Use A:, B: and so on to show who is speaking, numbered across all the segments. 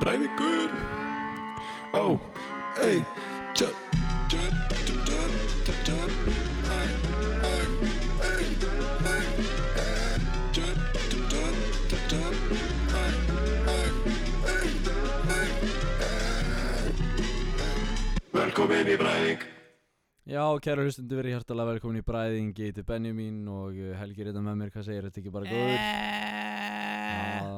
A: Breivikur Ó, ei Tjö, tjö, tjö, tjö, tjö, tjö Ei, ei, ei, ei, ei Tjö, tjö, tjö, tjö, tjö Ei, ei, ei, ei, ei Velkomin í Breivik
B: Já, kæra hlustundu verið hjartalega velkomin í Bræðing Ég heiti Benjamín og uh, Helgi er þetta með mér Hvað segir þetta ekki bara góður?
A: Eh.
B: Það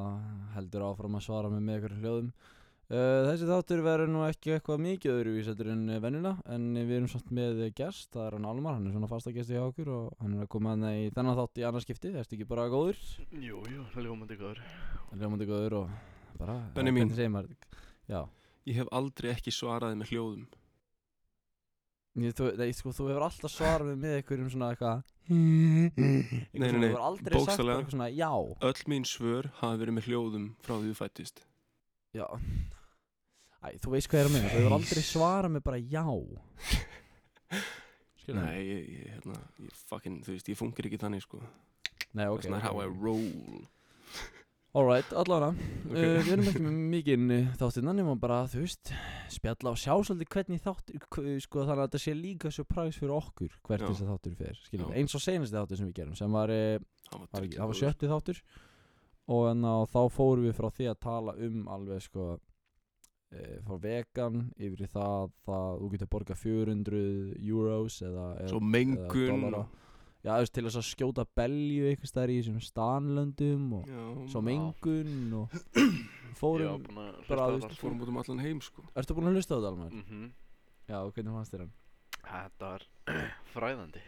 B: heldur áfram að svara mig með ykkur hljóðum uh, Þessi þáttur verður nú ekki eitthvað mikið öðruvís Þetta er en vennina En við erum samt með gest, það er hann Almar Hann er svona fasta gesti hjá okkur Og hann er að koma hann í þennan þátt í annarskipti Það er ekki bara góður
C: Jú, jú, það er komandi góður
B: Það er ljómandi góður og bara
A: Benni mín.
B: hvernig segir maður þetta? Já
A: Ég hef aldrei ekki svaraði með hljóðum
B: Ég, þú, nei, sko, þú hefur alltaf svarað með með einhverjum svona eitthvað
A: nei,
B: Eitthvað svona,
A: nei,
B: Þú hefur aldrei sagt bara
A: bókstaflega.
B: eitthvað svona já
A: Öll mín svör hafa verið með hljóðum frá því þú fættist
B: Já Æ, þú veist hvað ég er að minna Þú hefur aldrei
A: Face.
B: svarað með bara já Skilurðu?
A: Nei, ég, ég, hérna, ég fucking, þú veist, ég fungir ekki þannig, sko
B: Nei, ok
A: okay, That's not how I roll
B: Alright, allavega
A: Ok.
B: uh, Við erum ekki með mikinn uh, þáttinn Þannig maður bara, þú veist Spjalla og sjá svolítið hvernig þáttur hv- Sko þannig að þetta sé líka surprise fyrir okkur
A: Já.
B: Hvert þess að þáttur fyrir Skilum
A: Já.
B: Eins og senasti þáttur sem við gerum Sem var uh,
A: Það var,
B: var,
A: drullið
B: ekki, það var
A: góður.
B: sjötti þáttur og, en, og þá fórum við frá því að tala um alveg sko e, frá vegan yfir í það það þú getur borgað 400 euros eða,
A: Svo
B: eða, eða
A: mengun
B: dollara já, þú veist, til þess að skjóta belju einhvers þær í þessum stanlöndum og
A: Já,
B: svo mengun og
C: Ég var
B: fórum
C: búin að
B: bara,
C: hlusta á
B: þú veist,
C: allt.
A: fórum út um allan heim, sko
B: Ertu búin að hlusta á þetta alveg?
C: Mhm.
B: Já, og hvernig fannst þér hann?
C: Þetta var fræðandi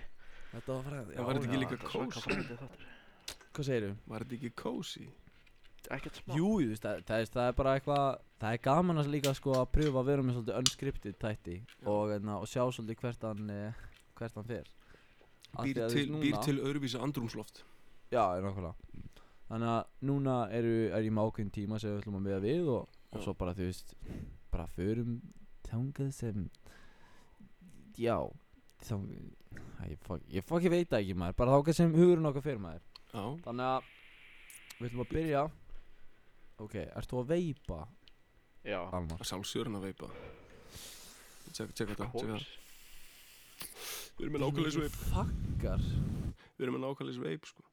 B: Þetta var fræðið,
A: Það var þetta ekki
C: Já,
A: líka
C: þetta er svaka
A: kósí?
C: fræðandi þáttur.
B: Hvað segirðu?
A: Var þetta ekki cozy?
C: Ekkert smá
B: Jú, jú, þú veist, það, það, er- það er bara eitthvað Það er gaman að líka sko að pröfa að vera með svolítið unscripted tætti og, enna, og sjá svolítið hvert hann eh, hvert hann fer Af því
A: Býr
B: að þú
A: til,
B: veist,
A: býr
B: núna-
A: til öðruvísa andrúmsloft
B: Já, er nákvæmlega Þannig að núna eru, er ég með ákveðin tíma sem við ætlum að miða við og, og
A: Já.
B: svo bara, þú veist bara förum þangað sem Já þangað, Æ, ég, fokk, ég fokk ég veit það ekki maður bara þangað sem hugurinn okkar fyrir maður
A: Já,
B: Þannig að við ætlum að byrja Ok, ert þú að veipa,
C: Já
B: Alma?
A: að sálsjörn að veipa Tjekka tjekka þetta, tjekka
C: Kórs
A: þetta Við erum með nákvæmleis veip
B: Fakkar
A: Við erum með nákvæmleis veip, sko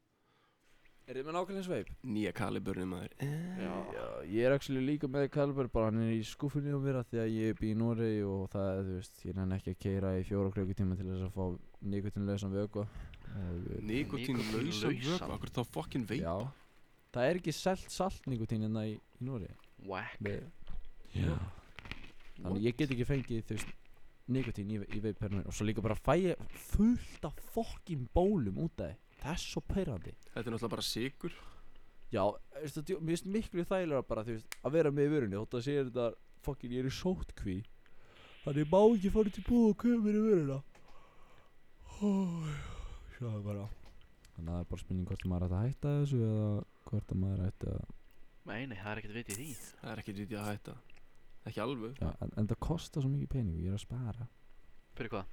B: Er þið með nákvæmlega sveip?
A: Nýja kaliburni maður Eh,
C: Já
B: Já, ég er actually líka með Kalber bara hann er í skúfunni á mér af því að ég bý í Noregi og það er, þú veist, ég nenni ekki að keira í fjóra klukkutíma til þess að fá nikotinlausan vöku og,
A: Nikotín lausa
C: Nikotínlausan.
A: vöp Akkur þá fucking veip
B: Já Það er ekki selt salt nikotín hérna í, í Noregi
C: Whack
B: Já Þannig ég get ekki fengið, þú veist, nikotín í, í veip hérna og svo líka bara fæ ég fullt af fokkin bólum út af því. Það er svo peirandi
A: Þetta er náttúrulega bara sigur
B: Já, eh, veistu, djú- mér finnst miklu þægilega bara þú veist, að vera með í vörunni þótt að segja þetta fokkin ég er í sótkví þannig ég má ekki fara til búið og köpa mér í vöruna Sjáðu bara Þannig að það er bara spurning hvort maður ætti að hætta þessu eða hvort að maður ætti að
C: Nei, nei, það er ekkert vitið í því
A: Það er ekkert vitið að hætta Ekki alveg
B: Já, en, en það kostar svo mikið pening ég er að spara
C: Fyrir hvað?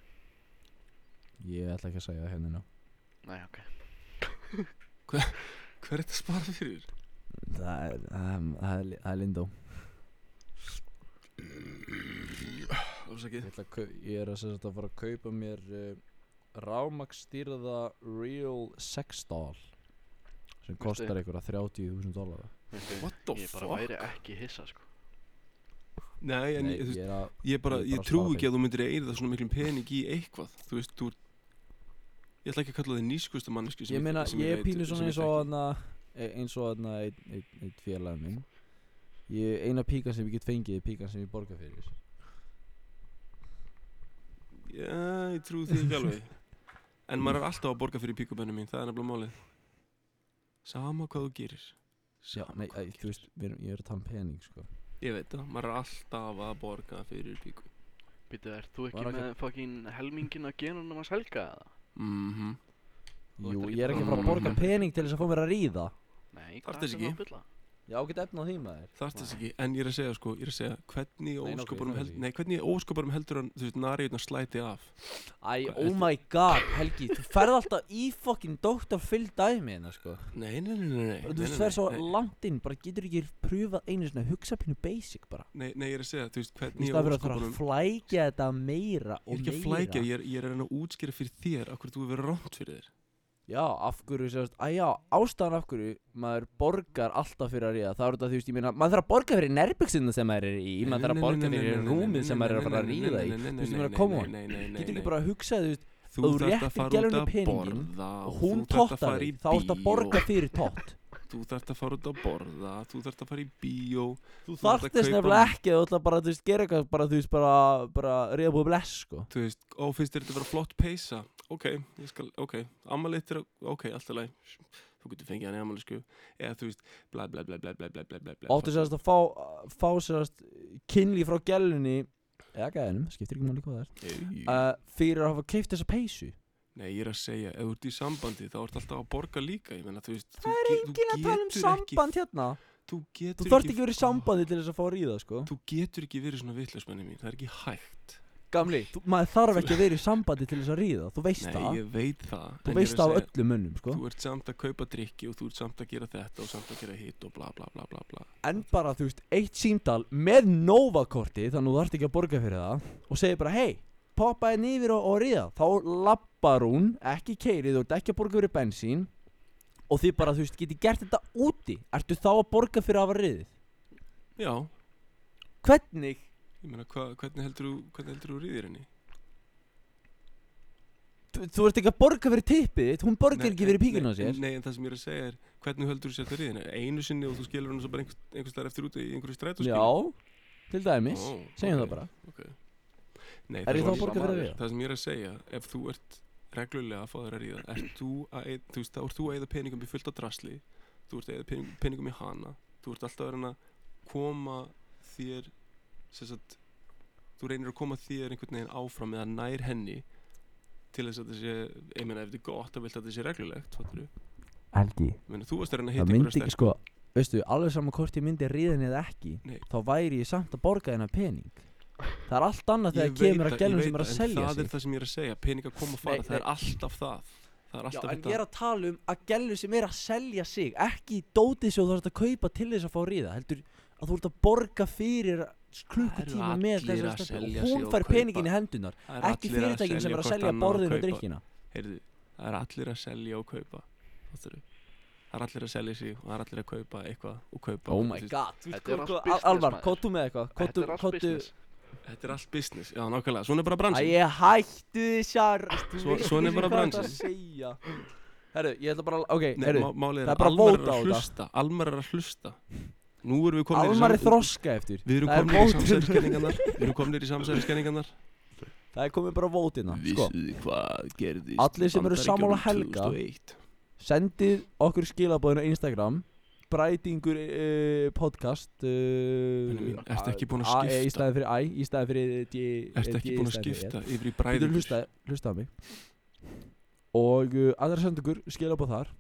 B: Ég ætla ekki að segja það hérna nú
C: Nei, ok
A: Hver er þetta að spara fyrir?
B: Það er, um, það er, það er lindó
A: Ásakið
B: Ég, ætla að kau- ég er að segja þetta að fara að kaupa mér uh, rámakstýrða Real Sex Doll sem kostar einhverja 30.000 dólar
C: Veistu,
A: What the
C: Ég bara
A: fuck?
C: væri ekki hissa, sko
A: Nei, en
B: Nei,
A: ég, þú
B: ég
A: veist,
B: er að
A: ég bara,
B: ég er
A: ég
B: bara að
A: trú
B: svara
A: ekki að þú myndir eyrða svona miklum pening í eitthvað Þú veist, þú Ég ætla ekki að kalla þig nýskustu manneski
B: ég meina, ég er pínu svona eins og hana eins og hana einn ein, ein félag minn ég, eina píkan sem ég get fengið er píkan sem ég borga fyrir
A: Já, ég trú því ekki alveg En maður er alltaf að borga fyrir píkubennu mín, það er nefnilega málið Sama hvað þú gerir
B: Já, nei, æ, þú veist, við erum, ég er að tala um pening sko.
A: Ég veit það, maður er alltaf að borga fyrir píku
C: Býtu, ert þú ekki
B: Var ekki-
C: með fucking helmingin að genunum að selga eða?
A: Mhm
B: Jú,
C: Þú ættir ekki
B: ég er ekki um að
A: bara
B: fara að borga
A: að-
B: pening til þess að fá mér að ríða
C: Nei,
A: Þarf
C: hvað
A: þess
C: er það
A: ekki.
C: að bylla?
B: Já, get efna á því maður
A: Þarf þess ekki, en ég er að segja sko, ég er að segja hvernig
B: Nei, nákvæmlega,
A: óskoparum
B: þarf
A: held,
B: ekki.
A: nei, hvernig óskoparum heldur hann, þú veist, nariðna slæti af.
B: Æ,
A: Hvað,
B: oh
A: ertu-
B: my god, Helgi Þú ferð alltaf í fokkin Dr. Phil dæmi hérna, sko
A: Nei, nei, nei, nei, nei. nei,
B: Þú
A: nei,
B: ferð svo
A: nei,
B: langt inn, bara getur ekki pröfað einu svona Hugsa pínu basic bara
A: Nei, nei, ég er að segja, þú veist, hvernig
B: Í stað fyrir að fara að
A: óskoparum,
B: flækja þetta meira
A: ég
B: og
A: er ekki að
B: meira
A: flækja, ég er, ég er að reyna að útskýra fyrir þér, akkur þú hefur verið rámt fyrir þér.
B: Já, af hverju sérst, að já, ástæðan af hverju maður borgar alltaf fyrir að ríða Það er þetta, þú veist, ég meina, maður þarf að borga fyrir nærbyggsinna sem maður er í
A: Nei,
B: Maður
A: nei,
B: þarf
A: nei,
B: að borga
A: nei, nei,
B: fyrir
A: nei, nei,
B: rúmið sem
A: nei,
B: maður er að
A: nei,
B: fara að
A: nei,
B: ríða
A: nei,
B: í
A: nei, nei,
B: Þú veist, ég
A: nei,
B: meina,
A: nei,
B: come
A: nei,
B: on
A: nei, nei, nei,
B: Getur
A: nei.
B: ekki bara að hugsa, þú veist,
A: Þú
B: ef þú
A: þarft að
B: réttir
A: fara út
B: gælunni
A: að
B: peninginn
A: borða
B: og
A: og
B: hún
A: þú þarft að
B: tottar
A: fara í
B: þig, þá ert að
A: bíó.
B: borga fyrir tott
A: Þú þarft að fara út að borða, þú þarft að fara í bíó
B: Þú
A: þarft
B: þarft
A: að kaupa-
B: þess nefnilega ekki að þú ætla bara, þú veist, gera eitthvað, bara, þú veist, bara, bara, reyða búið bless, sko.
A: Þú veist, ó, finnst þér þetta vera flott peysa? Ok, ég skal, ok, ammalitt er, ok, allt er læg Þú getur fengið hann í ammali, sko Eða þú veist, bla bla bla bla bla bla bla bla bla
B: Áttu sérst að fá, fá sérst kynli frá gælunni, eða gæðinum, skiptir ekki máli hvað það er,
A: Nei,
B: uh, fyrir að hafa keift þessa peysu.
A: ég er að segja, ef þú ert í sambandi þá ert alltaf að borga líka, ég meina, þú veist
B: Það er enginn að tala um samband hérna.
A: Þú
B: Þú
A: getur
B: þarft ekki verið í sambandi til þess að fá að ríða, sko.
A: Þú getur ekki verið svona vitlausmenni mín, það er ekki hægt
B: Gamli, þú, maður þarf ekki að verið í sambandi til þess að ríða, þú veist
A: Nei,
B: það.
A: ég veit það
B: Þú
A: en ég er
B: veist
A: að
B: það af
A: segja-
B: öllum munnum, sko.
A: Þú ert samt að kaupa drikki og þú ert samt að gera þetta og samt að gera hitt og bla bla bla bla bla
B: en bara þú veist eitt símdal með Nova-korti þannig að þú þarft ekki að borga fyrir það og segir bara hei poppa henni yfir og, og ríða þá lappar hún ekki keirið þú ert ekki að borga fyrir bensín og þið bara þú veist geti gert þetta úti ertu þá að borga fyrir að hafa riðið
A: Já,
B: hvernig
A: ég meina, hva, hvernig heldur þú, hvernig heldur þú rýðir henni?
B: þú, þú ert ekki að borga fyrir tippið þitt hún borgar
A: Nei,
B: ekki
A: nei,
B: fyrir píkinu á
A: nei,
B: sér
A: Nei, en það sem ég er að segja er, hvernig heldur þú sér það rýðin? Einu sinni og þú skilur henni svo bara einhvers, einhvers staðar eftir úti í einhverju strætóskili?
B: já til dæmis
A: Ó, ok,
B: segjum það bara
A: ok. Nei,
B: Er ég
A: sem
B: þá að borga fyrir
A: maður-
B: það?
A: Það sem ég er að segja, ef þú ert reglulega að fá þér að ríða, ert þú að, eyð- þú veist, þá ert þú að eða peningum í fullt á drasli, þú ert að eða pening, peningum í hana, þú ert alltaf að reyna að koma þér, sem sagt, þú reynir að koma þér einhvern veginn áfram eða nær henni til þess að þetta sé, ég meina, ef þetta er gott, þá vilt að þetta sé reglulegt, fattur þú?
B: Helgi
A: Ég meina, þú varst að reyna að
B: það
A: hitta
B: myndi
A: einhverja
B: ekki
A: stelpu.
B: sko veistu, alveg saman hvort ég myndi ríðin eða ekki
A: Nei.
B: þá væri ég samt að borga hennar pening það er allt
A: Ég
B: annað þegar
A: veit
B: kemur að
A: það, ég
B: gælum
A: veit
B: sem er að
A: það, en
B: selja
A: það
B: sig
A: er það sem ég er að segja, peningar koma og fara,
B: Nei,
A: það er alltaf það það er
B: Já,
A: alltaf
B: en
A: þetta
B: ég er að tala um að gælum sem er að selja sig ekki í dótið sem þú þarfst að kaupa til þess að fá að ríða heldur að þú ert að borga fyrir klukkutíma
A: Það eru
B: með
A: allir að
B: þessar stelpu
A: selja
B: og
A: sig
B: hún
A: og
B: fær
A: kaupa.
B: peningin í hendunar
A: Það eru
B: ekki
A: allir að
B: fyrirtækin sem er að
A: hvort
B: selja
A: annað og
B: borðin og
A: kaupa.
B: drikkina
A: Heyrðu, það er allir að selja og kaupa Fattarðu? Það er allir að selja sig og það er allir að kaupa eitthvað og kaupa
B: oh my
A: Þú veist,
B: god þú
C: Þetta er
B: sko-
C: allt
B: sko, al-
C: business,
B: Alvar,
C: maður.
B: kottu með eitthvað
C: Þetta
B: kottu,
C: er allt
B: kottu
C: business
A: Þetta er allt business, já nákvæmlega, svona er bara bransin
B: Æ, ég hættu þessar
A: Svo- svona er bara bransinn.
B: Herru, ég ætla bara Ok,
A: Nei,
B: herru
A: má, málið er
B: það er
A: að
B: bara
A: almar er
B: vóta á
A: að
B: þetta.
A: hlusta Almar er að hlusta Nú erum við komin
B: Almar er þroska eftir
A: Við erum
B: Það er
A: komin í
B: vótur.
A: samsæðiskenningarnar Við erum komin í samsæðiskenningarnar
B: Það er komið bara vótina Sko,
A: Vissuðu hvað gerðist
B: Allir sem eru sammála Helga.
A: 2001
B: sendið okkur skilabóðinu á Instagram Brætingur uh, podcast uh,
A: Benni mín, ertu ekki búin að
B: A, e, Í
A: skipta?
B: staði fyrir æ, í staði fyrir d,
A: Ertu ekki
B: d í
A: búin að
B: staðinn fyrir E.
A: skipta yfir í
B: Þú
A: bræðingur?
B: hlusta, hlusta á mig Og uh, aðra sendingur skilabóð þar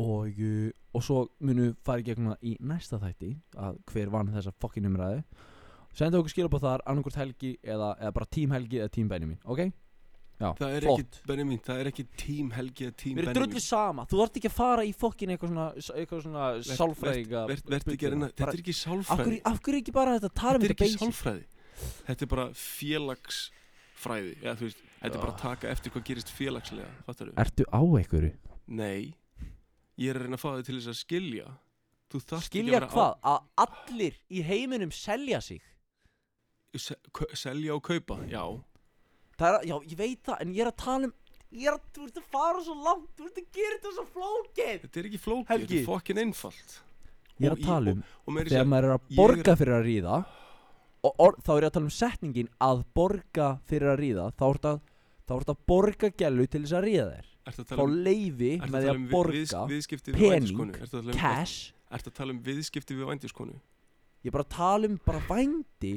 B: og, uh, og svo munu fara í gegnum það í næsta þætti að hver vann þessa fokkin umræði Senda okkur skilabóð þar annarkvort helgi eða, eða bara tím helgi eða tím benni mín Ok? Já,
A: Það er
B: flott
A: ekki, Benjamin, það er ekki tím Helgi eða tím
B: Mér er drullu
A: Benjamin
B: sama, þú þarft ekki að fara í fokkin eitthvað svona, eitthvað svona
A: Vert-
B: sálfræðinga
A: vert- vert ekki að reyna, þetta er ekki
B: Af
A: sálfræði
B: hverju, af hverju ekki bara þetta tala
A: Þetta er
B: um þetta
A: ekki
B: basic
A: sálfræði Þetta er bara félagsfræði Eða, þú veist, Þetta er bara að taka eftir hvað gerist félagslega Fattar
B: Ertu á einhverju?
A: Nei, ég er að reyna að fá þig til þess að skilja Þú þarft ekki að
B: Skilja
A: vera á-
B: hvað? Að allir í heiminum selja sig
A: se- kau- Selja og kaupa, já
B: Það er að, já, ég veit það, en ég er að tala um Ég er að, þú ert að fara svo langt, þú ert að gera þetta svo flókið
A: Þetta er ekki flókið,
B: Helgi.
A: þetta er fokkin einfalt
B: Ég er
A: Og
B: að
A: í-
B: tala um,
A: Og meiri
B: þegar
A: sér,
B: maður er að
A: ég er-
B: borga fyrir að ríða Og or, þá er ég að tala um setningin að borga fyrir að ríða Þá ert að, þá ert að borga gælu til þess að ríða þér
A: ertu að
B: Þá
A: tala um
B: leifi
A: ertu
B: með því
A: tala
B: að
A: um vi- viðs-
B: borga
A: viðskipti við
B: pening,
A: vændiskonu Ertu að tala um-
B: cash
A: ertu að tala um viðskipti við vændiskonu
B: Ég er bara að tala um bara vændi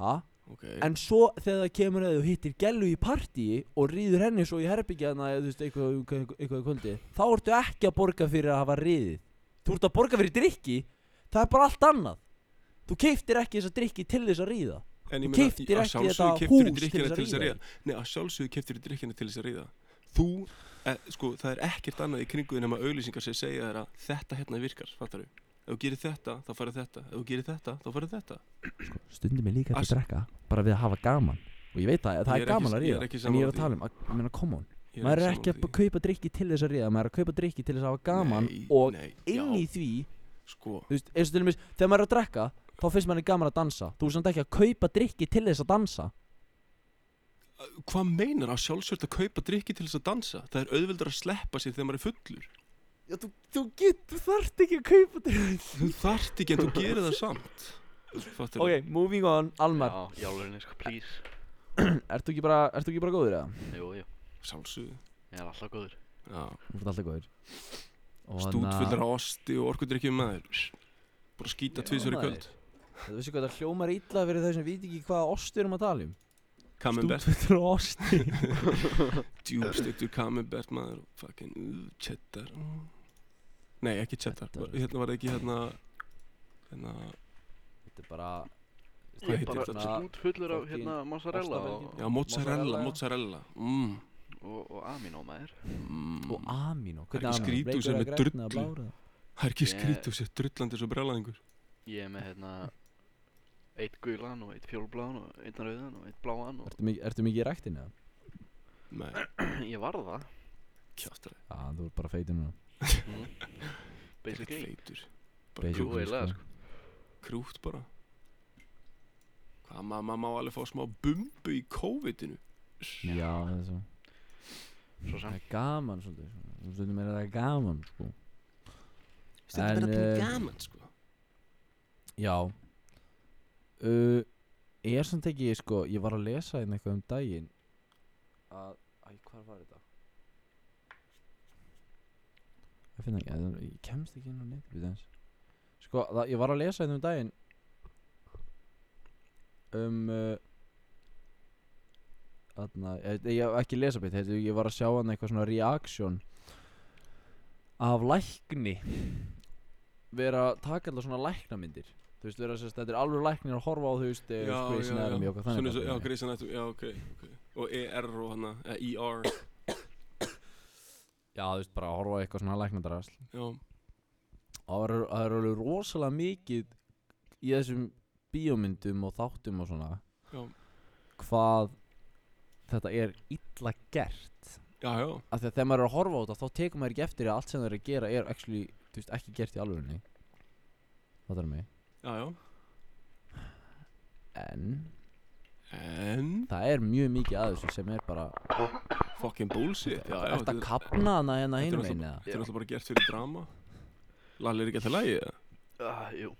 B: Ha?
A: okay.
B: En svo þegar það kemur að þú hittir gellu í partíi og rýður henni svo í herbyggja hana eða þú veist eitthvað, eitthvað, eitthvað í kvöldi þá ertu ekki að borga fyrir að hafa rýðið Þú ert að borga fyrir drikki Það er bara allt annað Þú keiftir ekki þessa drikki til þess að ríða
A: En
B: Þú
A: ég meina, í-
B: keyptir
A: að
B: ekki þetta
A: sjálfsögðu keftur í
B: hús til
A: drikkina
B: þess
A: til
B: að
A: þess að
B: ríða
A: ríða Nei, að sjálfsögðu keftur í drikkina til þess að ríða Þú, e, sko, það er ekkert annað í kringuðin nema auðlýsingar sem segja þér að þetta hérna virkar, fattar við Ef þú gerir þetta, þá farið þetta Ef þú gerir þetta, þá farið þetta
B: Stundum er líka
A: Ass-
B: til að drekka Bara við að hafa gaman Og ég veit að það
A: Ég
B: er,
A: er ekki-
B: gaman
A: ég
B: að
A: er
B: ríða
A: ekki
B: En ég
A: sammála
B: er að
A: því.
B: tala um að, ég meina, come on
A: Ég
B: Maður er
A: sammála
B: ekki að
A: því.
B: kaupa drikki til þess að ríða Maður er að kaupa drikki til þess að hafa gaman
A: Nei,
B: Og
A: nei,
B: inn í
A: já,
B: því
A: sko,
B: Þú veist, eins og til dæmis Þegar maður er að drekka Þá finnst maður gaman að dansa Þú er samt ekki að kaupa drikki til þess að dansa
A: Hvað meinar að sjálfsögðu að kaupa drikki til þess að dansa? Það er auðveldur að sleppa sér þegar maður er fullur
B: Já, þú, þú get, þú þarft ekki að kaupa drikki
A: Þú þarft ekki en þú gerir það samt Fattar
B: Ok, moving on, Almar
C: Já, í alvörunni, sko, please.
B: Ertu ekki bara, ertu ekki bara góður eða?
C: Jú, jú,
A: Sjálfsögðu
C: ég er alltaf góður.
A: Já,
B: Þú fyrir alltaf góður Og hérna,
A: stútfullar á osti og orkudrykkjum maður Bara að skýta
B: Já,
A: tvisver í
B: maður.
A: kvöld
B: Þú veist hvað það hljómar illa fyrir þau sem viti ekki hvað ost við erum að tala um
A: Camembert,
B: Stútfullur á osti
A: djúbstektur Camembert maður og fucking uh, cheddar mm. Nei, ekki cheddar,
B: Cheddar.
A: Var- hérna var það ekki hérna hérna,
B: Þetta er bara Hérna,
A: Hvað
C: Ég er
A: heitir
C: bara
B: þetta?
C: stútfullur af,
B: Fucking
C: hérna, mozzarella og,
A: já, mozzarella,
B: Mozzarella.
A: mozzarella mm,
C: og, og aminómaður.
A: mm.
B: Og amino,
A: Það er ekki
B: hvernig amino?
A: skrýtið
B: Bleikur
A: sem
B: eða
A: er
B: grænn eða
A: drullu.
B: blár eða?
A: Það er ekki
C: Ég-
A: skrýtt og sér drullandi svo brjálæðingur
C: Ég er með, hérna, eitt gulan og eitt fjólbláðan og einn rauðan og eitt bláan og
B: Ertu mikið- Ertu mikið í ræktin eða?
A: Nei,
C: ég varð það,
A: kjáttar
B: Já, þú ert bara feitur núna
C: Mhm.
A: Þetta er
C: basically.
A: feitur Bara
B: Basically,
C: Jú,
A: krú-
C: eiginlega, sko.
A: Krútt bara Hvað, maður ma má alveg fá smá bumbu í COVID-inu
B: Já, það er svo
C: Svo
B: Það
C: sem,
B: er gaman svolítið sko. Stundum er það gaman sko En,
A: Þetta er bara
B: eh,
A: gaman, sko
B: Já uh, Er samt ekki, sko, ég var að lesa einn eitthvað um daginn að, æ, hvar var þetta? Ég finn ekki, það- ég kemst ekki inn á neitt við þess Sko, það, ég var að lesa einn um daginn um uh, þarna, ég, ég ekki lesa beitt, heitir, ég var að sjá hann eitthvað svona reaction af lækni vera að taka alltaf svona læknamyndir þú veist, vera sérst, þetta er alveg læknir að horfa á þú veist, eh, Grey's Anatomy og hvað
A: Svona
B: þannig
A: eins og- Já,
B: dæmi.
A: Grey's Anatomy, já, ok, ok Og ER og hana, eða E ER
B: já, þú veist, bara að horfa á eitthvað svona læknadrasl
A: Já,
B: og það er- það er alveg rosalega mikið í þessum bíómyndum og þáttum og svona
A: já,
B: hvað þetta er illa gert
A: já, já
B: af því að þegar maður er að horfa á þetta þá tekur maður ekki eftir að allt sem það er að gera er actually, þú veist, ekki gert í alvörunni það er mig
A: Já, já
B: en
A: En,
B: það er mjög mikið að þessu sem er bara
A: fucking bullshit Já, já,
B: ert
A: þetta
B: að
A: er
B: kapna hana
A: þetta
B: hérna
A: er
B: hinum
A: alltaf-
B: einu eða
A: þetta er alltaf bara gert fyrir drama Lalli er ekki alltaf lægi
C: ah, jú.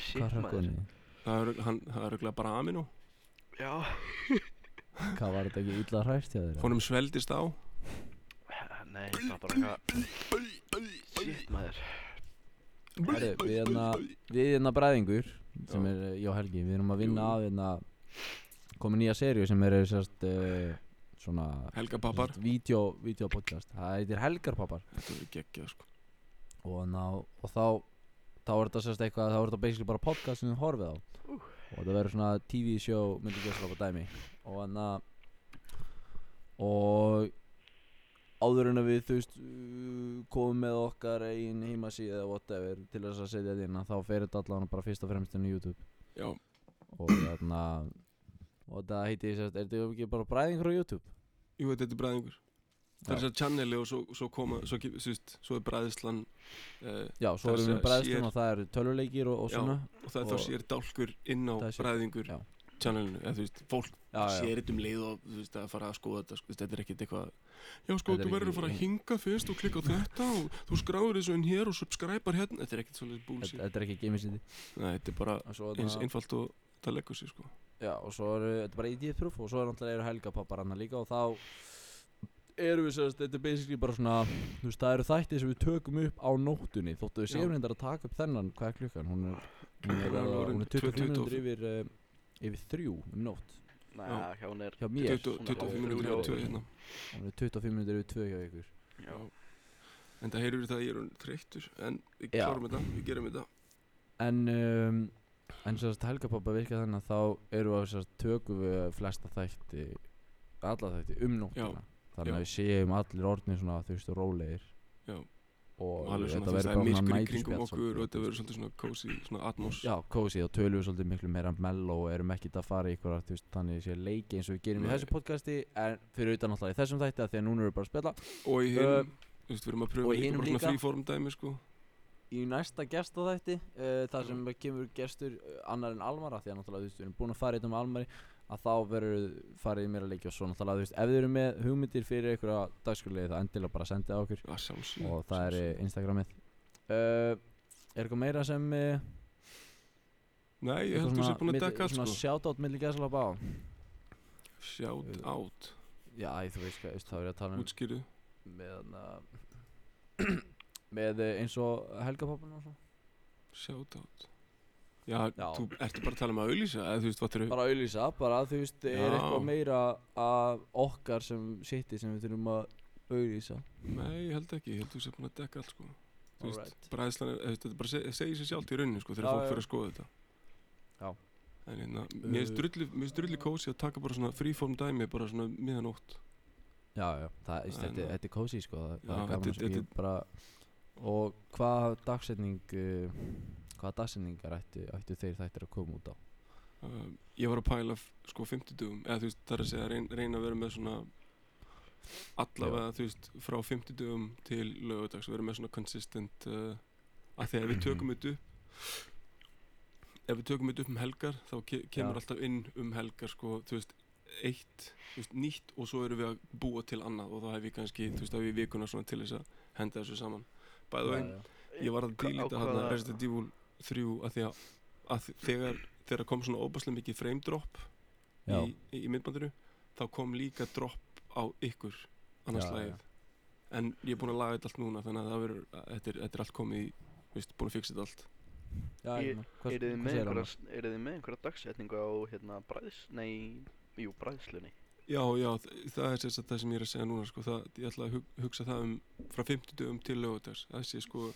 C: Shit,
B: hvað
C: maður.
B: hrökkunni
A: Það er, hann, það er örugglega bara amino
C: Já,
B: hvað var þetta ekki illa hrært hjá þér eða?
A: Honum sveldist á
C: nei, það er bara eitthvað Shit maður
B: Herru, við hérna við hérna bræðingur sem
A: Já.
B: er eh, ég og Helgi við erum að vinna
A: Jú.
B: að hérna komið nýja seríu sem er eh, sérst eh, svona
A: Helga pappar
B: vídeo vídeo podcast það heitir Helgarpapar
A: Þetta verður geggjað, sko
B: og, ná, og þá þá er þetta sérst eitthvað þá er þetta basically bara podcast sem við horfið á og þetta verður svona tv show myndi gæsla á dæmi og hann að og áður en að við þú veist uh, komum með okkar einn heimasíð eða whatever til þess að setja þetta inn að þá fer þetta allavega bara fyrst og fremst inn á YouTube
A: Já,
B: og þarna og þetta heiti sérst er þetta ekki bara bræðingur á YouTube
A: jú, þetta er bræðingur Það er
B: Já.
A: þess að channeli og svo, svo koma Svo, ke- þú veist, svo er bræðislan uh,
B: já svo
A: Það er
B: erum við
A: sér- sér-
B: bræðstum og það eru töluleikir og, og
A: Já.
B: svona
A: Og það er
B: Og-
A: þá sér dálkur inn á
B: Það er sér-
A: bræðingur
B: já.
A: Channelinu, eða þú veist, fólk sér þetta um leið og þú veist að fara að skoða þetta sko, þú veist, þetta er ekkert eitthvað já sko,
B: Þetta er
A: þú verður
B: ekki-
A: að fara að hinga fyrst og klikka á þetta og þú skráður þessu inn hér og subscribar hérna þetta er ekkert svolítið
B: þetta,
A: búlsýn
B: þetta er ekki gemisindi
A: Nei, þetta er bara
B: og svo
A: eins
B: þarna-
A: einfalt og það leggur sér sko
B: Já, og svo eru, þetta er bara idiot proof og svo er náttúrulega eru helgapappar hann líka og þá eru við sérst, þetta er basically bara svona, þú veist, það eru þættið sem við tökum upp á nóttunni, þóttu við
A: Já.
B: séum reyndar að taka upp þennan, hvað er klukkan, hún er, hún er,
A: Hún er
B: alveg-
A: orðin
B: hún er 25
A: 22.
B: minútur yfir, uh, yfir þrjú um nótt
C: Næ,
A: Já.
C: hjá hún er
B: hjá mér,
A: 20 25
C: svona hálf þrjú
A: minnir
C: hjá
A: og tvö
C: okkur.
A: hérna
B: hún er 25 minútur yfir tvö hjá ykkur
C: Já,
A: En það heyrður það að ég er orðinn þreyttur En við
B: Já.
A: klárum þetta, við gerum þetta
B: En um, En sérst helgapoppa virka þannig að þá erum við að sérst tökum við flesta þætti Alla þætti um nóttina Þannig að
A: já.
B: við séum allir orðnir svona þú veist rólegir
A: Já.
B: Og,
A: Og alveg svona
B: þetta
A: þú veist,
B: verður
A: það er
B: bara
A: myrkur
B: svona
A: í kringum
B: næturspjall
A: okkur Og þetta
B: svolítið.
A: verður svolítið svona cozy, svona atmos
B: Já, kósi og tölum við svolítið miklu meira mellow og erum ekkert að fara í ykkur þú veist, þannig sé leiki eins og við gerum í
A: Nei.
B: þessu podcasti en fyrir utan alltaf í þessum þætti af því að núna erum við bara að spila
A: Og í
B: Ö,
A: hinum, þú veist, við erum að pröfa
B: Uh, og í
A: líka
B: hinum
A: bara svona
B: líka.
A: freeform dæmi sko
B: í næsta gestaþætti uh, þar sem
A: Mhm.
B: kemur gestur uh, annar en Almar af því að náttúrulega þú veist, við erum búin að fara í þetta með Almari að þá verður farið í meira leiki og svo náttúrulega þú veist, ef þið eru með hugmyndir fyrir einhverja dagskurlegi þá endilega bara sendið á okkur
A: Já, sjálfsög
B: og það er eh, Instagramið uh, er eitthvað meira sem uh,
A: Nei, ég held þú sér búin að dekka allt,
B: svona
A: sko
B: shoutout milli gæsalapa á
A: Shout
B: Eh,
A: out,
B: já, æ, þú veist hvað, þú veist, þá er ég að tala um
A: útskýrðu
B: með hana, með eh, eins og helgapappan og svona
A: Shout out Já,
B: Já.
A: þú ertu bara að tala um að auðlýsa eða þú veist, hvað þurfum
B: bara að auðlýsa, bara þú veist er
A: Já.
B: eitthvað meira af okkar sem sitti sem við þurfum að auðlýsa
A: Nei, ég held ekki, ég held þú sér búin að dekka allt, sko Þú veist,
B: Alright.
A: bræðslan er, eða þú veist, þetta bara seg, segir sér sjálft í rauninni sko
B: Já,
A: þegar fólk
B: já.
A: fyrir að skoða þetta
B: Já.
A: en hérna, mér
B: Uh,
A: finnst drullu mér finnst drullu kósi að taka bara svona fríform dæmi bara svona miðanótt
B: já, já, það, veist,
A: En-
B: þetta, þetta er kósi sko það, það
A: Já,
B: er gaman
A: þetta-
B: sem
A: þetta-
B: ég bara og hvað dagsetning uh, hvað dagsetningar ættu, ættu þeir þættir að koma út á
A: uh, ég var að pæla f- sko 50 dugum eða þú veist, það er að segja reyn, reyna að vera með svona allavega þú veist frá 50 dugum til lögudags vera með svona consistent uh, að þegar við tökum þetta upp ef við tökum þetta upp um helgar þá ke kemur
B: Já.
A: alltaf inn um helgar sko, þú veist, eitt þú veist, nýtt og svo erum við að búa til annað og þá hef ég kannski, þú veist, þá hef ég vikuna svona til þess að henda þessu saman bæðu veginn, ég var að
C: Hva- á
A: dílita hann
C: hvaða-
A: Resident Evil 3 að því að, að þegar þegar kom svona óbæslega mikið frame drop í,
B: já,
A: í myndbandinu þá kom líka drop á ykkur annars
B: Já,
A: lagið
B: já.
A: en ég er búin að laga þetta allt núna þannig að það verður, að þetta er, þetta er allt komið í þú veist, búin að fixa þetta allt
B: já,
C: Ég-
B: hérna, hvað,
C: Eru þið
B: hvað
C: með
B: segir hann?
C: einhverja- eruð þið með einhverja dagsetningu á hérna bræðs, nei, jú bræðslunni
A: já, já, þ- það er sérst að það sem ég er að segja núna sko, það, ég ætla að hug, hugsa það um frá 50 dögum til lögutags það sé sko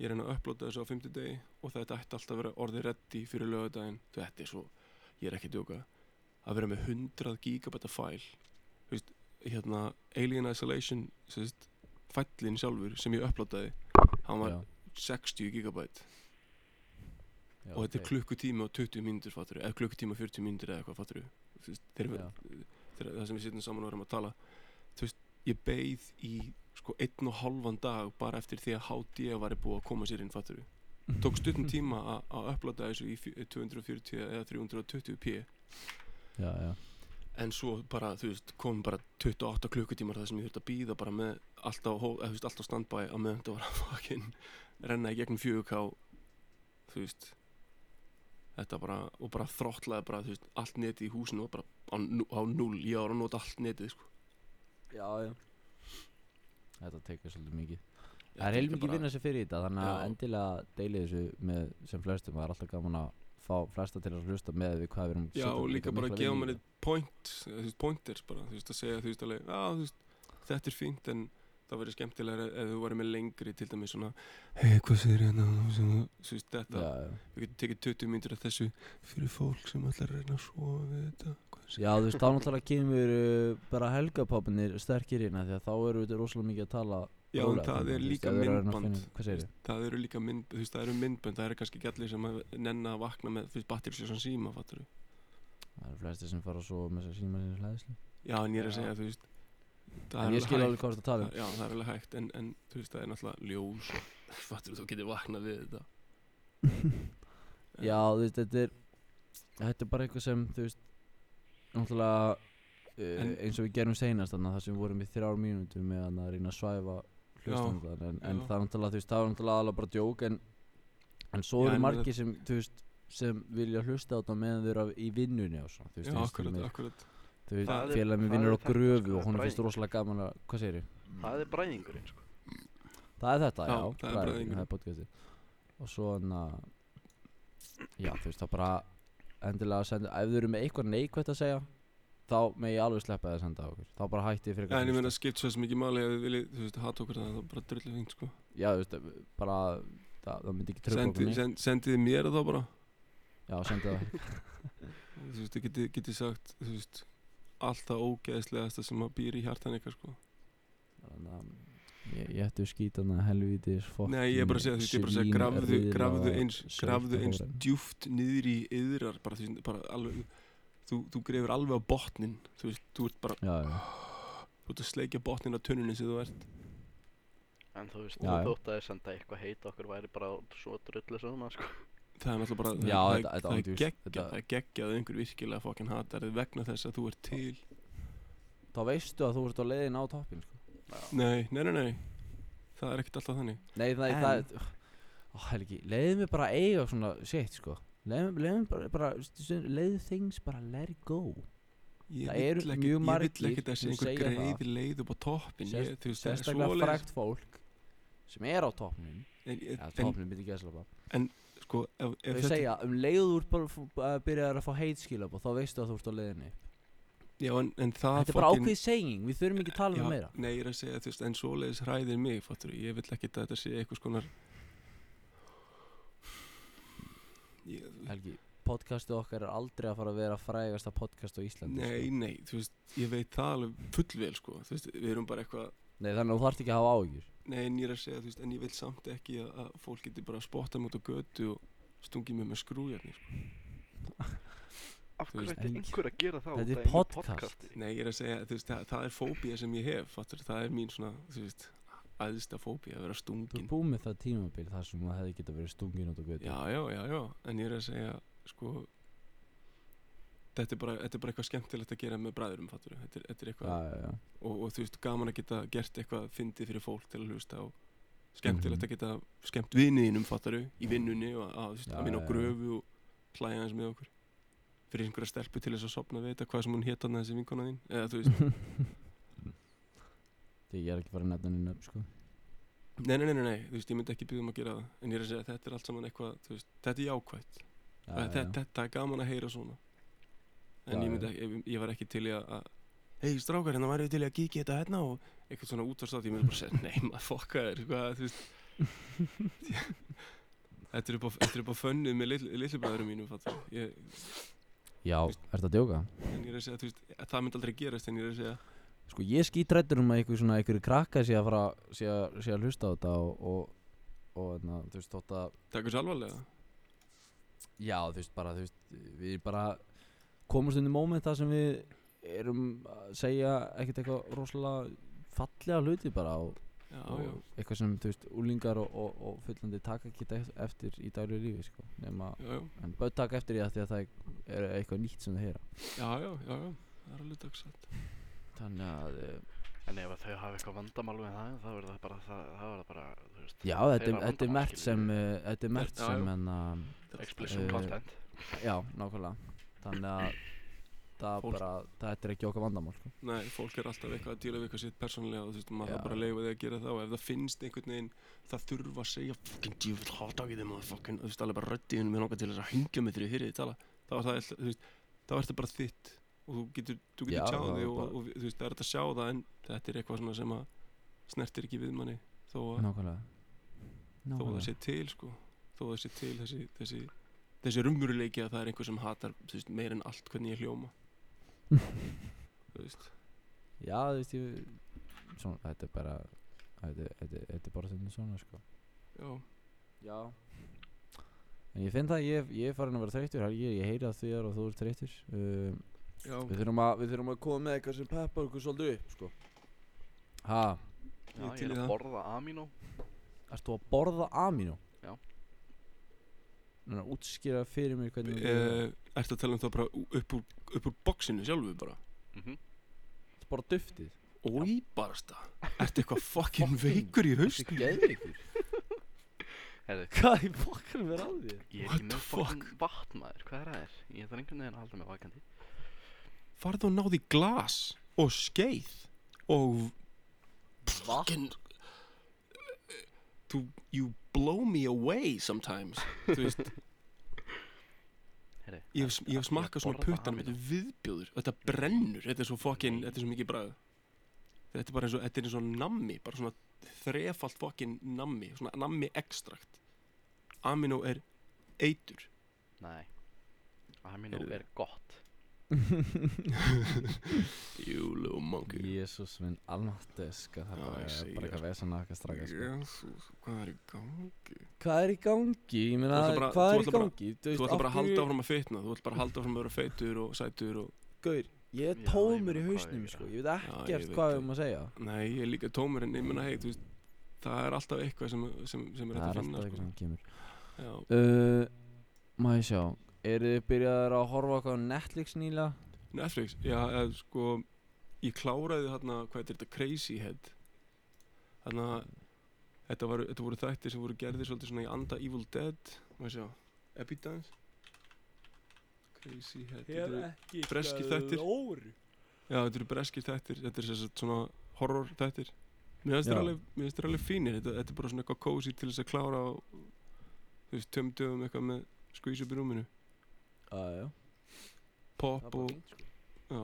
A: ég reyna að upplota þessu á 50 degi og þetta ætti alltaf að vera orðið reddi fyrir lögudaginn þetta er svo, ég er ekki að djóka að vera með 100 gigabæta fæl þú veist, hérna Alien Isolation sérst, fællin sjálfur sem ég upplotaði hann var
B: Já,
A: 60 gigabæt
B: já,
A: og þetta er
B: ok.
A: klukkutíma og 20 mínútur fattur eða klukkutíma og 40 mínútur eða eitthvað fattur þegar við-
B: Já.
A: þegar það sem við sittum saman og erum að tala þú veist, ég beið í sko einn og halvan dag bara eftir því að HD var búið að koma sér inn fattur tók stuttum tíma að- að upplata þessu í fjö- 240 eða 320p
B: já, já,
A: en svo bara, þú veist, kom bara 28 klukkutímar þar sem ég þurfti að býða bara með allt á, hó- eða, þú veist, allt á standby að meðan þetta var að fucking renna í gegnum 4K þú veist þetta bara, og bara þrottlaði bara, þú veist, allt netið í húsinu og bara á, nú- á null, ég var að nota allt netið, sko
B: já, já þetta tekur svolítið mikið
A: Þetta
B: Það er
A: er
B: heilmikið
A: bara-
B: vinna sem fyrir í þetta þannig að
A: Já.
B: endilega deilið þessu með sem flestum það er alltaf gaman að fá flesta til að hlusta með við hvað við erum að
A: Já,
B: setja
A: og líka bara að
B: mikla
A: gefa
B: vinnu í
A: manni point, eða, þú veist, pointers bara, þú veist, að segja, þú veist, alveg, já, þú veist, þetta er fínt, en það verður skemmtilega ef þú væri með lengri, til dæmis svona, hei, hvað segir hérna, þú veist,
B: þetta.
A: þetta,
B: já,
A: við getum tekið 20 mínútur af þessu fyrir fólk sem ætlar að reyna að sofa við þetta, hvað
B: já. já, þú veist, þá náttúrulega kemur uh, bara helgapopinir sterkir inn af því að þá eru við rosalega mikið að tala
A: Já, en
B: rólega,
A: það
B: þannig að,
A: er
B: þú veist,
A: líka
B: ef við erum að reyna að
A: myndband.
B: finna- Hvað segir þið?
A: það eru líka mynd, þú veist, það eru myndbönd, það eru kannski ekki allir sem að nenna að vakna með, þú veist, batterísljósan síma, fattur
B: Það eru flestir sem fara svo með þess að síma sinni hlæðislu
A: Já, en ég er að
C: Já.
A: segja, þú veist, það
B: En
A: er
B: ég skil
A: hægt.
B: alveg hvað þú ert að tala um
A: Já, það er alveg hægt, en, en þú veist, það er náttúrulega ljós og fattur þú getur vaknað við þetta.
B: Já, þú veist, þetta er Þetta er bara eitthvað sem, þú veist Náttúrulega uh,
A: En-
B: eins og við gerum seinast þannig þar sem við vorum í þrjár mínútur með að reyna að svæfa hlustandan en, en
A: já.
B: það er náttúrulega, þú veist, það er náttúrulega aðalega bara djók en, en svo
A: Já,
B: eru
A: en meina-
B: margir sem, þú veist sem vilja hlusta á þetta meðan þau eru af- í vinnunni og svona, þú veist,
A: Já,
B: eins og
A: akkurat,
B: mér,
A: akkurat
B: þú veist,
C: Það er-
B: félagin minn
C: það
B: vinnur
C: er
B: á
C: þetta, sko,
B: gröfu og
C: það er
B: honum finnst
C: bræðing.
B: rosalega gaman að, hvað segir
C: það er bræðingurinn sko
B: Það er þetta,
A: Já,
B: já,
A: það er bræðingurinn.
B: það er podcastið og svo hérna, hann að já, þú veist, það bara endilega að senda, ef þau eru með eitthvað neikvægt að segja þá megi ég alveg sleppa því að senda á okkur þá bara hætti ég fyrir
A: en ég meina skipt svo sem ekki máli ef þið viljið, þú veist, hata okkur það þá bara drullu fengt sko
B: já, þú veist, bara það, það myndi ekki tröfla okkur
A: Sendi-
B: neitt
A: send- sendið þið mér þá bara
B: já, senda það
A: þú veist, þið getið geti sagt þú veist, alltaf ógeðslegasta sem að býr í hjartan ykkar sko
B: Þannig að Ég, ég ætti skítana helvítis fokkin
A: Nei, ég er bara að segja, þú veist, ég er bara að segja, grafðu, grafðu eins, grafðu eins djúft niður í yðrar, bara, þú veist, bara alveg, þú, þú grefur alveg á botnin, þú veist, þú ert bara,
B: Já, já,
A: þú ert að sleikja botnin á tunnunni sem þú ert.
C: En þú veist,
B: Já, já.
C: þótt að þið senda eitthvað heit okkur væri bara svo drullu sama, sko.
A: Það er náttúrulega bara,
B: Já,
A: það,
B: þetta- þetta
A: það,
B: ándjúst,
A: það, geggja,
B: þetta-
A: það er geggjað að einhver virkilega fokkin hatar þig vegna þess að þú ert til.
B: þá veistu að þú ert á leiðin á toppin sko.
A: Nei, nei, nei, nei, það er ekkert alltaf þannig.
B: Nei, það er,
D: En-
B: það er Ó, helgi, leiði mig bara að eiga svona shit, sko Leiði mig, leiði mig bara, bara leiði things bara let it go
A: Ég
B: Það eru
A: vill
B: mjög
A: Ég
B: margir
A: vil ekki þessi
B: sem
A: einhver
B: segja það.
A: greiði leið upp á toppin,
B: Sérst-
A: ég, þú veist, það er
B: Sérstaklega
A: svoleiðis.
B: frækt fólk sem er á toppnum
A: En- en-
B: eða
A: en,
B: toppnum myndi gæsla bara
A: sko, ef- ef
B: Þau
A: þetta-
B: segja, um leiðu úr bara f- að byrja að fá heitskilab og þá veistu að þú ert á leiðinni
A: Já, en, en það
B: Þetta er bara
A: Ah, fucking-
B: ákveðið seging, við þurfum ekki að tala um
A: Já,
B: það meira
A: Nei, ég er að segja, þú veist, en svoleiðis hræðir mig, fattur Ég vill ekki að þetta sé eitthvað skonar ég,
B: Helgi, podcastið okkar er aldrei að fara að vera frægasta podcast á Íslandi
A: Nei,
B: sko.
A: nei, þú veist, ég veit það alveg fullvel, sko Þú veist, við erum bara eitthvað
B: nei, þannig að þú þarft ekki að hafa áhyggjur
A: Nei, en ég er að segja, þú veist, en ég vil samt ekki að, að fólk geti bara að spotta mjög á götu og stungi mig með skrújarnir sko.
C: Af
A: Þú
C: hverju
A: veist,
C: ætti
B: en-
C: einhver að gera það?
B: Þetta
C: út
B: er
C: af einu
B: podcast.
C: podcasti?
A: Nei, ég er að segja, þú veist, það, það er fóbía sem ég hef, fattur Það er mín svona, þú veist, aðsta fóbía að vera
B: Þú
A: stungin
B: er búið með það tímabil þar sem það hefði getað verið stungin út á götu
A: Já, já, já, já, en ég er að segja, sko, þetta er bara, þetta er bara eitthvað skemmtilegt að gera með bræðurum, fattur, þetta er, þetta er eitthvað,
B: já, já,
A: og, og þú veist, gaman að geta gert eitthvað fyndið fyrir fólk til að hlusta og skemmtilegt
B: Mhm.
A: að geta skemmt viniðinum, fattur, í vinnunni og að, þú veist,
B: Já,
A: að vinna á
B: já, já.
A: gröfu og hlæja hans með okkur fyrir einhverja stelpu til þess að sopna við þetta hvað sem hún hétt hann þessi vinkona þín eða þú veist,
B: Því ég er ekki fara að nefna henni upp sko.
A: nei, nei, nei, nei, nei, þú veist, ég myndi ekki byggðum að gera það en ég er að segja, þetta er allt saman eitthvað, þú veist, þetta er jákvætt
B: já,
A: Þa-
B: já,
A: þetta, þetta er gaman að heyra svona en
B: Já,
A: ég, myndi,
B: já.
A: ekki, ég, ég var ekki til í að- að hei strákar hérna væri til í að kíkja þetta hérna og eitthvað svona útvarstátt ég myndi bara segja nei maður fokka þér hvað, þú veist þetta er upp á, þetta er upp á fönnu með lillibæðurum mínum fattar. ég,
B: já ertu að djóka?
A: en ég er að segja þú veist, það myndi aldrei gerast en ég er að segja
B: Sko ég skítrættur um að einhver svona einhverju krakka sé að fara sé að, sé að hlusta á þetta og, og, og na, þú veist þótt að
A: takk þessu alvarlega
B: já þú veist bara þú veist, við bara komumst inn í moment þar sem við erum að segja ekkert eitthvað rosalega fallega hluti bara og
A: já,
B: og
A: já.
B: eitthvað sem, þú veist, úlingar og, og, og fullandi taka ekki deft- eftir í daglu lífi, sko, nema
A: Já, já,
B: en börn taka eftir í það því að það er eitthvað nýtt sem það heyra
A: já, já, já, já, það er alveg dagsætt
B: þannig að, eh,
C: En ef að þau hafa eitthvað vandamál með það, þá verður það bara, það, það verður það bara, þú veist,
B: já, þetta er,
C: Þeirra
B: þetta er
C: vandamál,
B: mert sem
C: skilurðu.
B: eh, þetta er mert
A: Já, já.
B: sem, en að
C: explicit
B: Eh,
C: content.
B: já, nákvæmlega, þannig að það er
A: Fólk-
B: bara, þetta er ekki okkar vandamál, sko
A: Nei, fólk er alltaf eitthvað að díla við eitthvað sitt persónlega og þú veist, maður
B: Já.
A: þarf bara að leifa því að gera það og ef það finnst einhvern veginn, það þurfa að segja fucking djúvill háttakið þeim og fucking, þú veist, alveg bara röddið henni með langar til þess að hingja með þér í þið tala, þá er það, alltaf- þú veist, þá er það bara þitt og þú getur, þú
B: Já,
A: getur tjáð
B: það
A: þig
B: er
A: og,
B: bara-
A: og, þú veist, það er þetta að sjá það en þetta er eitthvað svona sem að snertir ekki við manni þó að,
B: nákvæmlega
A: þó að það
B: nákvæmlega,
A: sé til, sko, þó að það sé til þessi, þessi, þessi rumurleiki að það er einhver sem hatar, þú veist, meir en allt hvernig ég hljóma, þú veist.
B: já, þú veist, ég svona, þetta er bara þetta er- þetta er þetta er bara þetta svona, sko
A: Já,
B: já en ég finn það, að ég, ég er farin að vera þreyttur Helgi, ég heyri að því að þú ert þreyttur um,
A: já,
B: Við þurfum að, við þurfum að koma með eitthvað sem peppar okkur svolítið upp, sko. Ha,
C: Já,
A: ég
C: ég
A: til í
C: er
A: það.
C: að borða amino.
B: ert þú að borða amino?
C: Já.
B: Núna, útskýra fyrir mér hvernig þú
A: uh, Ertu að tala um það bara ú- upp úr, upp úr boxinu sjálfu bara?
C: Mhm.
B: Ertu bara duftið?
A: Ói barasta Ertu eitthvað fucking veikur í haust?
B: Ertu geðveikur?
C: Heyrðu.
B: Hvað í fokkanum er að þér?
C: Ég er
A: What
C: ekki
A: the
C: með fucking vatnaður, hvað er það er? Ég þarf einhvern veginn að halda mig vakandi.
A: Farðu og náði glas og skeið og
B: Vatn?
A: þú, you blow me away sometimes Þú veist
C: Heyrðu.
A: Ég hef, ég hef smakkað svona
C: borða
A: puttan
C: hafið.
A: Þetta er viðbjóður, þetta brennur Þetta er svo fokkin, þetta er svo mikið bræð Þetta er bara eins og, þetta er eins og nammi Bara svona þrefalt fokkin nammi Svona nammi ekstrakt Amino er eitur
C: Nei Amino
A: Heyrðu.
C: er gott
A: You little monkey
B: Jésús minn almatteska Það
A: Já,
B: er bara,
A: ég segi
B: bara eitthvað vesan að eitthvað straka sko.
A: Jesus, hvað er í gangi?
B: Hvað er í gangi? Ég meina,
A: Þú ætla bara-
B: hvað
A: þú
B: er í
A: ætla bara-
B: gangi? Þú
A: Þú ætla bara að
B: af hverju-
A: halda áfram að fitna Þú ætla bara að halda áfram að vera feitur og sætur og
B: Gaur, ég
C: Já,
B: er
C: ég
B: tómur í
C: meina, hvað á ég að
B: hausnum
C: gera?
B: sko Ég veit
A: ég
B: ekkert
A: veit
B: hvað
A: það.
B: við um að segja
A: Nei, ég er líka tómur en ég menna hey, þú veist Það er alltaf eitthvað sem, sem, sem er
B: Það
A: hægt
B: er
A: að finna
B: alltaf
A: sko.
B: eitthvað sem kemur
A: Já,
B: Uh, Má ég sjá Eru þið byrjaðar að horfa á eitthvað á Netflix nýla?
A: Netflix, já, eða, sko Ég kláraði þarna, hvað er þetta, Crazy Head Þarna þetta, var, þetta voru þættir sem voru gerðir svolítið svona í anda Evil Dead Má ég sjá, Epidance Crazy Head þetta eru-
B: ekki
A: breskir þættir.
B: óru
A: Já, þetta eru breskir þættir Þetta er sem sagt svona horror þættir Mér finnst
B: Já.
A: þér alveg, mér finnst þér alveg fínir þetta, þetta er bara svona eitthvað cozy til þess að klára á, Þú veist, tveim dögum eitthvað með Squeeze upp í rúminu
B: Já, já Það er
A: Pop
B: bara
A: og
B: fínt, sko.
A: Já,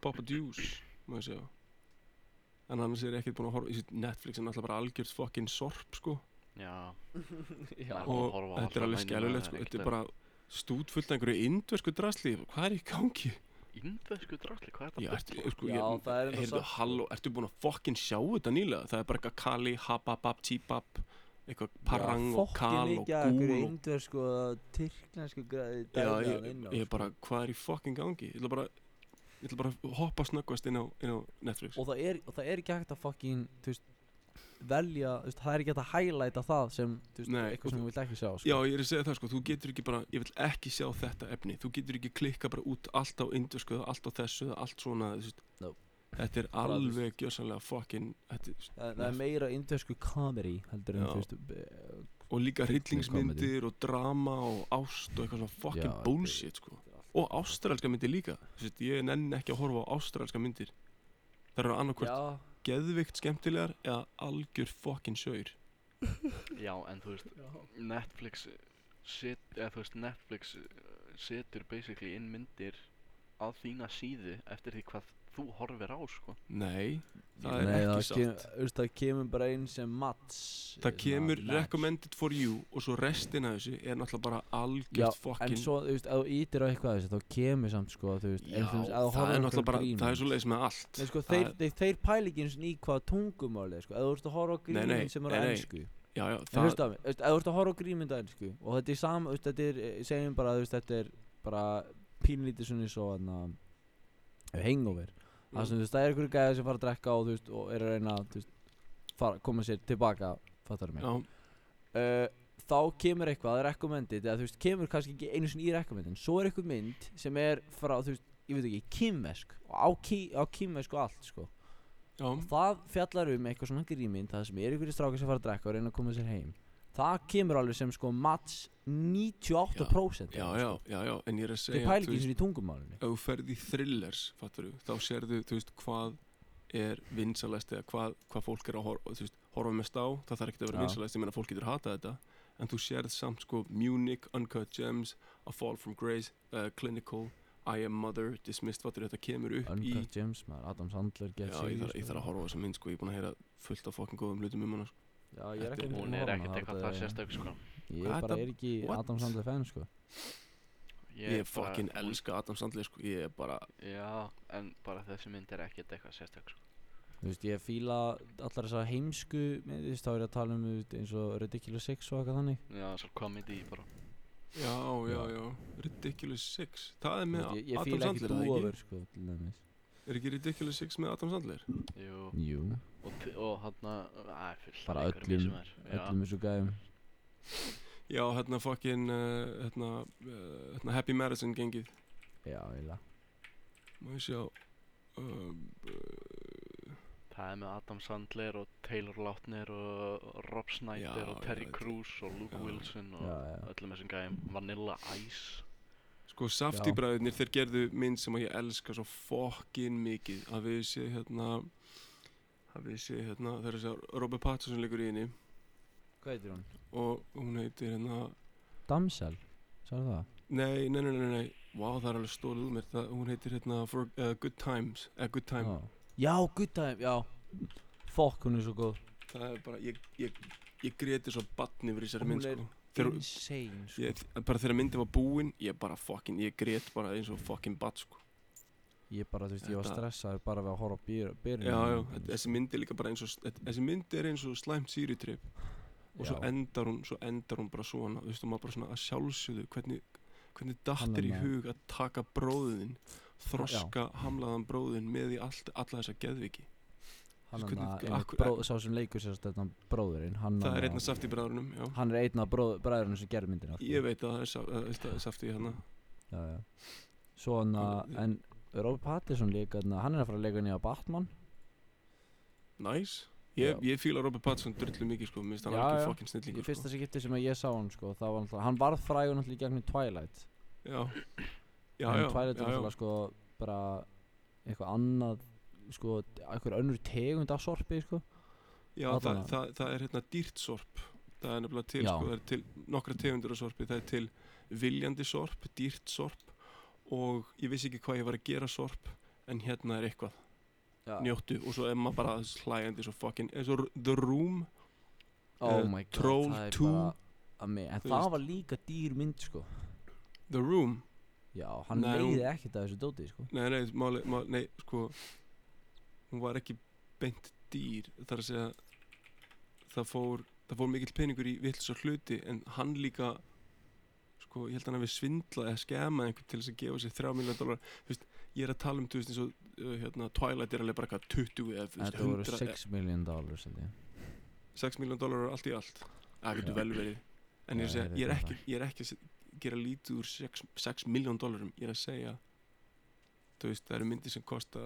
A: Papa Deuce má ég segja En annars er ég ekkert búinn að horfa í sitt Netflix er náttúrulega bara algjört fokkin sorp sko
C: Já
B: Já,
C: Maður
A: Og
C: horfa
A: þetta
C: á
A: er
C: alla
A: alveg
C: mænuna,
A: skelvilegt
C: það
A: sko Þetta
C: er ekkert
A: er bara stút fullt af einhverju indversku drasli Hvað er í gangi?
C: Indvesku drasli, hvað er
A: Ég,
C: þetta?
A: ertu, sko,
B: Já,
A: ég,
B: það er enda
A: heyrðu,
B: sorp, sko.
A: halló, ertu búinn að fokkin sjá þetta nýlega? Það er bara eitthvað Kali, Hababab, Chibab Eitthvað Parang og Kal og Gúl og
B: Indur sko, tyrknarsku græði
A: Já,
B: dæmi að
A: ég,
B: vinna
A: ég er bara, hvað er í fokkin gangi? Ég ætla bara, ég ætla bara að hoppa snöggvast inn á, inn á Netflix
B: og það, er, og það er ekki hægt að fucking þú veist, velja, þú veist, það er ekki hægt að highlighta það sem, þú veist,
A: Nei, og
B: eitthvað sem þú vilt ekki sjá
A: Já,
B: sko.
A: ég er að segja það sko, þú getur ekki bara, ég vil ekki sjá þetta efni, þú getur ekki klikka bara út allt á indusku, allt á þessu, allt svona, þú veist.
B: No.
A: Þetta er
B: Bara, þú veist-
A: alveg gjörsanlega fucking, þetta, er-
B: það, það er meira indversku comedy heldur en
A: Já.
B: þú veist eh, b-
A: og líka hryllingsmyndir og drama og ást og eitthvað svona
B: Já,
A: fucking
B: þetta er-
A: bullshit sko. Og ástralska myndir líka, þú veist, ég nenn ekki að horfa á ástralska myndir. Það eru annarkvært
B: Já,
A: geðvikt skemmtilegar eða algjör fucking sjöur.
C: Já, en þú veist, Netflix eh, set, eða þú veist, Netflix uh, setur basically inn myndir á þína síðu eftir því hvað þú horfir á, sko
A: Nei, það er
B: nei,
A: ekki
B: það, kem,
A: satt.
B: þú veist, það kemur bara einn sem mats
A: Það kemur recommended for you og svo restin af þessu er náttúrulega bara
B: Já,
A: algjört
B: en
A: fokkin
B: svo, þú veist, ef þú ítir á eitthvað af þessu þá kemur samt, sko, þú veist
A: Já,
B: ef þú veist, ef þú
A: það
B: horfir á
A: er
B: einhverjum
A: náttúrulega bara, það er
B: grínum.
A: svo leiðis með allt
B: Nei, sko,
A: Það
B: þeir,
A: er-
B: þeir, þeir pælikinn í hvaða tungumáli, er, sko, ef þú veist að horfa á
A: Nei, nei,
B: grínum sem er á
A: nei, nei.
B: ennsku
A: Já, já,
B: En
A: það,
B: hlusta á mig, veist, ef þú ert að horfa á grímynd á ennsku og þetta er sama, veist, þetta er, eh, segjum bara, þú veist, þetta er bara pínlítið svona svo hann að eh, hangover,
A: Mm.
B: það sem þú veist, það er einhverju gæði sem fara að drekka og þú veist, og er að reyna, þú veist, fara, koma sér tilbaka, fattar mig.
A: já,
B: Uh, þá kemur eitthvað, recommended, eða þú veist, kemur kannski ekki einu sinni í recommendin, svo er eitthvað mynd sem er frá, þú veist, ég veit ekki, kýmvesk, á, kí, á kýmvesk og allt, sko.
A: já,
B: Og það fjallar um eitthvað svona grímynd það sem er ykkur strákar sem fara að drekka og reyna að koma sér heim það kemur alveg sem sko mats 98%
A: já, já, já, já, en ég er að
B: þau
A: segja,
B: pælir
A: þú veist,
B: ekki eins og í tungumálunni
A: ef þú ferð í thrillers, fattur þá sérðu, þú veist, hvað er vinsalest eða hvað, hvað fólk er að horfa, þú veist, horfa mest á, það þarf ekki að vera
B: Já.
A: vinsalest, ég meina fólk getur hatað þetta, en þú sérð samt, sko, Munich, Uncut Gems, A Fall from Grace, uh, Clinical, I Am Mother, Dismissed, fattur þetta kemur upp í
B: Uncut Gems, maður, Adam Sandler
A: Já,
B: Get
A: ég
B: Serious,
A: þarf, ég
B: sko.
A: þarf að horfa á þessa mynd sko, ég er búinn að heyra fullt af fokkin góðum hlutum um hana sko.
B: já, ég er
A: Þetta-
B: ekki búinn að
C: Hún er
B: horfa á
C: ekkert
B: hana,
C: eitthvað
B: þetta
C: það
B: er-
C: sérstök, sko
B: ég er bara
A: Adam-
B: er ekki
A: what?
B: Adam Sandler fan sko
A: Ég,
C: er
A: ég
C: bara-
A: fokkin elska Adam Sandler sko, ég er bara,
C: Já, en bara þessi mynd er ekkert eitthvað sérstök, sko
B: þú veist, ég fíla allar þessar heimsku með, þú veist, þá er ég að tala um þú veist, eins og Ridiculous 6 og eitthvað þannig
C: Já, svo komedi bara
A: já, já,
B: Já.
A: já, Ridiculous Six, það er
B: Þú
A: með
B: veist, ég, ég
A: Adam
B: fíla ekki
A: Sandler, er það
B: dúofur
A: ekki?
B: sko, til dæmis
A: Er ekki Ridiculous Six með Adam Sandler?
C: Jú,
B: jú,
C: og, t- og hann að fullt af
B: Bara
C: einhverjum
B: öllum-
C: í sem er. Já.
B: öllum þessu gæðum
A: Já, hérna fokkin, uh, hérna, uh, hérna Happy Madison gengið,
B: já, eiginlega
A: má ég sjá, um,
C: Það er með Adam Sandler og Taylor Lautner og Rob Snyder
A: Já,
C: og Terry
A: já, þetta-
C: Crews og Luke
A: já.
C: Wilson og
B: Já, já.
C: öllum þessum gæjum Vanilla Ice
A: sko
B: Já.
A: Safti-bræðurnir, þeir gerðu mynd sem að ég elska svo fokkin mikið, að við sé hérna, að við sé hérna, þeir eru að segja Robert Pattinson leikur í henni
B: hvað heitir hún?
A: og hún heitir hérna,
B: Damsel, sagði það?
A: Nei, nei, nei, nei, nei Vá, það er alveg stólið úr mér það, Hún heitir hérna For uh, Good Times uh, Good Time
D: Já.
B: Já, good time, já Fokk, hún er svo góð
A: Það er bara Ég, ég, ég gréti svo batni yfir þessari
B: Hún
A: mynd
B: er
A: sko. Þegar,
B: Insane, sko
A: ég, bara þegar myndin var búin Ég bara fucking Ég grét bara eins og fucking bat sko.
B: Ég bara, þú veist, ég var
A: Þetta-
B: stressaður bara við að horfa á býr- byrjun
A: Já,
B: á
A: já
B: myndinni,
A: þetta- Þessi mynd er líka bara eins og þetta- Þessi mynd er eins og slæmt sýritrip
B: sko.
A: Og svo
B: Já.
A: endar hún Svo endar hún bara svona Þú veist, og maður bara svona Að sjálfsögðu Hvernig, hvernig
B: Hann er
A: dattir í
B: maður.
A: hug Að taka bróðin Þroska hamlaðan bróðin Með í allt, alla þessa geðviki
B: Hann
A: hvernig-
B: hann að,
A: akkur-
B: bróð, sá sem leikur sér þetta bróðurinn Hann
A: Það er
B: hann
A: einn af safti bræðurunum, já
B: Hann er einn af bróð, bræðurinn sem gerir myndina sko.
A: Ég veit að það er, saf, að, að, safti hérna
B: já, já. Svo hann að,
A: Hann-
B: en Robert Pattinson líka, þarna, hann er að fara að leika nýja Batman
A: Næs Ég, ég fíla Robert Pattinson drullu mikið sko Mér finnst hann
B: Já,
A: alveg
B: já.
A: fokkin
B: Í
A: snillingur
B: fyrsta
A: sko.
B: skipti sem að ég sá hann sko, það var náttúrulega, hann varð frægur náttúrulega í gegnum Twilight
A: Já Já,
B: en
A: já,
B: Twilight
A: já,
B: er
A: já.
B: náttúrulega sko bara eitthvað annað sko, eitthvað önnur tegund af sorpi sko
A: já það,
B: allavega.
A: það, það er hérna dýrt sorp Það er nefnilega til,
B: Já.
A: sko, það er til nokkra tegundur af sorpi Það er til viljandi sorp, dýrt sorp Og ég vissi ekki hvað ég var að gera sorp En hérna er eitthvað,
B: já.
A: njóttu Og svo er maður bara hlægjandi svo fucking eins og The Room
B: oh
A: eh,
B: my god,
A: Troll
B: það er
A: 2,
B: bara að mig, en
A: þú
B: það
A: veist.
B: var líka dýr mynd sko
A: The Room
B: já, hann
A: Nei, hún-
B: leiði ekkert af þessu dóti sko
A: Nei, nei, máli, máli, nei, sko Hún var ekki beint dýr þar að segja Það fór, það fór mikill peningur í villis og hluti En hann líka Sko, ég held hann að við svindlaði að skema einhvern til þess að gefa sér 3 miljón dólar Þú veist, ég er að tala um, þú veist, eins og uh, hérna, Twilight er alveg bara hvað 20 eða, þú veist,
B: þetta voru
A: 100
B: 6 million dollars held ég.
A: 6 miljón dólar allt í allt Það getur
B: Já.
A: vel verið En ég, er að
B: Já,
A: segja,
B: ég veit
A: ég, er
B: það.
A: ekki, ég er ekki að se- gera lítið úr 6, 6 miljón dólarum Ég er að segja Þú veist, það eru myndir sem kosta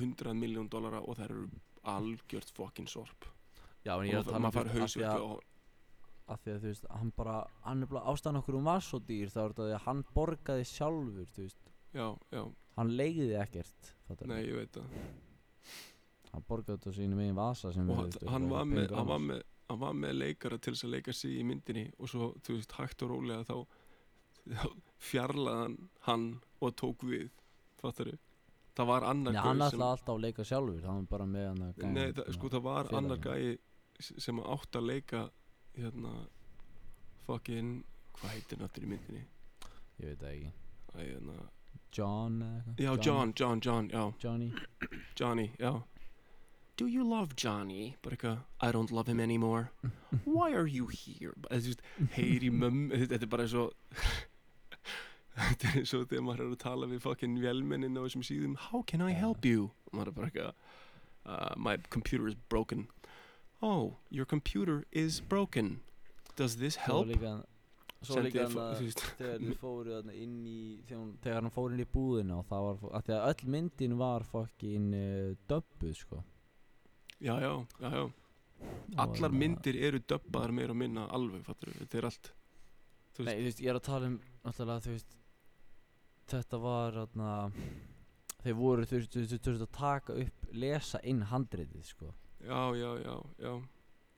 A: 100 miljón dólara og það eru algjört fokkin sorp
B: já, en
A: og
B: ég er
A: maður
B: að tala
A: maður fær
B: af því
A: hausverk
B: að-
A: og
B: af því að þú veist, hann bara hann er bara ástæðan okkur hún var svo dýr þá er þetta því að hann borgaði sjálfur þú veist,
A: Já, já,
B: hann leiði ekkert fattar
A: nei, ég veit það
B: hann borgaði þetta á sínum eigin vasa
A: Og
B: sem við,
A: hann,
B: þú veist,
A: hann,
B: eitthvað
A: var með,
B: peningur
A: hann, var
B: annars.
A: með, hann var með leikara til þess að leika sig í myndinni og svo, þú veist, hægt og rólega þá þá fjarlæði hann hann og tók við Fattaru Það var annar
B: Nei,
A: gaur
B: hann
A: sem-
B: ætlaði alltaf að leika sjálfur hann var bara með hann að gæja
A: Nei, það, sko, það var
B: félagi
A: annar
B: sinn.
A: gæi s- sem átt að leika hérna fucking, hvað heitir náttur í myndinni
B: ég veit það ekki
A: Æ, hérna,
B: John eða eitthvað
A: já, John, John, John, já,
B: Johnny
A: Johnny, já Do you love Johnny? Bara eitthvað, I don't love him anymore Why are you here? Bara, Þú veist, heyri mömmu, þetta er bara svo Þetta er svo þegar maður er að tala við fucking vélmennin á þessum síðum How can I
B: Já.
A: help you? Og maður er bara eitthvað uh, My computer is broken Oh, your computer is broken Does this
B: Svo var
A: help?
B: líka svo var
A: Sendi
B: líka
A: ég
B: hann
A: fó-
B: að
A: þú veist,
B: þegar þið fóru þarna inn í þegar, hún, þegar hann fór inn í búðina og það var fó- af því að öll myndin var fokkin uh, döbbuð sko
A: Já, já, já, já
B: Og
A: Allar
B: hérna-
A: myndir eru döbbaðar meira og minna alveg, fattur Þetta er allt þú
B: Nei, þú veist, ég er að tala um náttúrulega, þú veist þetta var, þarna þeir voru, þú veist, þú veist, þú veist að taka upp lesa inn handriðið, sko
A: Já, já, já, já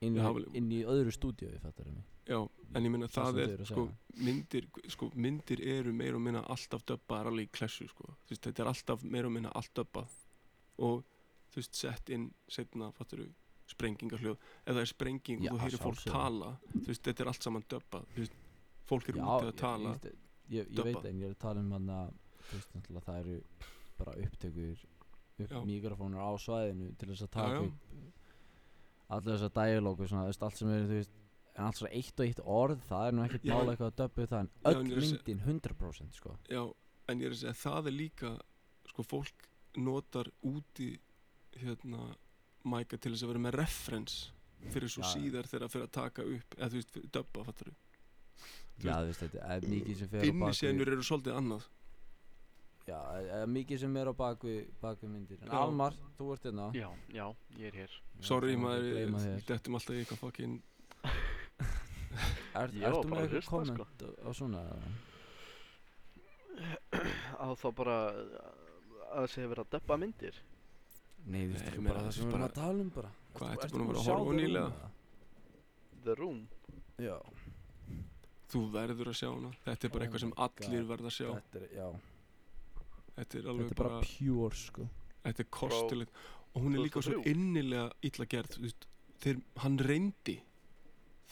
B: inn,
A: Já,
B: í,
A: vel-
B: inn í öðru stúdíói, fattar mig
A: Já, en ég meina
B: Það
A: það
B: sem þau
A: er,
B: eru að
A: sko,
B: segja.
A: myndir, sko, myndir eru meira og minna alltaf döbbaðar alveg í klessu, sko. Þú veist, þetta er alltaf meira og minna allt döbbað og, þú veist, sett inn setna, fattur við, sprengingarhljóð. Ef það er sprenging
B: Já,
A: og þú heyrir fólk
B: sjálfsögðu.
A: tala, þú veist, þetta er allt saman döbbað. Þú veist, fólk er úti að tala.
B: ég, ég, ég
A: Dubba.
B: veit en ég er að tala um hann að þú veist, náttúrulega, það eru bara upptökur upp
A: Já.
B: mikrofónur á svæðinu til þess að
A: Já,
B: taka
A: já.
B: upp allir þess að dialógu, svona, þú veist, allt sem er, þú veist en allt svona eitt og eitt orð, það er nú ekkert
A: Já, en-
B: mála eitthvað að döbbu það,
A: Já,
B: en
A: en ég er að
B: öll
A: seg-
B: myndin 100% sko
A: Já, en ég er að segja, það er líka, sko, fólk notar úti, hérna, mæka til þess að vera með reference fyrir svo
B: Já, já.
A: síðar þegar fyrir að taka upp, eða þú veist, döbba, fattur Þú
B: Já, þú veist, þetta er mikið sem fer á
A: Inni
B: bakvið
A: senur eru svolítið annað
B: Já, það er mikið sem er á bakvið bakvið myndir En
A: Já.
B: Almar, þú ert hérna
C: Já, já, ég er hér
A: Sorry maður, eh,
B: Gleima þér
A: dettum alltaf í eitthvað fucking
B: er,
C: Ég var
B: Ertu
C: bara
B: með
C: að
B: eitthvað
C: hlusta,
B: komment sko. á svona eða?
C: Að þá bara uh, að þessi hefur verið að döppa myndir
B: Nei, þú
A: Nei,
B: veist,
A: ég
B: þetta er
A: meina,
B: bara það
A: þetta
B: sem
A: er
B: við erum
A: bara-
B: að tala um bara
A: Hvað,
B: Ertu
A: ertu búin að vera
B: búinn
A: að
B: sjá
A: horfa á
B: þau
A: nýlega?
B: núna?
C: The Room
B: Já
A: þú verður að sjá hana þetta er bara
B: Oh
A: eitthvað sem
B: my
A: allir
B: God.
A: verða að sjá
B: Þetta er, já,
A: þetta er
B: þetta
A: alveg
B: er bara
A: bara,
B: pure sko
A: þetta er kostilegt og hún er líka svo
C: 2003.
A: innilega illa gerð þú veist, þegar hann reyndi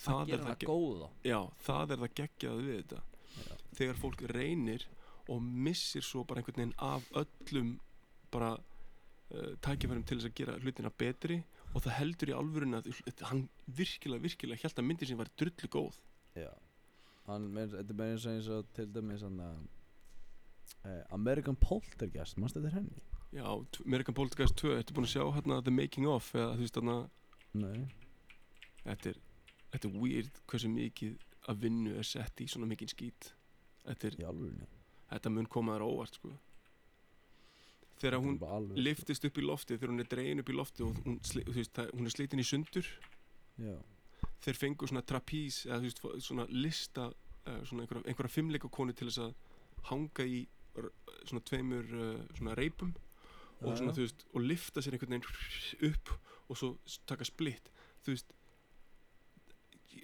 A: það er það, það,
B: góða
A: já, það er það geggjað við þetta
B: Já.
A: þegar fólk reynir og missir svo bara einhvern veginn af öllum bara uh, tækifærum til þess að gera hlutina betri og það heldur í alvörun að hann virkilega, virkilega held að myndin sem var drullu góð
B: Já Hann, meir, þetta er meira eins og eins og til dæmis hann að eh, American Poltergeist, mannstu þetta er henni?
A: Já, t- American Poltergeist 2, ertu búin að sjá hérna The Making Of eða þú veist þarna
B: Nei
A: þetta er, þetta er weird hversu mikið að vinnu er sett í svona mikið skít þetta, er,
B: Í alvörinni
A: þetta mun koma þér á óvart sko þegar hún liftist upp í loftið þegar hún er dregin upp í loftið og hún, sli, þú veist, það, hún er slitin í sundur
B: Já
A: þeir fengu svona trapís eða þú veist, fó- svona lista uh, svona einhverja, einhverja fimmleikakonu til þess að hanga í r- svona tveimur uh, svona reipum og
B: Já,
A: svona
B: já.
A: þú veist og lifta sér einhvern veginn upp og svo s- taka splitt þú veist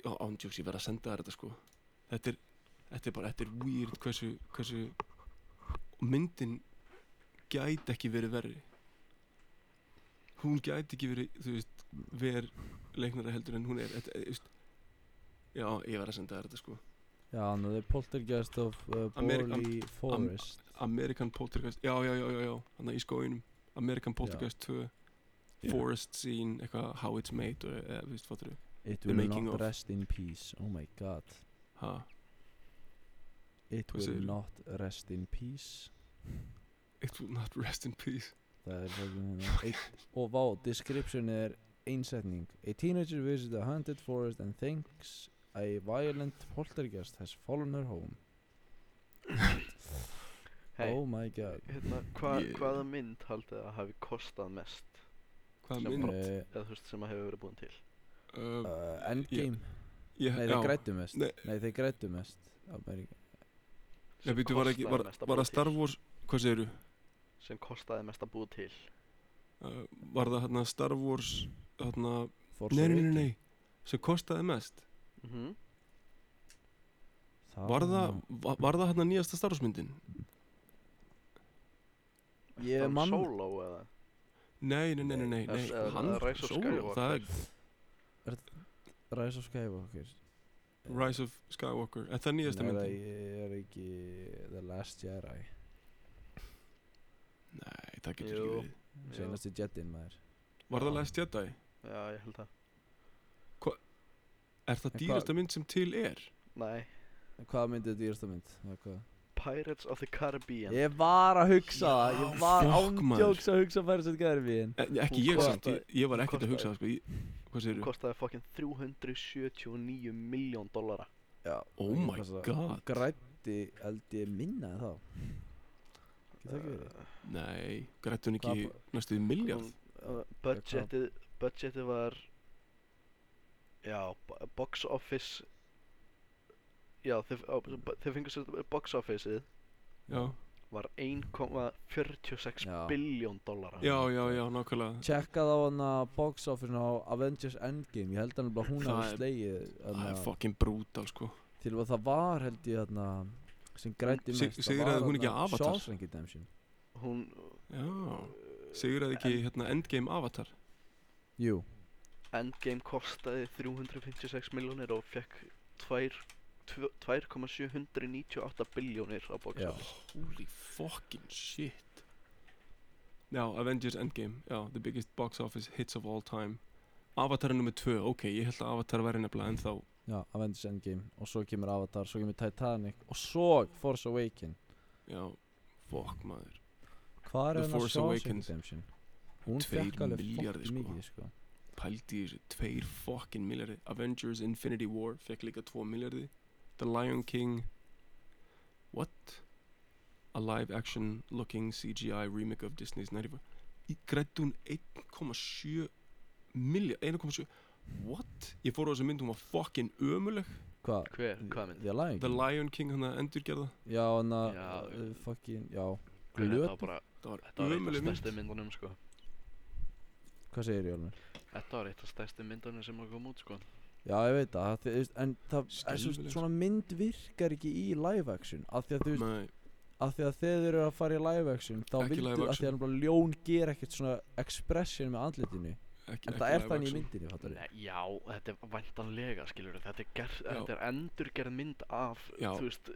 A: á ándjóks ég verð að senda þér þetta sko þetta er, þetta er bara, þetta er weird hversu, hversu og myndin gæti ekki verið verri hún gæti ekki verið þú veist, ver leiknara heldur en hún er þetta, þú veist, já, ég verð að senda þér þetta sko
B: Já, hann er Poltergeist of uh,
A: Ameri-
B: Borley Forest
A: American Poltergeist, já, já, já, já, já hann í skóinum, American Poltergeist 2
B: Já.
A: Forest Scene, eitthvað How It's Made, og, eða, þú veist, fattur við
B: It
A: The
B: will
A: Making
B: not
A: of.
B: rest in peace Oh my god
A: ha,
B: It
A: Hvað
B: will
A: segirðu?
B: not rest in peace
A: It Will Not Rest In Peace
B: Það er fucking Og vá, description er einsetning A teenager visits a haunted forest and thinks a violent poltergeist has fallen her home
C: Hey.
B: Oh my god
C: Hérna, hva,
A: Ég-
C: hvaða mynd haldið þið að hafi kostað mest?
A: hvað
C: Sem
A: minn,
C: bara-
B: uh,
C: Eða þú veist sem að hefur verið búin til?
A: uh,
B: uh, Endgame
A: ég,
B: Nei,
A: já,
B: þeir grættu mest
A: Nei.
B: Nei, þeir grættu mest Amerika.
A: Nei,
C: Sem
A: býtu, var, ekki,
C: kostaði
A: var,
C: mest að
A: var
C: búa
A: að Star
C: til?
A: Wars hvað segirðu,
C: Sem kostaði mest að búa til
A: uh, var það hérna Star Wars hérna,
B: Force
A: nei, nei, nei,
B: Awakens.
A: nei sem kostaði mest,
C: Mhm
B: Það
A: var það var, var það hérna nýjasta Star Wars myndin
C: Ertu
B: Ég
C: að tala um
B: man-
C: Solo eða?
A: nei, nei, nei, nei, nei, nei.
C: Eða- eða-
A: hann,
C: eða Rise of
A: solo, það er
C: Skywalker.
B: Rise of Skywalker
A: Rise of Skywalker, er það nýjasta
B: Nei,
A: myndin
B: það er ekki The Last Jedi
A: Nei, það getur
C: Jú.
A: ekki verið.
C: Já.
B: Seinasti Jedin maður
A: Var það
C: Já.
A: Last Jedi?
C: Já, ég held það
A: Er það
B: En
A: dýrasta mynd sem til er?
C: Nei,
B: Hvað myndið er dýrasta mynd? Eða hvað?
C: Pirates of the Caribbean
B: Ég var að hugsa það, ég var
A: fuck, maður.
B: ándjóks að hugsa Pirates of the Caribbean
A: E ekki ég
C: Hvað-
A: samt, ég, ég var ekkert að
C: kostaði-
A: hugsa það sko. Ég, Hvað segir þú?
C: Kostaði fokkin 379 miljón dollara
B: Já,
A: Oh
B: ég
A: my
B: passa-
A: god.
B: Græddi held ég minna en þá Getur það ekki verið?
C: Eh,
A: Nei, grættu hún
B: Hvað
A: ekki næstuði miljard?
C: Uh, Budgetið Budgetið var Já, bo- box office Já, þeir, á, bu- þeir fengur sér box officeið
A: Já,
C: var 1,46
B: Já.
C: biljón dollara
A: já, já, já, nákvæmlega.
B: Tjekkað á hana box office á Avengers Endgame Ég held hann bara hún
A: Það
B: hafi
A: er-
B: slegið
A: Það er
B: hana,
A: fucking brútal sko.
B: Til að það var held ég þarna sem græddi
A: Sig-
B: mest
A: sigraði hún ekki Avatar?
B: Sjálfsrengi dæmsinn
C: Hún uh,
A: Já, segir það ekki hérna Endgame Avatar?
B: Jú,
C: Endgame kostaði 356 miljónir og fekk 2,798 biljónir á box
B: Já.
C: office
A: Holy fucking shit. Já, Avengers Endgame, já, the biggest box office hits of all time. Avatar er nummer 2, ok, ég held að Avatar væri nefnilega ennþá
B: já, Avengers Endgame Og svo kemur Avatar, svo kemur Titanic Og svo Force Awaken
A: Já, fokk maður
B: Hvað
A: The
B: er hann að
A: Force
B: Sjálfsrengi
A: Awakens.
B: dæmsinn? Hún
A: Tveir
B: fekk alveg
A: milljarðir,
B: fokk
A: sko.
B: mikið sko
A: Pældi í þessu, tveir fokkin miljardi Avengers Infinity War fekk líka tvo miljardi The Lion King What? A live action looking CGI remake of Disney's 94 Í grættu hún 1,7 miljard, 1,7 What? Ég fór á þessu mynd, hún var fokkin ömuleg
B: Hvað?
C: Hver, hvað mynd?
B: The Lion
A: The
B: King?
A: Lion King hann að endurgerða
B: Já, hann að
C: Já,
B: uh,
C: uh,
B: fucking, já
C: Guð, Þetta var
B: Glötuð?
C: bara,
A: Það
C: þetta var
A: var
C: eitt af
A: ömuleg mynd
C: stærstu myndunum sko
B: Hvað segir ég alveg?
C: Þetta var eitt af stærstu myndunum sem að koma út sko
B: Já, ég veit það, það þú veist, en það, er, svo,
A: Skelfilegt.
B: svona mynd virkar ekki í live action af því að þú veist,
A: Nei,
B: af því að þegar þeir eru að fara í live action þá
A: Ekki
B: vildu,
A: live
B: af því að nefnilega ljón ger ekkert svona expression með andlitinu
A: ekki,
B: en
A: ekki
B: það er
A: live
B: þannig í
A: action.
B: myndinni, fattar
C: Nei, já, þetta er væntanlega, skilur þetta er, ger,
A: Já.
C: þetta er endurgerð mynd af,
A: Já.
C: þú veist,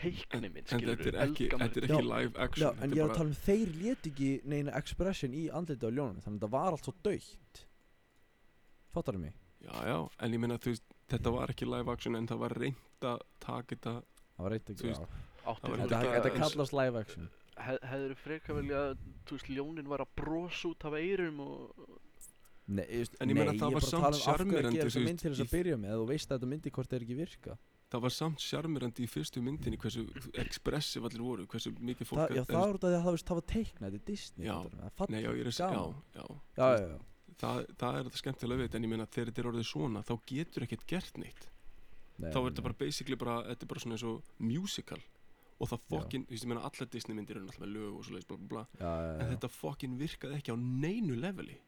C: teikni mynd,
A: En
C: skilur
A: þetta er ekki, þetta er ekki live
B: Já,
A: action
B: en ég er að tala um þeir létu ekki neina expression í andlitinu á ljónum þannig að það var allt svo dautt fattar mig,
A: Já, já, en ég meina þú veist Þetta var ekki live action en það var reynd að taka þetta
B: það var eitt
A: Þú
B: ekki
A: veist,
B: já.
A: það var
C: Áttir,
B: Þetta,
A: líka-
B: þetta
A: eins-
B: kallast live action
C: hefur frekar velja að, þú veist, ljónin var að brosa út af eyrum og
B: Nei, ég, veist,
A: En ég meina,
B: nei,
A: það
B: ég
A: var
B: bara
A: samt
B: tala um af hverju að
A: charmerandi,
B: gera
A: þú
B: þessa
A: veist,
B: mynd til þess að
A: í-
B: byrja með að þú veist að þetta myndi hvort það er ekki virka
A: Það var samt sjarmirandi í fyrstu myndinni Hversu expressiv allir voru Hversu mikið fólk
B: það, já,
A: er-
B: það er út af því að það veist, það var teiknað þetta er Disney
A: Já.
B: fattar mig, það
A: Nei, já, ég er að
B: gaman.
A: segja Já, já
B: já, já, já.
A: það, það er þetta skemmtilega við þetta, en ég meina þegar þetta er orðið svona þá getur ekkert gert neitt
B: Nei,
A: þá er
B: nei.
A: þetta bara basically bara, þetta er bara svona eins og musical og það fokkin, þú veist ég meina allar Disney myndir eru náttúrulega með lög og svoleiðis bla bla bla
B: já, já, já.
A: en þetta fokkin virkaði ekki á neinu leveli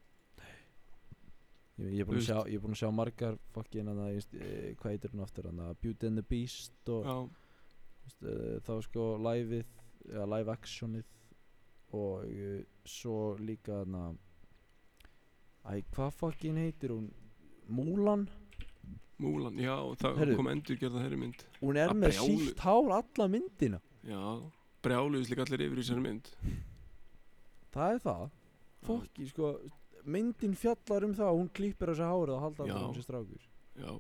B: Ég, ég,
A: Þú
B: er búinn að
A: veist.
B: sjá, ég er búin að sjá margar fokkin hana, ég, veist, eh, hvað heitir hún aftur hana, Beauty and the Beast og
A: Já,
B: veist, eh, þá sko live-ið, ja, live actionið og eh, svo líka hana, æ, hvað fokkin heitir hún, Múlan,
A: Múlan, já, og það
B: Heyrðu.
A: kom endurgerða herri mynd
B: hún er
A: Að
B: með
A: brjálu-
B: sítt hár alla myndina,
A: Já, brjáluðis líka allir yfir í þessari mynd
B: það er það, fokki sko, myndin fjallar um það, að hún klýpir á sig hárið og halda
A: Já.
B: að hún sé strákur.
A: Já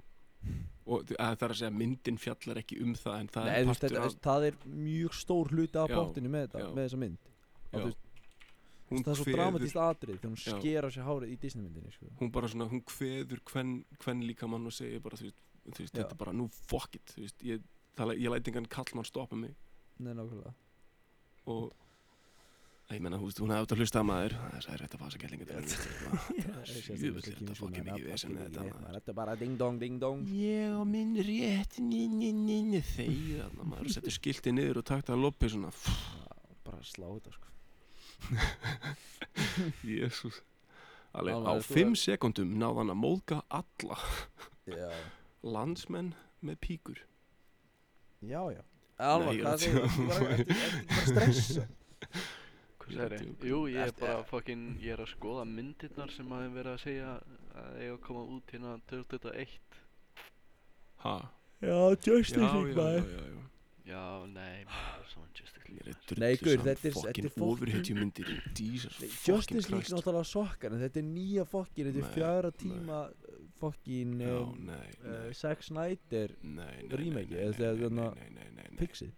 A: og þ- að það er að segja myndin fjallar ekki um það en það
B: Nei,
A: er
B: þú veist,
A: partur
B: þetta,
A: af,
B: það er mjög stór hluti af
A: Já,
B: bóttinu með, þetta-
A: já.
B: með þessa mynd.
A: já,
B: þú veist,
A: hún
B: það er svo
A: kveður-
B: dramatíst atrið þegar hún
A: Já.
B: sker á sér hárið í Disneymyndinni sko.
A: hún bara svona, hún kveður hvern, hvern líka mann og segir bara, þú veist, þú veist
B: Já.
A: þetta er bara, nú fuck it, þú veist, ég, það, ég læti engan kallmann stoppa mig
B: Nei, nákvæmlega
A: og Nei, ég menna, þú veist, hún hefði átt að hlusta að maður, það er rétt að fasa kellinga til Jöfull, er þetta fokkið mikið vesen með þetta maður.
B: Þetta er bara ding dong ding dong
A: Ég og minn rétt, nynni, nynni, þeir, þannig að maður setur skiltið niður og takta að loppi svona,
B: Bara slá þetta sko
A: jésús. Alveg, á
B: Alveg, þú
A: fimm sekundum náði hann að móðga alla
B: Já,
A: landsmenn með píkur.
B: já, já Alvar,
A: ég er
B: hvað
A: að
B: er
A: tjóka.
B: þetta? Þetta er bara stressa
C: Hvað
A: Ég er
C: segir
A: að
C: þið?
A: djóka.
C: Jú, ég er
B: Ertu-
C: bara fokkin, ég er að skoða myndirnar sem maður verið að segja að eiga að koma út hérna 2021
A: Ha?
B: Já,
A: Já,
B: Justice
A: já,
B: League
A: já,
B: maður
A: já, já.
C: Já, nei, maður er saman Justice
A: Ég
C: League
A: er
C: maður.
A: drullu
B: Nei, gaur,
A: saman
B: þetta er-
A: fucking
B: þetta er fokkin-
A: overhetju myndir Jesus
B: Nei,
A: fucking
B: Justice League
A: Christ
B: náttúrulega sokkar en þetta er nýja fokkin Þetta
A: Nei,
B: er fjara
A: nei.
B: tíma eh, fokkin
A: Já, nei, nei,
B: eh, Zack Snyder
A: nei, nei
B: remake,
A: nei,
B: eða
A: nei,
B: þegar
A: nei,
B: þarna-
A: nei, nei, nei, nei.
B: Pixið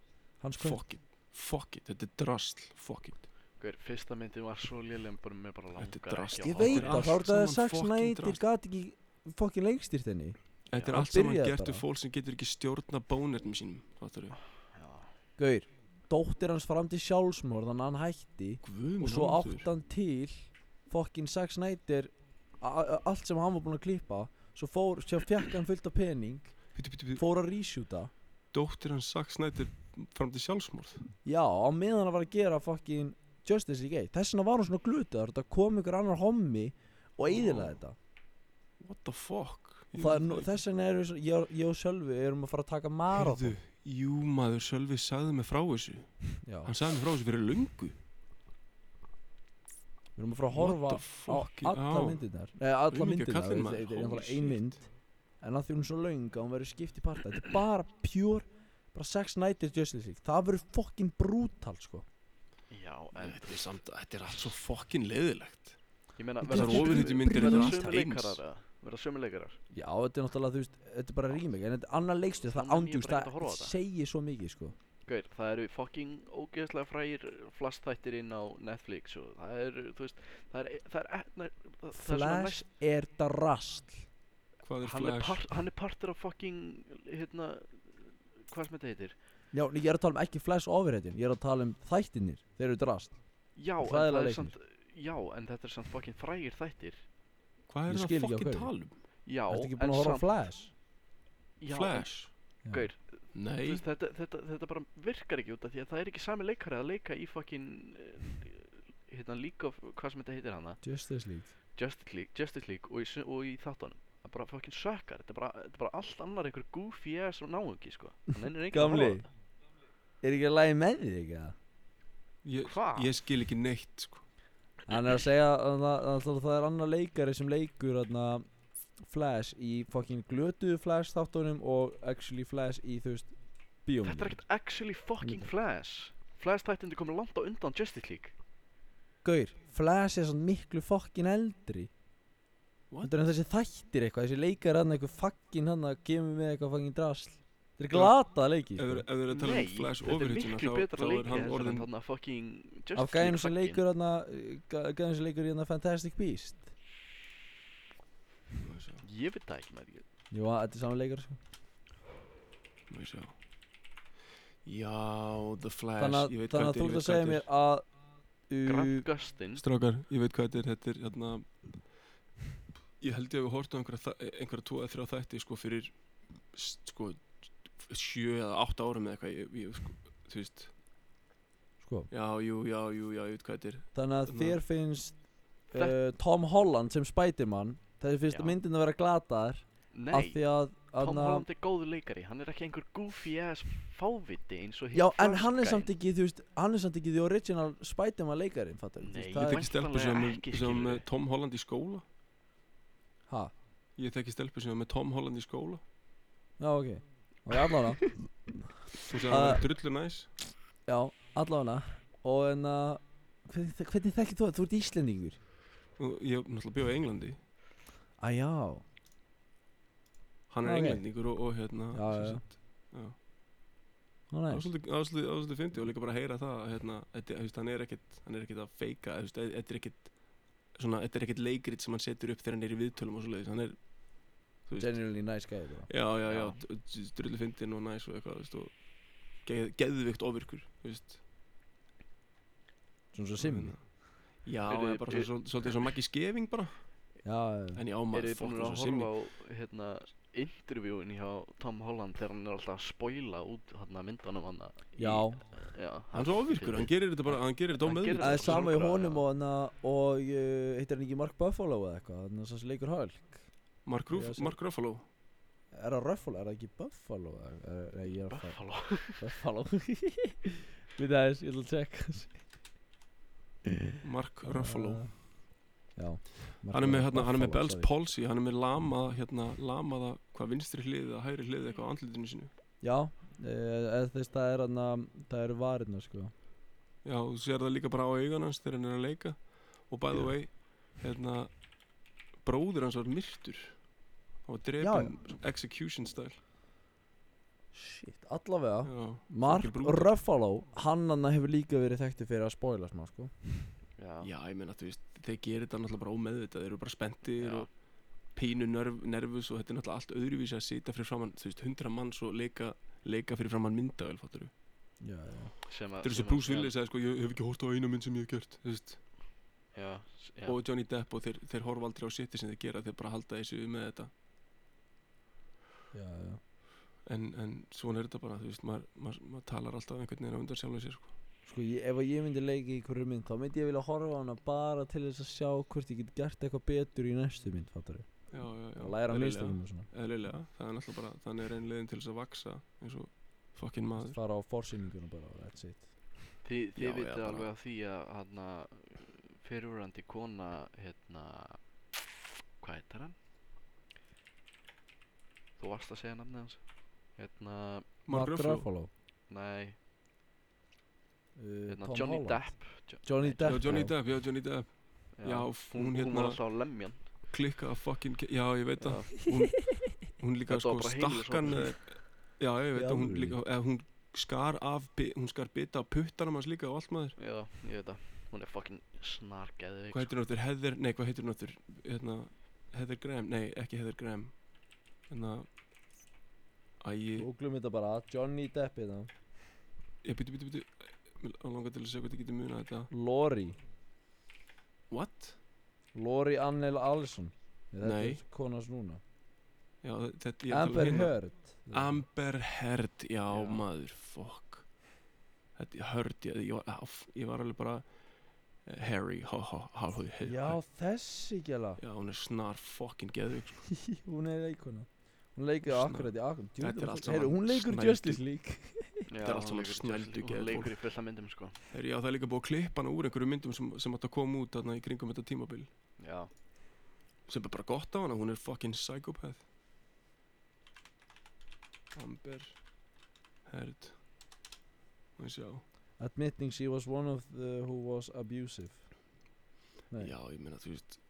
B: Hans Kvöld
A: Fuck it, fuck it, þetta er drasl Fuck it,
C: Hver, fyrsta myndin var svo léleg en bara mér bara langar
A: Þetta er drasl.
C: ekki
B: Ég
A: Þetta
B: veit
A: er
B: það,
A: allt
B: þá er það að
A: saman
B: Zack
A: fokkin
B: Snyder
A: drasl.
B: gat ekki fokkin lengstýrt henni
A: þetta er
B: Já,
A: allt saman
B: byrjaði
A: gert
B: bara.
A: við fólk sem getur ekki stjórna bónernum sínum Fattur við,
C: Já,
B: Gaur, dóttir hans fram til sjálfsmorð þannig að hann hætti
A: guðum
B: og svo átti hann til fokkin Zack Snyder a- a- allt sem hann var búinn að klippa svo fór, sem fekk hann fullt af pening
A: Pítu, pítu, pítu,
B: fór að reshoota
A: dóttir hans Zack Snyder fram til sjálfsmorð
B: já, á meðan hann var að gera fokkin Justice League 1 þess vegna var hann svona glutaður þetta kom ykkur annar hommi og eiðilega þetta
A: What the fuck
B: og það er, nú- þess vegna erum við svo- ég, ég og Sölvi erum að fara að taka marathon
A: Heyrðu, Jú maður, Sölvi sagði mig frá þessu
B: já,
A: Hann sagði mig frá þessu fyrir lungu
B: við erum að fara að
A: What
B: horfa
A: the fuck
B: á alla
A: já.
B: myndirnar Nei, alla
A: Auðmýkja
B: myndirnar,
A: kallinn,
B: þetta
A: maður.
B: þetta er
A: Holy
B: náttúrulega ein
A: shit.
B: mynd En að því hún er svo löng að hún verður skipt í parta Þetta er bara pure, bara Zack Snyder Justice League Það verður fokkin brútal sko
C: já, en
A: Þetta er samt, þetta er allt svo fucking leiðilegt
C: Ég meina,
B: Þetta er
C: verða
B: allt-
A: ofurhetjumyndir, þetta
C: verða
A: er allt
C: sömu
A: eins.
C: leikarar eða? Verða sömu leikarar?
B: Já, þetta er náttúrulega, þú veist, þetta er bara rímik En þetta er annar leikstur, það
C: Þannig að ég
B: ándjúst,
C: bara ekkert að
B: það
C: horfa á þetta.
B: segir svo mikið sko
C: Gaur, það eru fucking ógeðslega frægir flastþættir inn á Netflix og það eru, þú veist, það er, það er, það er, það er, það er svona
B: Flash
C: næst,
B: er það rast
A: Hvað er
C: hann er,
A: flash?
C: part, hann er partur af fucking, hérna, hvað sem þetta heitir?
B: Já, en ég er að tala um ekki Flash overhættin Ég er að tala um þættinir, þeir eru drast
C: Já,
B: Hræðilega
C: en það er
B: leiknir.
C: samt, já, en þetta er samt fucking frægir þættir.
A: Hvað
B: Ég
A: er það
B: skil ekki á
A: fucking
B: hverju.
A: talum?
C: Já,
B: Ertu ekki
C: en
B: búin að horfa á
C: samt,
B: Flash?
C: já,
A: Flash?
B: Já.
C: en, gaur, þú
A: Nei,
C: veist, þetta, þetta, þetta bara virkar ekki út af því að það er ekki sami leikari að leika í fucking, eh, hérna, League of, hvað sem þetta heitir hana?
B: Justice League
C: Justice League, Justice League og í, sö- og í þáttunum það bara fucking sökkar þetta er bara, þetta er bara allt annar einhver goofy ass og náungi sko hann er enginn að
B: Gamli
C: horfa á þetta.
B: Er ekki að lægi með þig ekki það?
A: ég,
C: Hvað?
A: ég skil ekki neitt sko.
B: Hann er að segja að það, að það er annar leikari sem leikur atna, Flash í fucking glötuðu Flash þáttunum og actually Flash í þú veist
A: um-
B: bíómyndum.
C: þetta er ekkert actually fucking Flash Flash tættindi komið langt á undan Justice League
B: Gaur, Flash er svona miklu fucking eldri
A: What?
B: Þetta er þessi þættir eitthvað, þessi leikar hann eitthvað fucking hann að kemur með eitthvað fucking drasl Þetta er glata leiki
A: ef þeir
B: sko.
A: ef þeir eru að tala um Flash
C: þetta er
A: ofurhituna
C: miklu
A: þá,
C: betra
A: þá
C: leikið
A: er hann
C: heldur en
A: orðin
C: þarna fucking Justice League
B: Af gæðinu sem
C: fucking.
B: leikur hann að, gæðinu sem leikur í hann að Fantastic Beast
A: Má ég sjá,
C: ég veit það ekki með því
B: Jú, að- þetta er saman leikar sko
A: má ég sjá. já, The Flash
B: Þannig að,
A: ég veit
B: þannig
A: hvað
B: að þú
A: þetta er,
B: ert að segja
A: ég veit
B: mér að
C: Grant
B: uh,
A: hvað þetta
C: Gustin
A: er strákar, ég veit hvað þetta er þetta er hérna ég held ég að við hortum einhverja, þa- einhverja tvo eða þrjá þætti sko fyrir s- sko sjö eða átta árum eða eitthvað ég, ég sko, þú veist
B: sko,
A: já, jú, já, jú, já, ég veit hvað þetta er
B: Þannig að
C: Hérna.
A: Þarna-
B: þér finnst uh,
C: Þetta-
B: Tom Holland sem Spiderman Þessi finnst
C: Já.
B: myndin að vera glataðar Af
C: nei
B: því að
C: Tom
B: að-
C: Holland er góður leikari, hann er ekki einhver goofy ass fáviti eins og
B: Já,
C: hinn
B: en
C: Flash
B: hann er
C: gæinn.
B: samt ekki, þú veist, hann er samt ekki the original Spiderman leikarinn, fattar þú
C: Nei.
B: veist,
A: ég
B: það er,
C: veit-
A: þekki stelpu sem,
C: Væntanlega ekki,
A: sem
C: skilurðu.
A: með Tom Holland í skóla
B: ha,
A: ég þekki stelpu sem með Tom Holland í skóla
B: já, ok, ok, allavega,
A: þú sem hann
B: Ah.
A: er drullu næs
B: já, allavega, og en að, hvernig, hvernig þekkir þú það, þú ert Íslendingur?
A: og ég náttúrulega bjóð í Englandi
B: Æ, já,
A: hann er
B: Ok.
A: englendingur og, og hérna sem
B: Já, já, já.
A: sagt, já.
B: nú
A: Það var
B: næst,
A: svolítið- það var svolítið- það var svolítið fyndi og líka bara að heyra það að, hérna, þetta- þú veist, hann er ekkit hann er ekkit að feika þú veist, eð- þetta er ekkit svona, þetta er ekkit leikrit sem hann setur upp þegar hann er í viðtölum og svoleiðis hann er þú veist,
B: genuinely nice guy, þú veist,
A: já, já, já,
C: Já.
A: já. drullu fyndin og næs og eitthvað þú veist, og geð, geðvikt ofirkur þú veist
B: svona svo simmi,
A: Þannig að- já,
C: Eru-
A: eða bara
C: eru-
A: svona- svolítið svona Maggi Skeving bara
B: já, já,
A: en ég
C: Eru
A: ámaði
C: þið búin
A: fólk
C: að
A: og simmi
C: horfa á hérna, intervjúin hjá Tom Holland þegar hann er alltaf að spoila út hérna, myndanum hann í-
B: já,
C: já,
A: hann er svo ofirkur, hann gerir þetta bara hann gerir þetta á
C: Hann gerir
A: meðvitað
B: það er
C: svo
B: sama í
C: sjálfkrafa,
B: honum
C: já.
B: og hann að, og, uh, heitir hann ekki Mark Buffalo eða eitthvað, þannig að þessi leikur Hulk,
A: Mark, Ruff,
B: Já, sem-
A: Mark Ruffalo
B: er það Ruffalo, er það ekki Buffalo, eða- er- nei, ég er að fara, Buffalo
C: Buffalo
B: Við aðeins, ég ætla að tjekka
A: Mark Ruffalo
B: Uh, Já
A: hann er með, hérna, hann er með
B: Buffalo,
A: Bell's
B: sorry.
A: Palsy hann er með lama, hérna, lamaða hvað vinstri hliðið að hægri hliðið
C: Mm.
A: eitthvað á andlitinu sínu
B: Já, eh, eða þess það er hann Það eru varirna sko
A: já, og þú sér það líka bara á augan hans þegar hann er að leika og by the way hérna, bróðir hans var myrtur hann var drefin execution style
B: Shit, allavega
A: já,
B: Mark
A: fucking brutal.
B: Ruffalo, hann hann hefur líka verið þekkti fyrir að spoila smá sko
C: já,
A: já, ég meina, þú veist, þeir gerir þetta náttúrulega bara ómeðvitað, þeir eru bara spenntir
C: já.
A: og pínu nerv, nervus og þetta er náttúrulega allt öðruvísi að sita fyrir framann, þú veist, hundra manns og leika, leika fyrir framann myndavel, fattur við
B: Já, já
C: sem að
A: þetta er
C: sem
A: svo
C: að-
A: Bruce
C: já,
A: Willis að, sko, ég hef ekki hórt á eina mynd sem ég hef gert, þú veist
C: já, s- já.
A: og Johnny Depp og þeir, þeir horfa aldrei á seti sem þeir gera þeir bara halda þessu með þetta
B: Já, já
A: en, en svona er þetta bara, þú veist, maður, maður, maður talar alltaf einhvern veginn á undan sjálfum sér sko.
B: Sko, ég, ef að ég myndi leika í hverju mynd Þá myndi ég vilja horfa á hana bara til þess að sjá Hvort ég get gert eitthvað betur í næstu mynd, fattar við
A: já, já, já,
B: Læra
A: eðlilega,
B: mistökum og svona
A: eðlilega, það er náttúrulega bara, þannig er einn leiðin til þess að vaksa eins og fokkin maður
B: Fara á forsýninguna bara, that's it
C: þið,
A: Já,
C: þið
A: já,
C: vitið
A: bara-
C: alveg að því að hérna, fyrirurandi kona hérna hvað heitir hann? þú varst að segja nafnið hans hérna,
A: Mark Ruffalo,
C: nei
B: uh,
C: hérna,
B: Tom
C: Johnny
B: Holland.
C: Depp Jo-
B: Johnny
C: nei,
A: já,
B: Depp
A: Johnny Depp, já, Johnny Depp já,
C: hún,
A: hún
C: hún var
A: hérna
C: alltaf á lemjan
A: klikka að fokkin, já, ég veit
C: Já.
A: það hún, hún líka
C: Þetta
A: sko
C: var bara
A: stakkan
C: heimilisofbeldi.
A: eða- já, ég veit
B: Í
A: það, hún
B: alvöru?
A: líka eða hún skar af, bi- hún skar bita á puttanum hans líka og allt maður
C: Já, ég veit það Hún er fucking sko. snargeðveik
A: hvað heitir hún aftur, Heather, nei hvað heitir hún aftur hérna, Heather Graham, nei ekki Heather Graham hérna æ, ég,
B: Googlum þetta bara, Johnny Depp hérna
A: ég býtu, býtu, býtu Mér langar til að segja hvað þið getur munað þetta
B: Lori,
A: What?
B: Lori Annel Allison Nei, Þetta
A: Nei.
B: er konans núna
A: Já, þetta ég er að tala um
B: Amber
A: hina.
B: Heard
A: Amber Heard, já,
C: Já.
A: maður, fuck Þetta, ég hörd, ég, ég, var, áff, ég var alveg bara eh, Harry ha, ha, ha, ha, ha,
B: Já, þessi gæla
A: já, hún er snar fucking geðvig sko.
B: Hún er leikuna Hún leikur
A: Snar-
B: akkurat í akkurat
A: Þetta er allt saman
B: Hún leikur
A: snældu.
B: í Justice League
C: Já,
A: er allt
C: hún
A: saman
C: leikur í
A: snældu
C: Justice League,
A: geðfólk.
C: Hún leikur í fullta myndum sko
A: Herri, já, það er líka búið að klippa hana úr einhverjum myndum sem, sem átt að koma út þarna í kringum þetta tímabil
C: Já,
A: sem er bara gott á hana, hún er fucking psychopath Amber Heard og ég sjá
B: Admitting she was one of the who was abusive Nei.
A: já, ég meina, þú veist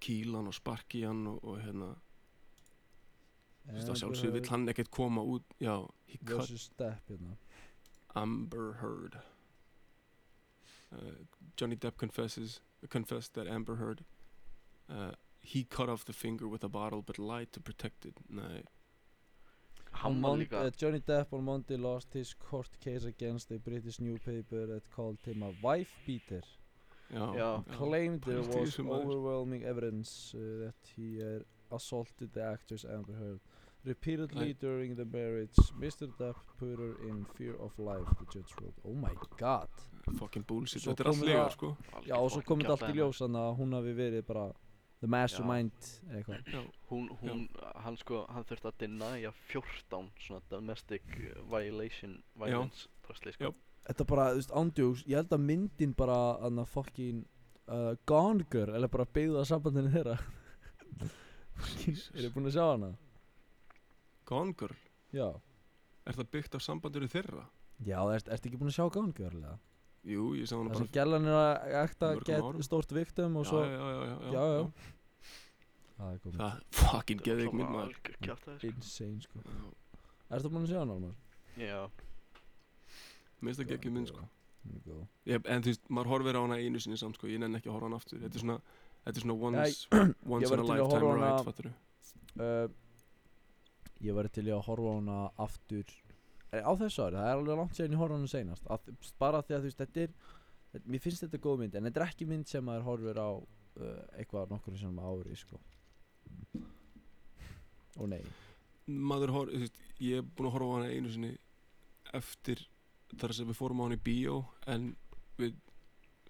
A: kýlan og sparki hann og, og hérna þú veist, að sjálfsögðu vill hann ekkert koma út já, he cut
B: uh, Versus step hérna
A: Amber Heard. Uh, Johnny Depp confesses confessed that Amber Heard uh, he cut off the finger with a bottle but lied to protect it. Nei,
C: hann
B: On
C: var
B: Mon-
C: líka
B: uh, Johnny Depp on Monday lost his court case against a British newspaper that called him a wife beater
A: já,
C: Já.
B: claimed there
A: pældi í
B: was
A: þessu, maður.
B: overwhelming evidence uh, that he uh, assaulted the actress Amber Heard repeatedly during the marriage. Mr. Depp put her in fear of life, the judge wrote. Oh my god.
A: fucking bullshit,
B: Svo
A: þetta er allt
B: kom
A: legar
B: það-
A: sko.
C: algjör
B: Já, og svo
C: fucking
B: kom þetta allt í
C: kjaftæði
B: ljós þannig að hún hafi verið bara the mastermind eða eitthvað.
A: Já,
C: hún, hún, hann sko, hann þurfti að denæja 14 svona domestic uh, violation, violence drastli, sko.
A: Já.
B: Þetta bara, þú veist, ándjúks, ég held að myndin bara hann að fucking uh, Gone Girl, eller bara byggða sambandinu þeirra. Eru búin að sjá hana?
A: Gone Girl,
B: Já.
A: er það byggt af sambanduru þeirra?
B: Já, ert, ertu ekki búin að sjá Gone Girl eða?
A: Jú, ég sá hana
B: Það
A: bara
B: sem gælan er að ekta
A: mörgum
B: get
A: árum.
B: stórt viktum og svo
A: já, já, já, já,
B: Já, já. Það er komið
A: Það er fucking geðvig mynd maður
C: maður
B: Insane sko
A: Já,
B: Ertu búin að sjá hann alveg?
C: Já,
A: Minnst það geggjum mynd sko
B: Hún er góð
A: Ég, en þú veist, maður horfir á hana einu sinni samt sko, ég nenn ekki að horfa á hana aftur Þetta er svona, þetta er svona once, once
B: ég
A: in a
B: væri til í að
A: lifetime
B: horfa á
A: ride,
B: hana-
A: fattur
B: uh, Ég væri til í að horfa á hana aftur eh, Á þessu ári, það er alveg langt sér en ég horfa á hana seinast að, Bara því að þú veist, þetta er þetta- Mér finnst þetta góð mynd En þetta er ekki mynd sem maður horfir á uh, Eitthvað nokkur sem ári sko Ó nei
A: maður horf, þú veist, ég er búinn að horfa á hana einu sinni eftir þar sem við fórum á hana í bíó en við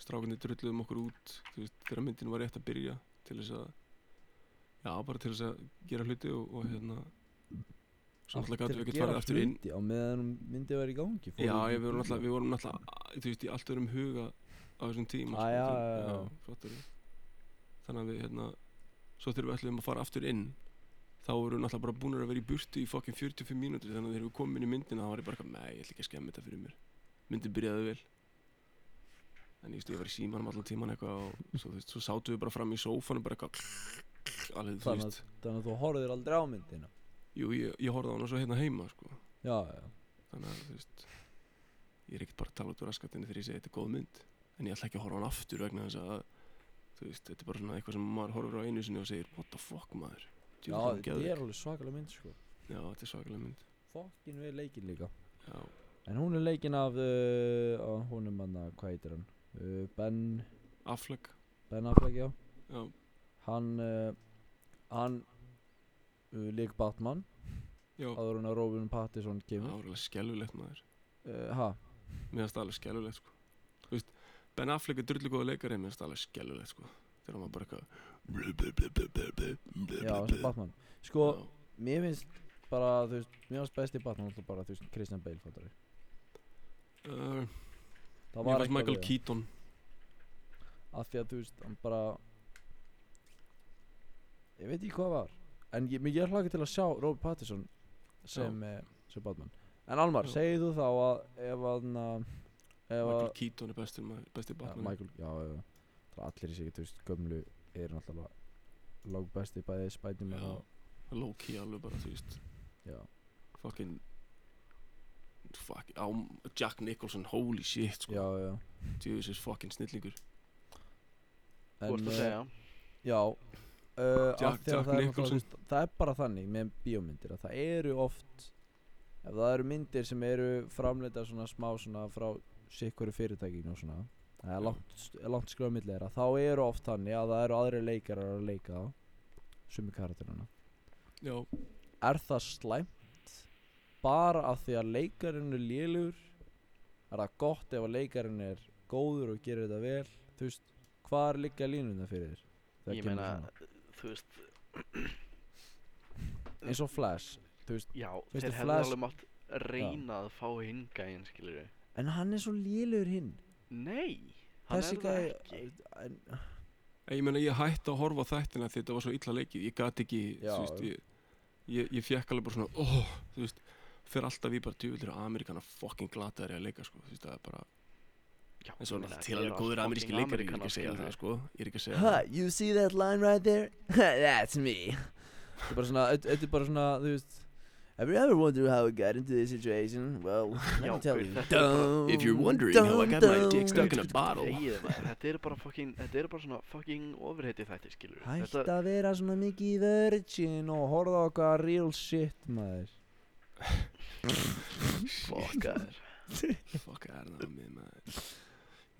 A: strákunni drulluðum okkur út þú veist, þegar myndin var rétt að byrja til þess að já, bara til þess að gera hluti og, og hérna svo
B: Allt
A: náttúrulega gætum
B: til
A: við
B: að
A: ekki
B: gera
A: farið aftur inn
B: hluti Á meðan hún myndi verið í gangi
A: já, ég, við vorum náttúrulega, við vorum náttúrulega þú veist, í allt öðrum huga á þessum tíma sko,
B: Ah, já,
A: þú-
B: já, já.
A: fattar við. þannig að við hérna svo þegar við ætlum að fara aftur inn þá vorum við náttúrulega bara búinir að vera í burtu í fucking 45 mínútur þannig að þegar við komum inn í myndina þá var ég bara eitthvað, nei, ég ætla ekki að skemmi þetta fyrir mér myndin byrjaði vel en ég veist, ég var í símanum allan tíman eitthvað og svo, þú veist, svo sátum við bara fram í sófanum bara eitthvað alveg, þú
B: Þannig að-
A: veist,
B: Þannig að þú horfir aldrei á myndina
A: jú, ég, ég horfði á hana svo hérna heima, sko
B: Já, já
A: þannig að þú veist ég er ekkert bara að tala út úr raskatinni þegar ég segi þetta er góð mynd en ég ætla ekki að horfa á hann aftur vegna þess að þú veist, þetta er bara svona eitthvað sem maður horfir á einu sinni og segir what the fuck maður
B: Já,
A: Djöfull, hún
B: þetta
A: geðveik.
B: er alveg svakalega mynd sko
A: já þetta er svakalega mynd
B: Fokkin við leikin líka
A: já,
B: En hún er leikin af uh, á, Hún er manna, hvað heitir hann? Uh, ben,
A: Affleck
B: ben Affleck, já
A: já,
B: Hann uh, Hann uh, Lík Batman
A: já, það
B: Áður hún að Robin Pattinson
A: var
B: kemur
A: alveg skelvilegt maður
B: uh, Ha,
A: mér finnst það alveg skelvilegt sko þú veist, Ben Affleck er drullu góða leikari mér finnst það alveg skelvilegt sko þegar hann var bara eitthvað
B: já, sem Batman Sko, mér finnst bara, þú veist Mér finnst besti Batman alltaf bara, þú veist, Christian Bale fattar við.
A: Já, uh, mér
B: Það var
A: finnst
B: eitthvað
A: Michael
B: við það.
A: Keaton
B: Af því að, þú veist, hann bara Ég veit ekki hvað var En ég, mér- ég hlaka til að sjá Robert Pattinson sem, eh, sem Batman En Almar,
A: Já.
B: segir þú þá að ef að na, ef að
A: Michael Keaton er bestur maður besti
B: ja,
A: Batman
B: Michael, já, já, já Það er allir í sig, þú veist, gömlu er náttúrulega lágbesti bæði Spiderman
A: Já.
B: og
A: low-key alveg bara, þú veist
B: já,
A: fucking fuck, á, Jack Nicholson, holy shit
B: já,
A: sko,
B: já
A: djöfis er fucking snillingur
C: þú ert að
B: eh,
C: segja
B: Já uh,
A: Jack-
B: Jack,
A: Jack
B: það, er
A: Nicholson.
B: náttúrulega- það er bara þannig með bíómyndir að það eru oft ef það eru myndir sem eru framleita svona smá svona frá sikkuru fyrirtækinu og svona það er
A: Já.
B: langt, st- langt skrifa millera þá eru oft þannig að það eru aðri leikarar að leika þá sumi karakterina
A: já,
B: er það slæmt bara af því að leikarinn er lélugur er það gott ef að leikarinn er góður og gerir þetta vel þú veist hvar liggja línuna fyrir þér? þegar
C: Ég
B: kemur
C: meina,
B: svona?
C: þú veist,
B: eins og Flash þú veist,
C: já,
B: veist,
C: þeir
B: að
C: hefðu
B: Flash-
C: alveg mátt reyna að fá hingæðin, skilur við.
B: en hann er svo lélugur hinn
C: Nei, hann
B: þessi
C: er það
B: gæði
C: ekki.
B: en-
A: Ég meina ég hætti að horfa á þættina því þetta var svo illa leikið Ég gat ekki,
B: Já,
A: þú veist Ég, ég, ég fekk alveg bara svona, óh, þú veist Fyrir alltaf í bara djúvillir og Amerikana fucking glataðir í að leika, sko Þú veist, það er bara
C: Já,
A: En svo
C: ég meina,
A: náttúrulega til
C: ég er
A: alveg
C: að
A: góður
C: fucking
A: ameríski leikari, ég er ekki
C: Ameríkanar,
A: að segja
C: skilurðu.
A: það, sko Ég er ekki að segja
B: Huh,
A: það
B: you see that line right there? That's me. Þetta er bara svona, þetta þetta er bara svona, þú veist Have you ever wondered how I got into this situation? Well, let
C: Já,
B: me tell
C: gaur,
B: you.
C: þetta er bara-
B: Dun,
A: If you're wondering how I got my
B: dun,
A: dick stuck
B: dun.
C: sko.
A: in a bottle
C: Þegið, maður, þetta eru bara fucking, þetta eru bara svona fucking ofurheiti þætti, skilur við.
B: Hætt að vera svona mikið í virgin og horfa á okkar real shit, maður.
C: fokkaður.
A: Fuck, er það að mig maður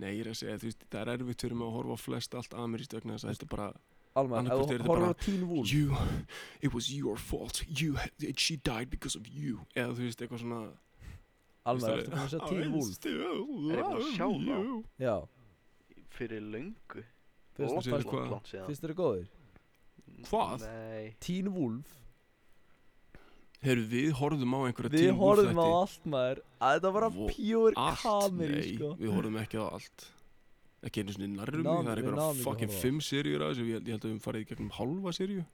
A: Nei, ég er að segja, þú veist, það er erfitt fyrir mig að horfa á flest allt amerískt vegna þess að þetta er bara
B: Alma,
A: Annaðhvort
B: ef
A: eru
B: þú
A: þetta
B: horfa
A: bara-
B: á Teen Wolf.
A: You, it was your fault you, had- She died because of you Eða þú veist, eitthvað svona
B: Alma, ertu búin að sjá Teen Wolf?
A: Wolf
C: Er ég búin að sjá þá?
B: Já,
C: Fyrir löngu.
B: Fyrst-
C: Langt,
A: Sérðu
C: langt,
A: hvað?
C: langt síðan.
B: finnst þér það góðir?
A: Hvað?
C: Nei.
B: Teen Wolf?
A: Herru, við horfðum á einhverja
B: Við
A: Teen Wolf
B: horfum á
A: þætti.
B: allt, maður. Að Þetta var
A: Vo-
B: bara pure
A: Allt,
B: kameri,
A: nei,
B: sko.
A: við horfðum ekki á allt Ekki einu svona nærrum
B: náðum-
A: í, það er einhverja
B: við náðum ekki að
A: fucking
B: horfa á
A: fimm seríur að þessu Ég held- ég held að við höfum farið í gegnum halva seríu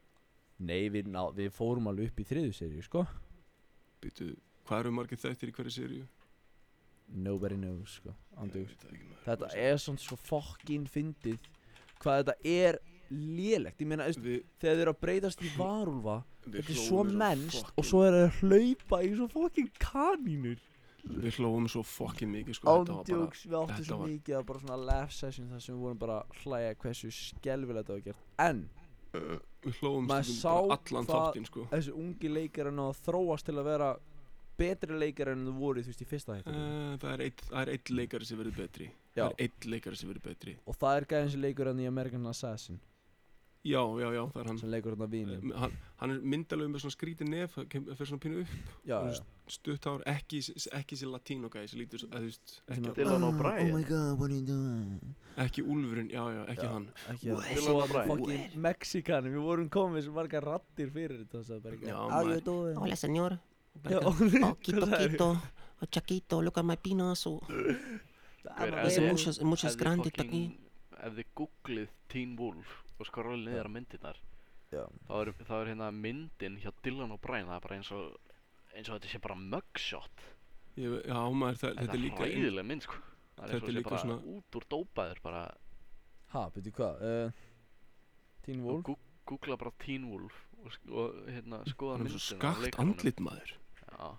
B: Nei, við, ná, við fórum alveg upp í þriðu seríu, sko.
A: Býtu, hvað eru margir þættir í hverju seríu?
B: Nobody knows sko Andjúks
A: Ég veit það ekki, maður.
B: Þetta er svona svo fucking fyndið Hvað þetta er lélegt Ég meina, veist,
A: Við,
B: þegar þeir eru að breytast í varulva
A: við
B: Þetta er
A: hlógum
B: svo
A: eins og
B: mennst
A: fucking-
B: Og svo er að hlaupa í svo fucking kanínur
A: Við hlófum svo fucking mikið sko þetta var bara-
B: Andjúks, við áttum
A: þetta
B: svo
A: var-
B: mikið að bara svona laugh session þar sem við vorum bara að hlæja hversu skelvilegt það var gert En
A: Við hlófum
B: Maður
A: stundum
B: sá
A: bara allan
B: hvað-
A: þáttinn sko
B: þessi ungi leikar að þróast til að vera betri leikar en þú voru þú veist í fyrsta hættu
A: Eh, Það er eitt- það er eitt leikari sem verður betri
B: Já.
A: Það er eitt leikari sem verður betri
B: Og það er gæðin sem leikur hann í American Assassin
A: Já, já, já, það er hann
B: sem leikur hann að vínum
A: Eh, hann, hann er myndalögur með svona skrítið nef það kem- það fer svona pínu upp þú
B: Já, já
A: veist, stutt hár, ekki, s- ekki sér latínó gæði sem lítur, svo- að, þú veist,
B: Sem
A: ekki,
B: að-
C: Dylan
B: Ah,
C: O'Brien.
B: Oh my god, what are you doing?
A: ekki úlfurinn já, já, ekki
B: Já.
A: hann
B: Ekki að
C: Dylan
B: Svo
C: O'Brien.
B: fucking Mexikanum, við vorum komið með svo margar rattir fyrir þetta Það bara ekki
A: Já,
B: "How
A: maður.
B: you doing?"
E: Hola, señor.
B: Já,
E: Poquito,
B: hvað sagðirðu?
E: poquito. Chaquito, look at my penis. oh,
C: Hver
B: Annað
E: Hace
C: er Eh,
B: væri-
C: þessi
E: muchos, muchos
C: Ef þið
E: grandes
C: fucking-
E: aquí.
C: Ef þið googlið Teen Wolf og skorralið niður á myndirnar
B: Já.
C: þá er, þá er hérna myndin hjá Dylan O'Brien það er bara eins og eins og þetta sé bara mugshot
A: ég, já, maður, það,
C: þetta
A: þetta er
C: er
A: líka inn-
C: hræðileg mynd sko það er eins
A: Þetta
C: og
A: er
C: sé
A: líka
C: bara
A: svona-
C: út úr dópaður bara
B: Ha, betur hvað uh, Teen
C: og
B: Wolf
C: gú- googla bara Teen Wolf og, sk- og hérna skoða
A: hann er
C: myndina
A: með svo
C: af
A: skakt
C: leikarunum.
A: andlit maður
C: já,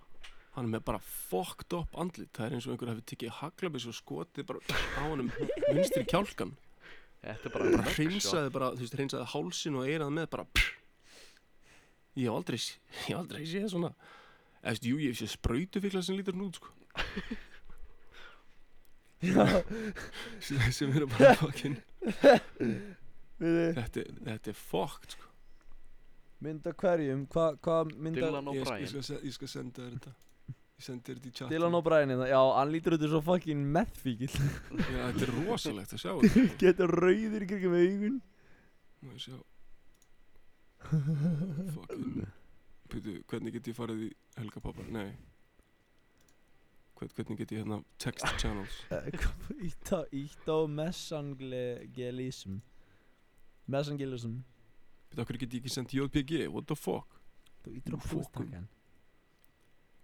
A: hann er með bara fucked up andlit það er eins og einhver hefur tekið haglabis og skotið bara á hann vinstri kjálkan
C: þetta er bara
A: bara
C: mugshot
A: hreinsaði bara, þú veist, hreinsaði hálsin og eirað með bara ég hef aldrei s- ég hef aldrei séð svona eða, þú veist, jú, ég hef séð sprautufíkla sem lítur nút, sko sem sem eru bara fucking þetta, þetta er fucked sko.
B: Mynda hverjum, hvað hva mynda
C: Dylan
A: ég, ég,
C: O'Brien
A: skal, se- ég skal senda þér þetta ég sendi þér þetta í chat
B: Dylan O'Brien hérna, já, hann lítur út eins og fucking methfíkil
A: Já, þetta er rosalegt að sjá þetta sko.
B: Getur rauðir í kringum augun
A: Má ég sjá Fucking Pítu, hvernig get ég farið í Helga pappa? Nei Hvern, Hvernig get ég hérna text channels?
B: Eh, kom- Ítta, ítta á messangelism Messangelism
A: Pítu, okkur get ég ekki sendt JPG? What the fuck?
B: Þú ítur á
A: Fucking-
B: pústakkan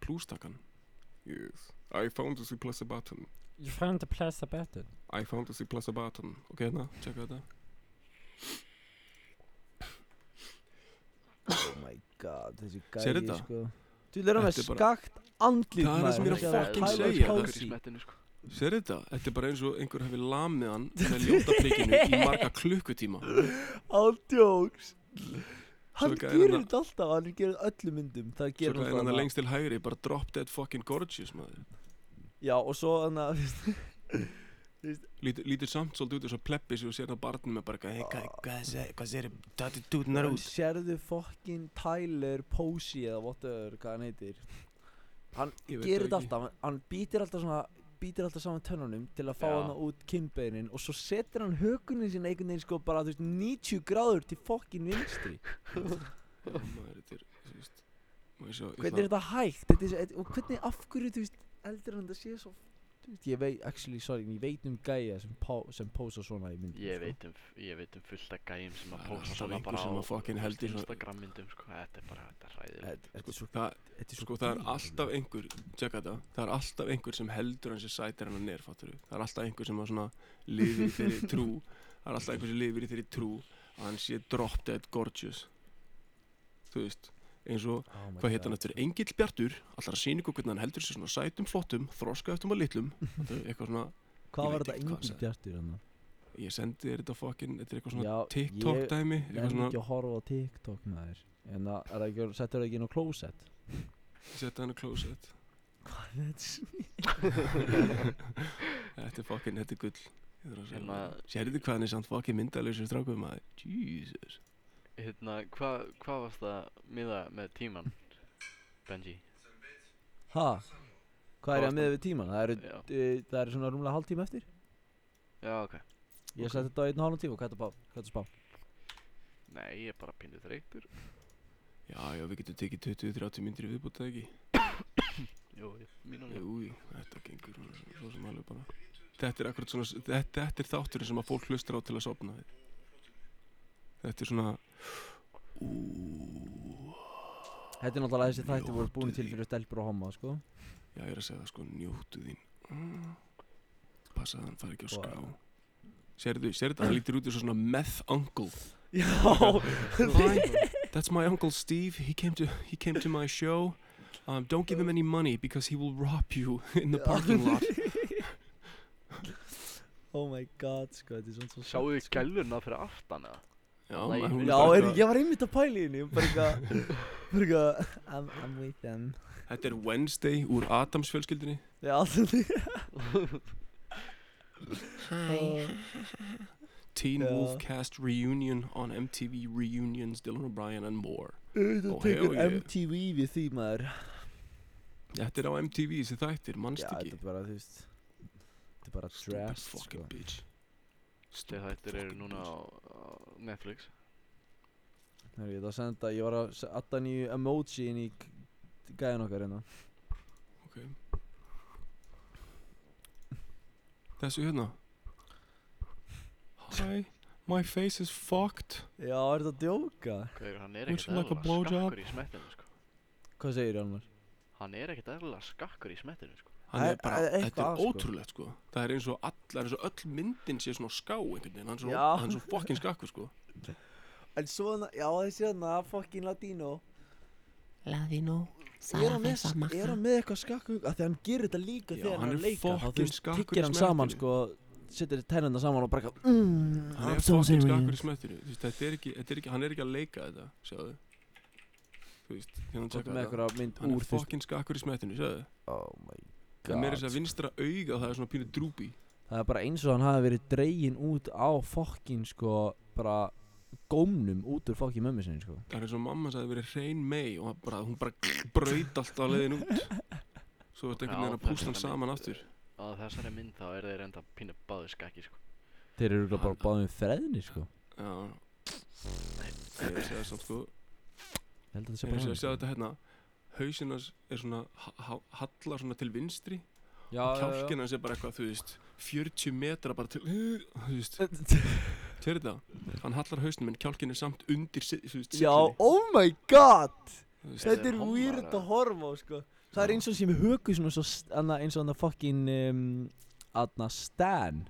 A: Plústakkan Yes I found this plus a button
B: You found the place the better
A: I found this plus a button Ok, hérna, tjekka þetta
B: Oh my god, þessi gæi
A: Sérðu þetta?
B: sko Þú er hann með
A: Þetta er bara-
B: skakt andlít
A: Það er það sem ég er að fucking segja,
C: það er
A: þessi-
C: í smettinu sko
A: Sér þetta? Þetta er bara eins og einhver hefði lamið hann með ljótaprikinu í marga klukkutíma
B: Ándjóks Hann
A: Svo gæinn
B: gerir
A: þarna-
B: þetta alltaf, hann gerir öllum myndum Það
A: Svo
B: gerir
A: gæði
B: hann
A: hann
B: þarna.
A: það lengst til hægri bara drop dead fucking gorgeous maður
B: Já, og svo hann að
A: Lítur, lítur samt svolítið út eins og pleppi sem þú sér það barnum með bara eitthvað hey, hvað- hvað se- hvað sér þetta dútnar út
B: Sérðu fucking Tyler Posey eða whatever, hvað hann heitir Hann
A: Ég veit það
B: gerir
A: ekki.
B: þetta alltaf, hann, hann býtir alltaf svona býtir alltaf saman tönnunum til að fá
C: Já.
B: hana út kinnbeinin og svo setur hann hökunin sín einhvern veginn sko bara þú veist 90 gráður til fokkin vinstri
A: Já, maður, þetta er, þú veist Má ég sjá, ég
B: hvernig er þetta hægt þetta er, svo- þetta- og hvernig af hverju þú veist eldur hann þetta sé svo þú veist, ég veit actually sorry en ég veit um gæja sem, pá, sem pósa svona í myndum sko.
C: Ég veit, um, f- ég veit um fullt af gæjum sem að
A: Það er
C: posta
A: alltaf
C: svona
A: einhver
C: bara
A: sem
C: á
A: að fucking
C: þú veist,
A: heldur svo-
C: Instagram myndum sko, þetta er bara, þetta er ræðilegt
B: þetta þetta er svo
A: það,
B: þetta er svo
A: sko, það er
B: grín.
A: alltaf einhver tjekka þetta, það er alltaf einhver sem heldur hans er sætir hann að nerfatturu það er alltaf einhver sem að svona lifir í þeirri trú það er alltaf einhver sem lifir í þeirri trú að hann sé drop dead gorgeous þú veist eins og,
B: Oh my
A: hvað heit hann
B: God.
A: eftir, Engill Bjartur allar að sína ykkur hvernig hann heldur sér svona sætum flottum þroska eftir maður litlum Þetta er eitthvað svona,
B: Hvað
A: Ég veit
B: var þetta
A: ekki hvað hann
B: yngri
A: sagði.
B: bjartur hann?
A: ég sendi þér þetta fucking, þetta er eitthvað svona
B: Já,
A: TikTok
B: ég
A: dæmi
B: er
A: eitthvað svona,
B: ekki að horfa á TikTok maður En það er það ekki, settur það ekki inn á klósett
A: setja hann að closet
B: Hvað er þetta?
A: Þetta er fucking, þetta er gull Ég þarf að segja
C: Hérna-
A: það. Sérðu hvað hann er samt fucking myndalösur strákum maður Jesus
C: Hérna, hvað hva varst það miða með tíman, Benji?
B: Ha? Hvað er ég
C: varst
B: að miða við tíman? Það eru,
C: Já,
B: uh, það eru svona rúmlega hálftíma eftir
C: já, ok
B: Ég setti þetta á einn og hálfum tíma, hvað er þetta að spá? Hvað er þetta að spá?
C: Nei, ég er bara pínu þreytur
A: Já, já, við getum tekið 20-30 myndir viðbútt eða ekki
C: Jú, ég, mínum
A: Jú, jú, þetta gengur svona- svona- svo sem alveg bara Þetta er akkurat svona, þetta, þetta er þátturinn sem að fólk hlustar á til að sopna við Þetta er svona
B: Þetta er náttúrulega þessi þætti voru búin til fyrir stelpur og homma, sko
A: Já, ég er að segja það sko, njóttu þín mm. Passa að hann fari ekki á skrá
B: Wow.
A: Sérðu, sérðu, það lítur út eins og svona meth uncle
B: Já
A: Hi, that's my uncle Steve. He came to he came to my show. Um, don't give him any money because he will rob you in the parking lot.
B: Oh my god, sko, þetta er svona svo
C: Sjáu þið gælurna fyrir aftan eða?
A: Já,
C: Nei,
A: maður- hún er
B: Já,
A: bara
B: er,
A: eitthvað-
B: ég var einmitt að pæla í henni, ég var bara eitthvað Bara eitthvað, I'm, I'm with them
A: Þetta er Wednesday úr Adams fjölskyldinni.
B: Já, þetta er
E: Hæ,
A: Teen
B: Já.
A: Wolf cast reunion on MTV reunions, Dylan O'Brien and more.
B: Auðvitað
A: Ó,
B: tekur
A: hell yeah.
B: MTV við því maður
A: Þetta er á MTV þessi þættir, mannst
B: Já, þetta
A: ekki.
B: er bara, þú veist Þetta er bara
A: Stupid
B: draft, sko
A: fucking bitch.
C: Þegar þættir eru
A: fucking
C: núna
A: bitch.
C: á, á Netflix
B: Hörru, ég ætla að senda, ég var að atta nýju emoji inn í gæðan okkar hérna
A: Ok. Þessu hérna. Hi, my face is fucked.
B: Já, er þetta að djóka?
C: Hver, hann er
A: Would
C: ekkert
A: you like a
C: eðlilega
A: blowjob?
C: skakkur í smettinu sko
B: Hvað segir Almar?
C: Hann er ekkert eðlilega skakkur í smettinu sko
A: hann er
B: Það er-
A: bara,
B: það er
A: þetta
B: eitthvað að,
A: er
B: sko.
A: ótrúlegt sko það er eins og all, það er eins og öll myndin sé svona á ská einhvern veginn, hann er svo,
B: Já.
A: hann er svo fokkin skakkur sko
B: En svona, já þessi hérna, fucking latino
E: laðinu,
B: Er hann með,
E: salafessa
B: er
E: makka.
B: hann með eitthvað skakku? Af því hann gerir þetta líka
A: Já,
B: þegar
A: hann
B: hann,
A: er
B: leika Þá
A: fucking
B: þú veist,
A: skakkur í
B: tyggir hann saman,
A: smekkinu.
B: sko Setur tennina saman og bara eitthvað, mm,
A: hann
B: I'm
A: er
B: so
A: fokkin skakkur í
B: serious
A: smettinu Þú veist, þetta er ekki, þetta er ekki, hann er ekki að leika þetta sjáðu þú veist, hérna
B: Kóttu
A: tjekka þetta
B: með eitthvað mynd
A: hann
B: úr
A: er
B: fyrst
A: fokkin skakkur í smettinu, sjáðu
B: Oh my
A: það er meira þess
B: sko.
A: að vinstra auga, það er svona pínu drúpi
B: Það er bara eins og hann hafi verið dregin út á fokkin sko bara gómnum út úr fokkin mömmu sinni sko
A: það er eins og mamma sagði verið hrein mei og hann bara, hún bara braut allt á leiðin út svo er þetta einhvern
C: Já,
A: veginn að
C: það er
A: pústa hann
C: þetta
A: saman
C: mynd.
A: aftur
C: Á þessari mynd þá er þeir enda pínu báðu skakki sko
B: Þeir eru örugglega bara
A: Hann-
B: báðum freðinir sko
A: já, ég er að segja samt sko
B: Ég held að það sé
A: Ég
B: bara
A: sé að sjá
B: hann
A: þetta hérna Hausin hans er svona ha- ha- Hallar svona til vinstri
D: Já,
A: Kjálkin hans er bara eitthvað, þú veist 40 metra bara til Þú veist, sér þetta Hann hallar hausnum en kjálkin er samt undir si- Þú veist,
B: Já,
A: siglinni,
B: oh my god
A: þú veist.
C: Þetta
B: Þetta
C: er
B: er
C: hommar,
B: weird
C: eða?
B: að horfa á sko Það er eins og sem högu svona svo st- annað- eins og hann að fokkin um, Anna Stan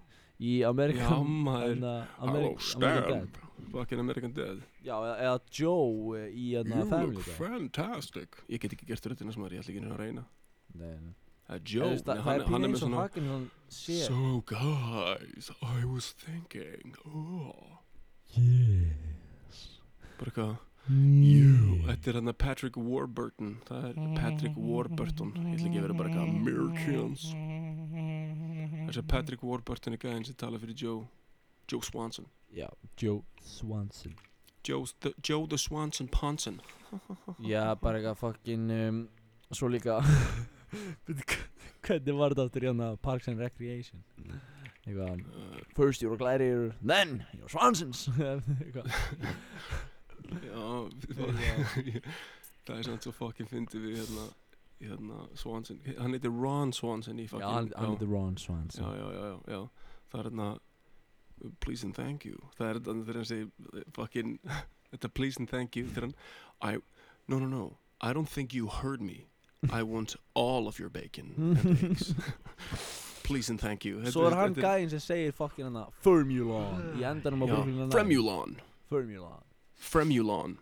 B: í
A: Já
B: Amerikan
A: maður
B: Anna,
A: Hello
B: Amerikan
A: Stan Fucking American Dad
B: Já, eða, eða Joe eh, í hann
A: You
B: að
A: look
B: Family Guy
A: fantastic Ég get ekki gert röddina sem maður, ég ætla ekki einu sinni að reyna
B: Nei, nei.
A: Það er
B: Eða, þú
A: Joe,
B: veist,
A: nei,
B: Það það
A: hann,
B: er
A: hann
B: pínu
A: er með
B: eins og
A: svona
B: Hagen hann sé
A: So guys, I was thinking oh. Bara eitthvað Jú, þetta er hann að Patrick Warburton Það er Patrick Warburton Ég ætla ekki að vera bara eitthvað Americans Þessi Patrick Warburton er gæðin sem tala fyrir Joe Joe Swanson
B: Já, Joe Swanson
A: Joe, the, Joe the Swanson Ponson
B: Já, bara eitthvað fokkin um, Svo líka Veitu, Hvernig var þetta aftur í hana Parks and Recreation Eitthvað um,
A: uh,
B: First you're a gladiator Then you're Swansons Eitthvað
A: Já, við- það er samt svo fucking fyndið við hérna, hérna Swanson, hann heitir Ron Swanson í
B: Já,
A: fucking
B: hann hann heitir Ron
A: já,
B: Swanson
A: já, já, já, já, það er hérna uh, please and thank you, það er hérna þegar hann segir uh, fucking, þetta please and thank you, þegar hann, I, no, no, no, I don't think you heard me, I want all of your bacon and eggs, please and thank you. Þetta
B: Hmm. Svo er hann
A: þetta
B: gæðin sem segir fokkin hana Formulon Í endanum á
A: Já,
B: Brooklyn hérna. Nine-Nine.
A: Fremulon,
B: Formulon
A: Fremulon,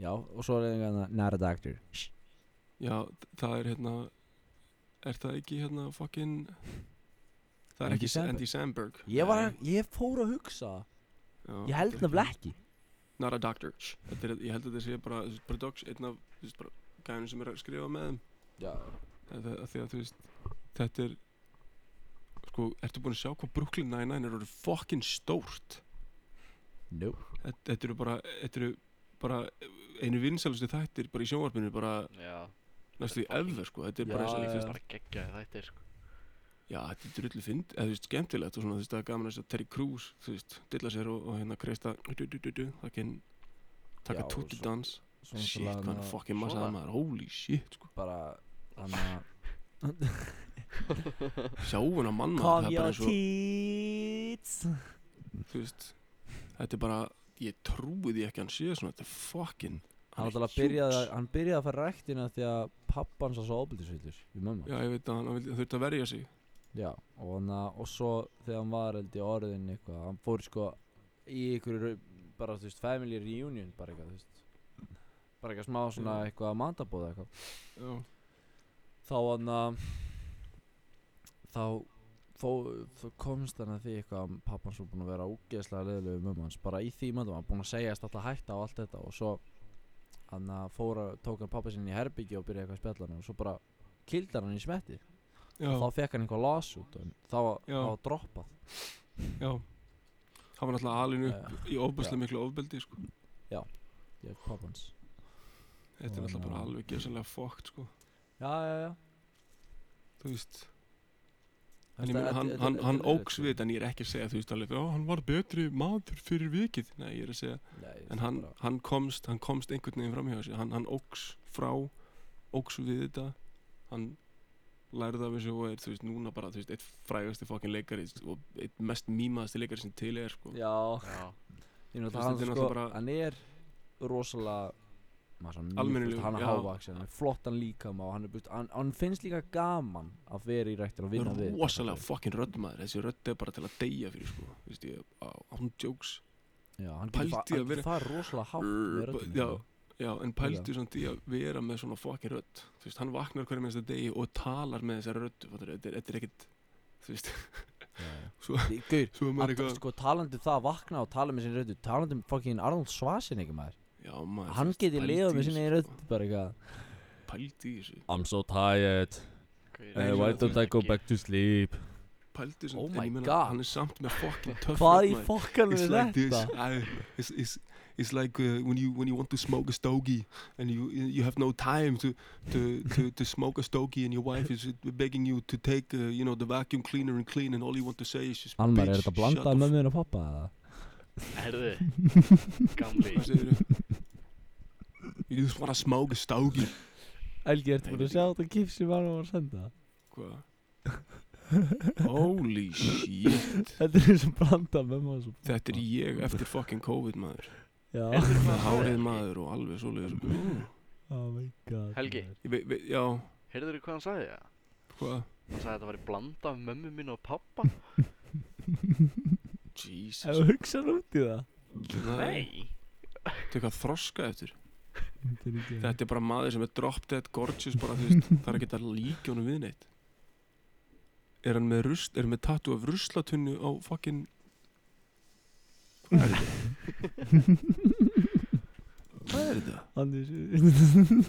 B: Já, og svo er hann hérna, Not a doctor
A: já, þ- það er hérna, er það ekki hérna fucking, það er
B: Andy
A: ekki
B: Samberg.
A: Andy Samberg.
B: Ég var, ég fór að hugsa
A: Já,
B: Ég held
A: þetta er ekki-
B: nefnilega ekki
A: Not a doctor þetta er, Ég held að þetta sé bara þú veist, bara dogs, einn af þú veist, bara gæðunum sem er að skrifa með þeim
B: Já
A: þetta, að því að þú veist þetta er sko, ertu búin að sjá hvað Brooklyn Nine-Nine er orðið fokkin stórt
B: Nope
A: þetta, þetta eru bara þetta eru bara einu vinsælustu þættir bara í sjónvarpinu bara
C: Já,
A: næstu í
C: Fucking-
A: ever sko þetta er
B: Já,
A: bara
C: það
A: þessi,
B: já,
A: þú
C: er
A: veist,
C: bara geggjaði þættir sko.
A: já, þetta er drullu fynd eða þú veist, skemmtilegt og svona þú veist, það er gaman að sjá Terry Crews þú veist, dilla sér og, og hérna kreista du, du, du, du, það kyn taka
B: Já, og svo-
A: tuttudans
B: Svo
A: shit,
B: náttúrulega
A: hvað hann
B: hana-
A: er fokkin
C: svo
A: massa
C: það-
A: maður holy shit sko
B: Bara Hanna
A: sjáun á mann maður,
B: Come
A: það er bara
B: your
A: eins og,
B: teats
A: þú veist þetta er bara, ég trúi því ekki að hann sé svona, þetta er fucking
B: Hann
A: er
B: alltaf
A: huge.
B: byrjaði, að- hann byrjaði að fara ræktina því að pappan sá svo ofbeldisvillur í mömmu.
A: já, ég veit að hann, hann vildi- hann þurfti að verja sig
B: Já, og, hann, að- og svo þegar hann var held í orðin eitthvað, hann fór sko í einhverju, bara þú veist, family reunion, bara eitthvað, þú veist, bara eitthvað smá svona
A: Já.
B: eitthvað matabóð eitthvað.
A: já,
B: þá hann að þá þó, þó komst hann að því eitthvað að pappan svo búinn að vera ógeðslega leðilegu við mömmu hans bara í því möndum, hann búinn að segjast alltaf hætta og allt þetta og svo hann að fóra, tók hann pappa sinni í herbyggi og byrjaði eitthvað að spjalla hann og svo bara kildar hann í smetti
A: já,
B: og þá fekk hann eitthvað lawsuit og þá var
A: Já.
B: það var droppað
A: já hann var náttúrulega alin upp
B: Eh,
A: í ofbæslega miklu ofbeldi sko.
B: ég er pappans
A: þetta er
B: Og
A: náttúrulega
B: hann
A: bara
B: á-
A: alveg gjössalega fokkt sko.
B: já, já, já
A: þú veist
B: Þetta-
A: En ég meina,
B: þetta-
A: hann, hann,
B: þetta- þetta-
A: hann
B: þetta er
A: óks við þetta, en ég er ekki að segja, þú veist, alveg, já, hann var betri maður fyrir vikið, nei, ég er að segja,
B: Nei,
A: en hann,
B: bara-
A: hann komst hann komst einhvern veginn fram hjá sér hann, hann óks frá, óks við þetta hann lærði af þessu og er, þú veist, núna bara þú veist, eitt frægasti fokkin leikari og eitt mest mýmaðasti leikari sem til er sko.
B: já,
C: Já,
B: Ég meina
A: Þú veist,
B: hann
A: þetta er
B: sko,
A: náttúrulega bara-
B: hann er rosalega maður svona mjög-
A: Almennilegur,
B: Hann er
A: já.
B: hávaksin, hann er flottan líkama og hann, er, búst, hann, hann finnst líka gaman að vera í ræktina og vinna við
A: rosalega fokkin röddmaður þessi rödd er bara til að deyja fyrir sko. þú veist, ég, á, án jokes
B: Já, hann getur
A: Pældi í
B: fa-
A: að
B: hann
A: vera-
B: getur farið rosalega hátt með röddina
A: já,
B: sko.
A: já, en pældu samt í að vera með svona fokkin rödd þú veist, hann vaknar hverjum minnsta degi og talar með þessari rödd fattar, þetta er- þetta er ekkit, þú veist
B: Já, já.
A: Svo-
B: Þi- Gaur,
A: svo er maður
B: að,
A: eitthvað,
B: sko, talandi um það að vakna og tala með sinni röddu talandi um fucking Arnold Schwarzenegger maður
A: já maður
B: hann
A: þú veist,
B: getur
A: pældu
B: lifað
A: í
B: með
A: þessu,
B: sinni
A: sko.
B: rödd bara eitthvað
A: pældi í þessu
F: I'm so tired
C: okay,
A: Eh, why don't
F: to sleep
A: pældi sem
B: Oh
A: en
B: my
A: ég meina,
B: God.
A: hann er samt með fucking tough
B: hvað
A: rödd,
B: í
A: maður.
B: fokkan
A: it's
B: er
A: like this
B: þetta
A: I, it's, it's, it's like uh, when you when you want to smoke a stogie and you you have no time to to to, to smoke a stogie and your wife is begging you to take uh, you know the vacuum cleaner and clean and all you want to say is just
B: Almar,
A: bitch,
B: er þetta blandað
A: shut
B: með mér og pappa eða?
C: Herði, gamli
A: the f- segirðu? You just wanna smoke a stogie
B: Elgi, ertu
A: Nei,
B: búin að
A: ég-
B: sjá þetta gif sem hann var að senda?
A: Hva? Holy shit
B: Þetta er eins og branda með maður svo
A: Þetta er ég eftir fucking COVID maður
B: Já,
A: Með hárið maður og alveg svoleiðis mm.
B: oh my god
C: Helgi.
B: maður.
A: Ég vei- vei- Já,
C: Heyrður þú hvað hann sagði það?
A: hvað?
C: Hann sagði að þetta var í blanda af mömmu mín og pappa
A: Jesus
B: Ef þú hugsa út í það
C: Nei
A: Þetta er eitthvað þroska eftir
B: Þetta er ekki
A: Þetta er bara maður sem er drop dead gorgeous bara þú veist Það er ekki að líka honum við neitt Er hann með rusl Er hann með tattu af ruslatunnu á fucking Hvað er þetta? Hvað er þetta?
B: Andrés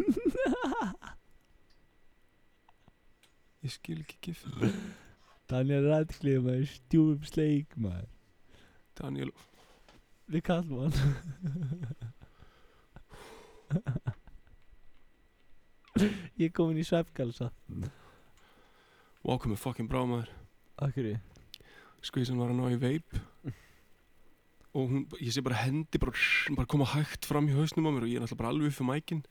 A: Ég skil ekki gif
B: Daniel Radcliffe maður stjúfum sleik maður
A: Daniel
B: Við kallum hann Ég er komin í svefgalsa
A: Vá, hvað með fucking brá maður
B: Akkur í
A: Skvísan var að ná í veip Og hún, ég sé bara hendi bara, bara koma hægt fram í hausnum á mér Og ég er náttúrulega bara alveg upp fyrir mækin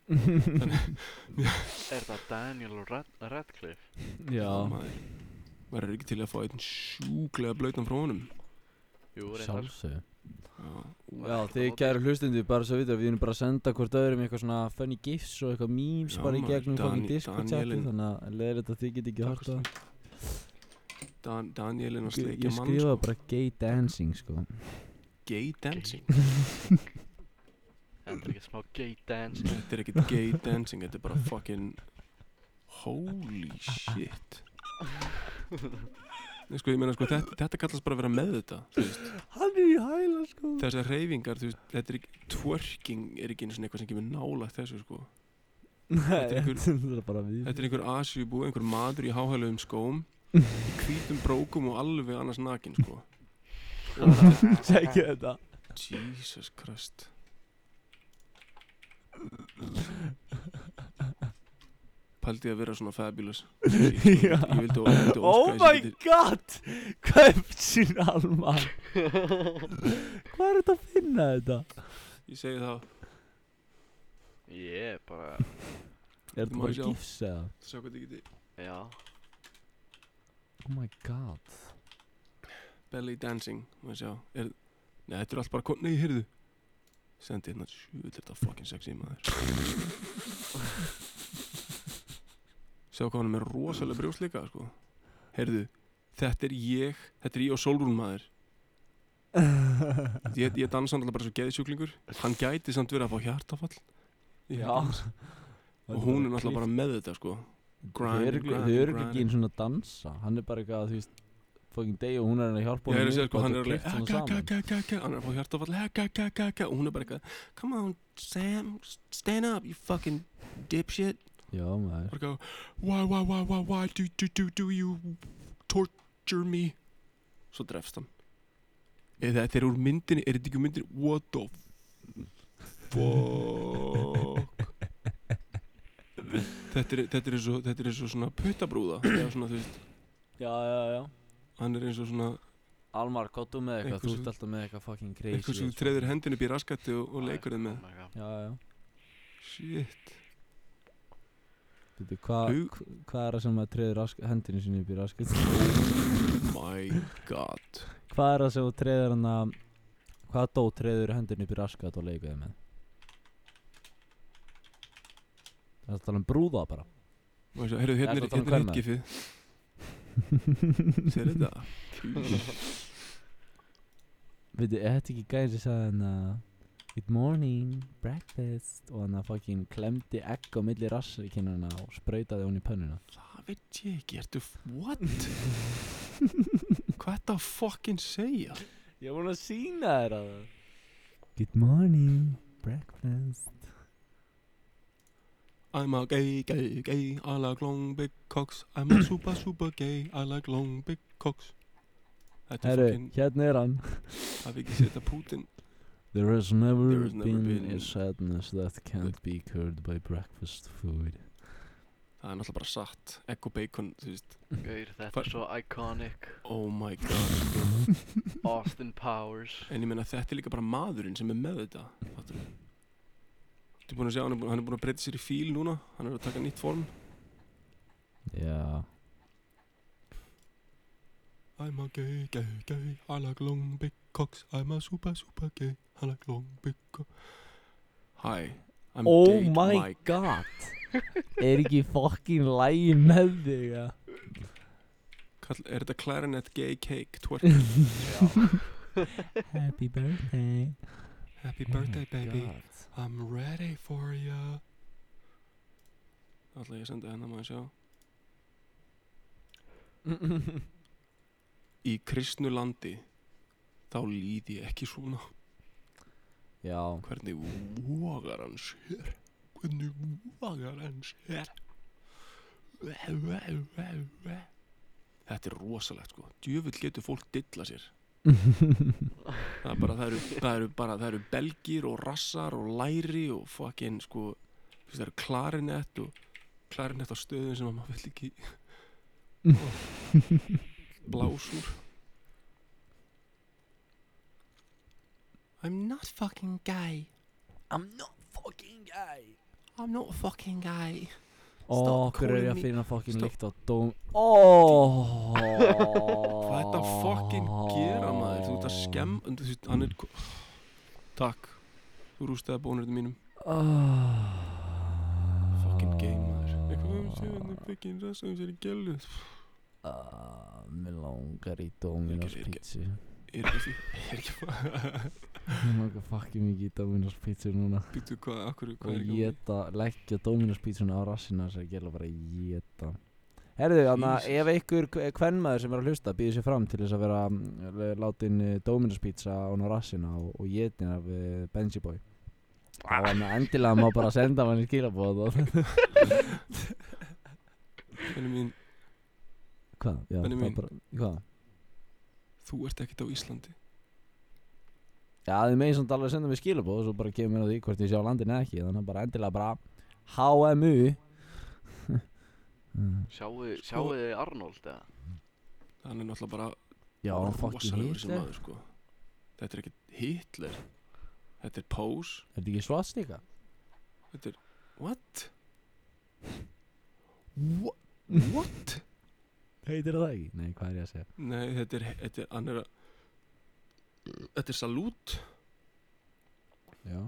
C: Er það Daniel Rad Radcliffe?
B: Já
A: Verður ekki til að fá einn sjúklega blautan frá honum
C: Jú, reyndar
B: Sjálfsög
A: Já,
B: Já, þið kæru hlustendur bara svo vitað Við erum bara að senda hvort öðrum eitthvað svona funny gifs og eitthvað memes
A: Já,
B: bara í
A: maður,
B: gegnum
A: Dan-
B: fucking Discord chati
A: Danielinn.
B: Þannig að leðir þetta þið get ekki hort á
A: Dan Danielin að
B: Ég
A: sleikja mann sko.
B: skrifa bara gay dancing sko
A: Gay dancing
C: Þetta er ekki smá gay dance
A: Þetta er ekkert gay dancing Þetta er bara fucking Holy shit Nei, Sko, ég meina, sko, þetta, þetta kallast bara að vera með þetta þú veist.
B: Hann er í hæla sko
A: Þessar reyfingar, þú veist, þetta er ekki Twerking er ekki einu svona eitthvað sem kemur nálægt þessu, sko
B: Nei,
A: Þetta er einhver-
B: þetta er bara við
A: Þetta er einhver asjubú, einhver maður í háhæluðum skóm Hvítum brókum og alveg annars nakin, sko
B: Tjekkið þetta
A: Jesus Christ Paldi að vera svona fabulous Ég
B: Já.
A: vildi, ég vildi
B: Oh
A: óska að
B: my
A: ég
B: god Hvað er sín alma Hvað er þetta að finna þetta
A: Ég segi það,
C: Ég er bara,
B: Er þetta
A: Má
B: bara
A: ég sjá?
B: gifs eða
A: þú sjá hvað þið geti
C: já
B: Oh my god
A: Belly dancing, maður sjá er, Nei, þetta er allt bara, kon- nei, heyrðu Sendi hérna, sjú, þetta er fucking sexy maður Sjá hvað hann er með rosalega brjóst líka, sko Heyrðu, þetta er ég, þetta er ég og Solrún maður Ég, ég dansa alltaf bara svo geðsjúklingur Hann gæti samt verið að fá hjartafall Í
B: Já.
A: þetta dans. Og hún er náttúrulega bara með þetta sko
B: Þau
A: grind,
B: eru
A: grind,
B: ekki
A: grind.
B: einn svona að dansa Hann er bara eitthvað þú veist Fucking day og hún er hann að hjálpa
A: Ég er
B: honum
A: að segja
B: upp
A: sko,
B: og
A: hann er alveg
B: þetta klippt svona
A: "Aga, aga,
B: saman.
A: aga, aga," Hann er að fá hjartafall "Aga, aga, aga, aga," Og hún er bara eitthvað Come on Sam, stand up you fucking dipshit
B: Já maður
A: Og það Why, why, why, why, why do, do, do, do you torture me Svo drefst hann Eða þetta er úr myndinni, er þetta ekki úr myndinni What the fuck Þetta er, þetta er eins og, þetta er eins og svona puttabrúða Eða svona þú veist,
B: Já já já
A: hann er eins og svona
B: Almar, hvað þú með eitthvað?
A: Einhver
B: Þú
A: sem-
B: ert alltaf með eitthvað fucking crazy
A: Eitthvað sem
B: sko.
A: treður hendinu upp í raskatti og, og leikur þeim með
C: Oh my god.
B: Já já
A: Shit
B: Býtu, hvað
A: Hug-
B: hva hvað er það sem að treður rask- hendinu sinni upp í raskat?
A: My god
B: Hvað er það sem þú treður hann að Hvað dó treður hendinu upp í raskat og leikaði með? Það er að tala um brúða bara
A: Má ég sjá, Heyrðu, hérna er,
B: Ertu að tala um
A: hérna er
B: kvenmaður?
A: hittgifið Sér þetta
B: Veitu, er þetta ekki gæðin sem sagði hann að Good morning, breakfast Og hann að fucking klemdi egg á milli rassikinnana Og sprautaði hún í pönnuna
A: Það veit ég ekki, ertu, f- what? Hvað ertu að fucking segja?
B: Ég vona að sína þér að Good morning, breakfast
A: I'm a gay, gay, gay, I like long big cocks I'm a super, super gay, I like long big cocks Þetta er
B: Herru,
A: fucking,
B: hérna er hann
A: það við ekki setja Putin
B: There has never,
A: There has never
B: been,
A: been-
B: a sadness that can't be cured by breakfast food.
A: Það er náttúrulega bara satt, egg og bacon, þú veist
C: Gaur, þetta
A: Hva-
C: er svo iconic
A: Oh my god
C: Austin Powers
A: En ég meina þetta er líka bara maðurinn sem er með þetta Fattur við Þú er búin að sjá, hann er búin, hann er búin að breyta sér í fíl núna Hann er að taka nýtt form
B: Já.
A: I'm a gay, gay, gay, I like long big cocks I'm a super, super gay, I like long big cocks Hi, I'm
B: Oh
A: Date
B: my
A: Mike
B: god. er ekki fokkin lægi með þig, ja?
A: Kall, Er þetta clarinet gay cake twerk?
B: Happy birthday. Oh
A: Happy birthday baby I'm ready for ya Alltaf ég að senda hennar maður sjá Í kristnu landi Þá líði ég ekki svona
B: Já,
A: Hvernig vogar hann sér? Hvernig vogar hann sér? Þetta er rosalegt sko Djöfull getur fólk dilla sér Það er bara, það eru, það eru bara, það eru belgir og rassar og læri og fucking sko þú veist, Það eru klarinett og klarinett á stöðum sem að maður vill ekki blásur
E: I'm not fucking gay.
B: I'm not fucking gay
E: I'm not fucking gay.
B: Ó,
E: Stop
B: hver er ég
E: calling
B: að
E: me-
B: finna fucking
A: Stop.
B: líkt á dóm Ó
A: Hvað er þetta að fucking gera maður? Þú ert að skemm Þú veist, hann er Takk Þú rústaði bónurinn mínum Fucking gay maður Eitthvað um séu Þetta er fucking rasa um sér í gælu
B: Ah, Mér langar í
A: Ég
B: Dominos
A: er ekki-
B: pizza
A: Er ekki Er ekki
B: Mér langar fucking mikið í Dominos pizza núna
A: Býttu hvað Akkur Hvað er
B: Og
A: í gangi?
B: geta, leggja Dominos pizzuna á rassina þess að gera bara geta Herðu, þannig
A: Jesus.
B: að ef einhver kvennmaður sem er að hlusta býður sér fram til þess að vera mm, látin eh, Dominos pizza án á rassina og, og getin af eh, Benji Boy þá
A: Ah.
B: var með endilega má bara senda manni skilabóð og
A: Hvernig mín
B: hvað, já,
A: Benni
B: það
A: mín.
B: bara, hvað
A: Þú ert ekkert á Íslandi
B: Já, þið megin samt alveg senda mér skilabóð og svo bara kemur að því hvort ég sé á landinu eða ekki þannig að bara endilega bara HMU Mm.
C: Sjáu,
A: Sko-
C: sjáu þið Arnold eða?
A: Hann er náttúrulega bara
B: Já, hann fucking
A: Rosalegur
B: hýtt
A: sem
B: Er
A: maður sko Þetta er ekkert Hitler Þetta er Pose
B: þetta ekki svartstíka?
A: Þetta er What? What? What?
B: Heitir það ekki? Nei, hvað er ég að segja?
A: Nei, þetta er, þetta er, hann er að Þetta er salút
B: Já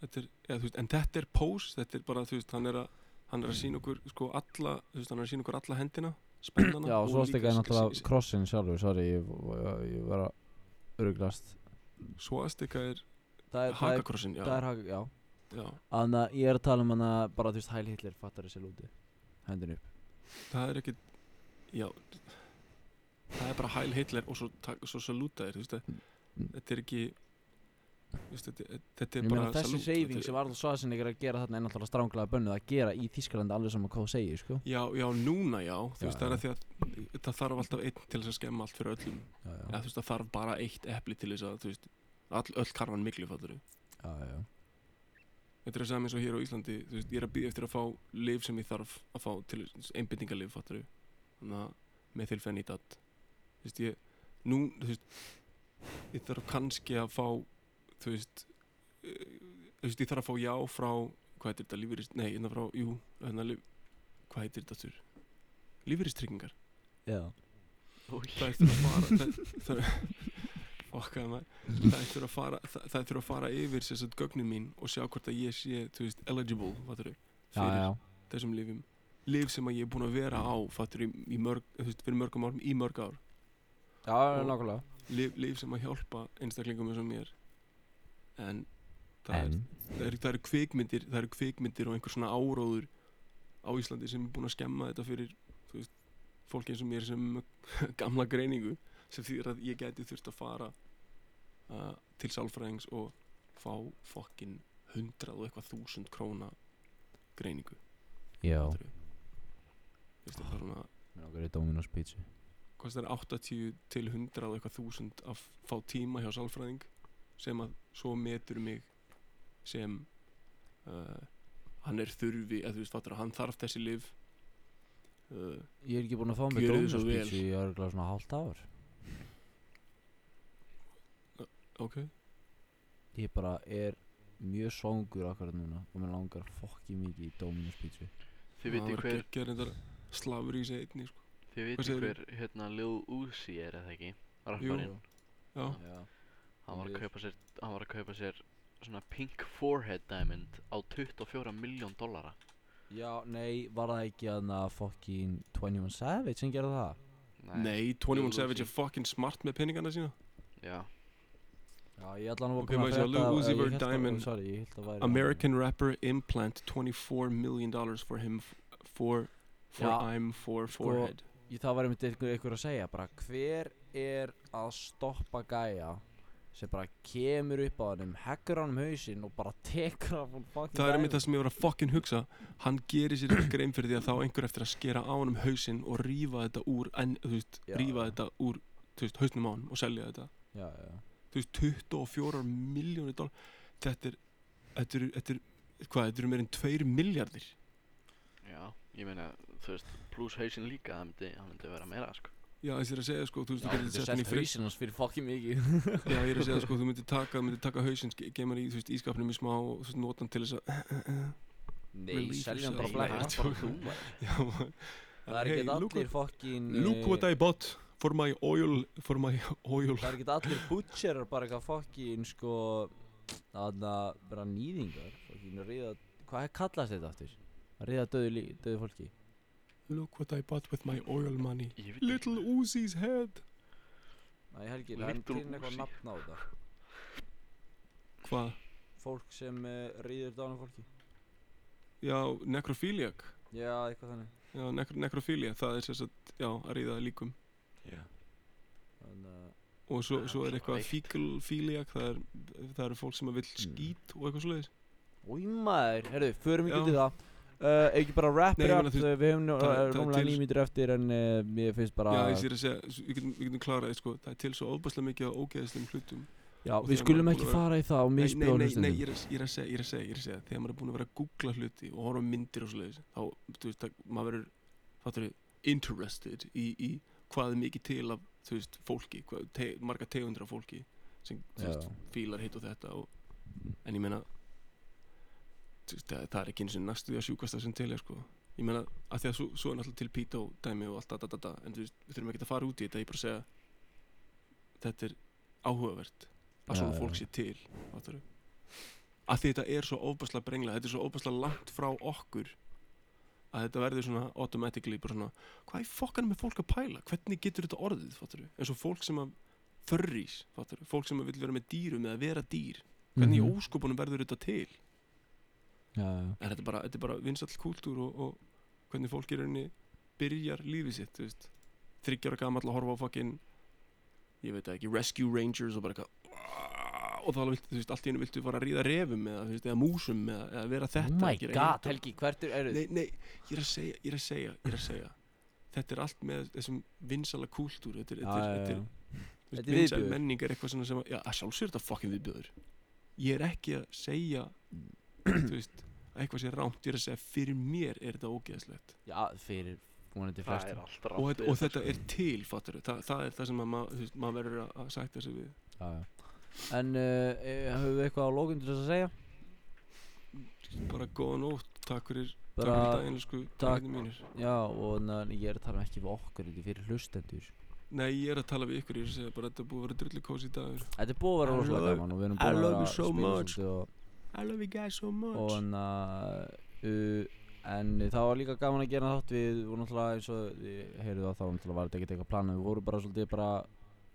A: þetta er, ja, veist, En þetta er pose Þetta er bara, þú veist, hann er að Hann er að sína okkur, sko, alla Þú veist, hann er að sína okkur alla hendina Spennana
B: Já,
A: og
B: svartstíka
A: líka
B: er
A: s-
B: náttúrulega
A: s-
B: krossin sjálfur, sorry, ég, ég, ég var að öruglast
A: s- Svastika er
B: Það er, það er,
A: hakakrossin já,
B: það er haka, já
A: já,
B: Þannig að ég er að tala um hana, bara þú veist, Hæl Hitler fattar þessi lúti Hendin upp
A: það er ekkit Já Það er bara hæl Hitler og svo, tak- svo salúta þér, þú veist
B: Mm,
A: að- Þetta er ekki þú veist, Þetta þetta er
B: Ég meina
A: bara
B: þessi
A: salút, þetta
B: reyfing
A: er-
B: sem Arnold Schwarzenegger er að gera þarna er náttúrulega stránglega bönnuð að gera í Þískalandi alveg saman hvað þú segir, sko
A: Já, já, núna já, þú
B: Já,
A: veist, það er
B: já.
A: að því að það þarf alltaf einn til þess að skemma allt fyrir öllum
B: Já, já,
A: eða þú veist, það þarf bara eitt epli til þess að, þú veist, all, öll karfan miklu fattur
B: já, já.
A: Þetta er að segja eins og hér á Íslandi, þú veist, ég er að býða eftir að fá liv sem ég þarf að fá til einbyttingalif fattur Þannig að með tilfenni í datt Þú veist, ég, nú, þú veist, ég þarf kannski að fá, þú veist, eh, þú veist, ég þarf að fá já frá, hvað heitir þetta, lífyrist, nei, hérna frá, jú, hérna, líf, hvað heitir þetta þurr? Lífyristryggingar
B: já.
A: það eftir að fara það- það okkar maður það eftir að fara það, það eftir að fara yfir sér satt gögnum mín og sjá hvort að ég sé þú veist eligible fattur
B: já,
A: fyrir
B: já.
A: þessum lifum lif sem að ég er búin að vera á fattur í, í mörg þú veist fyrir mörgum árum í mörg ár
B: Já, já,
A: Og-
B: nákvæmlega
A: lif, lif sem að hjálpa einstaklingum eins og mér en það,
B: En,
A: Er, það, er, það eru kvikmyndir það eru kvikmyndir og einhver svona áróður á Íslandi sem er búin að skemma þetta fyrir þú veist fólki eins og mér sem er með gamla greiningu sem þýðir að ég gæti þurft að fara uh, til sálfræðings og fá fokkin hundrað og eitthvað þúsund króna greiningu
B: já
A: fattarðu? Þú veist, það er svona
B: Mér langar í Dominos pizza
A: kostar 80 til 100 og eitthvað þúsund að fá tíma hjá sálfræðing sem að svo metur mig sem uh, hann er þurfi að þú veist fattur að hann þarf þessi liv uh,
B: Ég er ekki búinn að fá mig
A: Gjörið þið
B: Dominos
A: svo vel.
B: pizza í örgulega svona hálft ár
A: ok
B: Ég bara er mjög songur akkurat núna og mér langar fokki mikið í Dominos pizza
C: Þið vitið
A: Það var
C: hver,
A: geggjað reyndar slafur í sig einni sko.
C: þið
A: segirðu?
C: vitið hver, hérna Lil Uzi er eða ekki Rapparinn,
A: já,
B: Já
C: hann var að
B: ég-
C: kaupa sér, hann var að kaupa sér svona pink forehead diamond á 24 miljón dollara
B: Já, nei, var það ekki aðna fokkin 21 Savage sem gerði það?
A: nei, 21
C: Lil
A: Savage
C: Uzi.
A: er fucking smart með peningana sína
C: Já,
B: Já, ég allan var
A: Ok,
B: búinn
A: maður
B: að
A: sé að Lil
B: eh,
A: Uzi
B: ég
A: were
B: hélt að-
A: diamond.
B: Sorry, ég held að væri
A: American rapper implant 24 million dollars for him f- for for
B: Já.
A: I'm for
B: Sko,
A: forehead
B: ég, Það var einmitt einhver, einhver að segja bara Hver er að stoppa gæja sem bara kemur upp á hannum, hekkur hann um hausinn og bara tekur hann fólk fokkin
A: Það er einmitt það sem ég var að fucking hugsa Hann gerir sér ekki grein fyrir því að þá á einhver eftir að skera á honum hausinn og rífa þetta úr en, þú veist,
B: Já.
A: rífa þetta úr þú veist, hausnum á honum og selja þetta
B: Já, já, já
A: þú veist, 24 miljónir dólar þetta er, þetta er, þetta er hvað, þetta eru meirinn 2 miljardir
C: já, ég meina þú veist, pluss hausinn líka, það myndi, það myndi vera meira, sko.
A: Já, þessi er að segja sko, þú veist,
B: Já,
A: þú getur
B: getur
A: sett hann í
B: sett
A: frist
B: hausinn hans fyrir fokkin mikið
A: Já, ég er að segja sko, þú myndir taka, þú myndir taka hausinn, ge- geymar í, þú veist, ískapnum í smá og þú veist, notan til þess að
B: Nei,
A: Relief
B: selja hann
A: yourself.
B: bara
C: Nei,
A: blæða.
B: blæk
C: það er bara þú, maður.
A: Já, maður.
B: Það er
A: Hey,
B: ekki
A: look
B: allir fokkin
A: what- Look what I bought for my oil, for my oil
B: Það er ekki allir butcherar bara eitthvað fokkin sko Þannig að bara nýðingar Fokkin að ríða Hvað kallast þetta aftur? Að ríða döðu, lí- döðu fólki
A: Look what I bought with my oil money
C: Ég veit
A: Little
C: ekki.
A: Uzi's head
B: Nei, Helgi, það er
C: Little
B: til eitthvað
C: Uzi.
B: nafn á þetta
A: Hvað?
B: Fólk sem uh, ríður dánum fólki
A: Já, necrophiliac
B: Já, eitthvað þannig
A: Já, nekro, necrophilia, það er sérst að, já, að ríða líkum
B: Þannig að
A: Og svo,
C: Það er
A: svo er
C: alltaf
A: eitthvað
C: veikt.
A: fíkulfíliak, það er, það eru fólk sem að vill skít og eitthvað svoleiðis
B: Új maður, herru, förum
A: Já.
B: ekki til það Uh, ekki bara wrap
A: Nei, ég
B: it up,
A: meina, þú
B: uh, við höfum nú,
A: það-
B: uh,
A: það er
B: rúmlega
A: til-
B: nýmítur eftir en uh, mér finnst bara
A: Já, ég sé að segja, s- við getum, við getum klaraði, sko, það er til svo ofbæslega mikið á ógeðislegum hlutum
B: Já,
A: Og
B: við
A: þegar
B: skulum
A: maður er
B: ekki
A: búinn að
B: fara í það og
A: Nei, nei,
B: misbjóða
A: nei, nei, ég er, að- ég er að segja, ég er að segja, ég er að segja Þegar maður er búinn að vera að googla hluti og horfa á myndir og svoleiðis Þá, þú veist, það, maður verður, fattur við, interested í, í hvað er mikið til af, þú veist, fólki hvað, te, Marga tegundra fólki sem, þú veist, fílar hitt og þetta og, En ég meina, þú veist, það, það er ekki eins og næstu því að sjúkast það sem til er, sko Ég meina, að því að svo, svo er náttúrulega til pító dæmi og allt, allt, allt, allt En þú veist, við þurfum ekki að fara út í þetta, ég bara að segja Þetta er áhugavert
B: Já,
A: að svona
B: já,
A: fólk
B: já.
A: sé til áttur. að því þetta er svo óbærslega brengla þetta er svo óbærslega langt frá okkur að þetta verður svona automatically bara svona, hvað er fokkanum með fólk að pæla hvernig getur þetta orðið, fattur eins og fólk sem að þörrís fattur fólk sem að vil vera með dýrum eða vera dýr hvernig í óskopunum verður þetta til
B: Mhm. Já, já
A: en þetta er bara, þetta er bara vinsall kúltúr og, og hvernig fólk í rauninni byrjar lífið sitt, þú veist þryggjara gamall að horfa á fucking ég veit það ekki, Rescue Rangers og bara eitthvað og þá viltu, þú veist, allt í hennu viltu fara að ríða refum eða, þú veist, eða músum eða, eða vera þetta
B: Oh my
A: gera hitt
B: god,
A: og-
B: Helgi, hvert er, eru
A: nei, nei, ég er að segja, ég er að segja, ég er að segja þetta er allt með þessum vinsalla kúltúr þetta er,
B: Já,
A: þetta er,
B: já,
A: þetta er
B: já.
A: Þú veist,
B: Þetta er
A: vinsæl
B: viðbjóður.
A: menning er eitthvað svona sem að, já, að sjálfsögur þetta fucking viðbjöður ég er ekki að segja þú veist, að eitthvað sé rámt ég er að segja fyrir mér er þetta ógeðslegt
B: Já, fyrir vonandi
C: Það er
B: flestum
C: allt rátt.
A: og, þetta- og þetta
B: sko.
A: er til, fattur Þa, það er það sem að maður þú veist, maður verður að- að sætta sig við
B: Já, já. En uh, e- höfum við eitthvað á lókum til þess að segja?
A: bara góða nótt, takk fyrir takk
B: Bara,
A: fyrir daginn, sko,
B: takk.
A: daginn mínir
B: já, og na, ég er að tala um ekki við okkur, þetta er fyrir hlustendur
A: nei, ég er að tala við ykkur, ég er að segja bara þetta er búið að vera drullu kósi í dag
B: Þetta er búið að vera
A: I
B: rosalega
A: love-
B: gaman og við erum
A: I
B: búin að
A: love
B: vera
A: you
B: að
A: so
B: spila
A: much.
B: svolítið og,
A: I love you guys so
B: og
A: much
B: en að uh, En það var líka gaman að gera þátt við og náttúrulega eins og þið heyrðu að þá náttúrulega var þetta ekkert eitthvað planað við vorum bara svolítið bara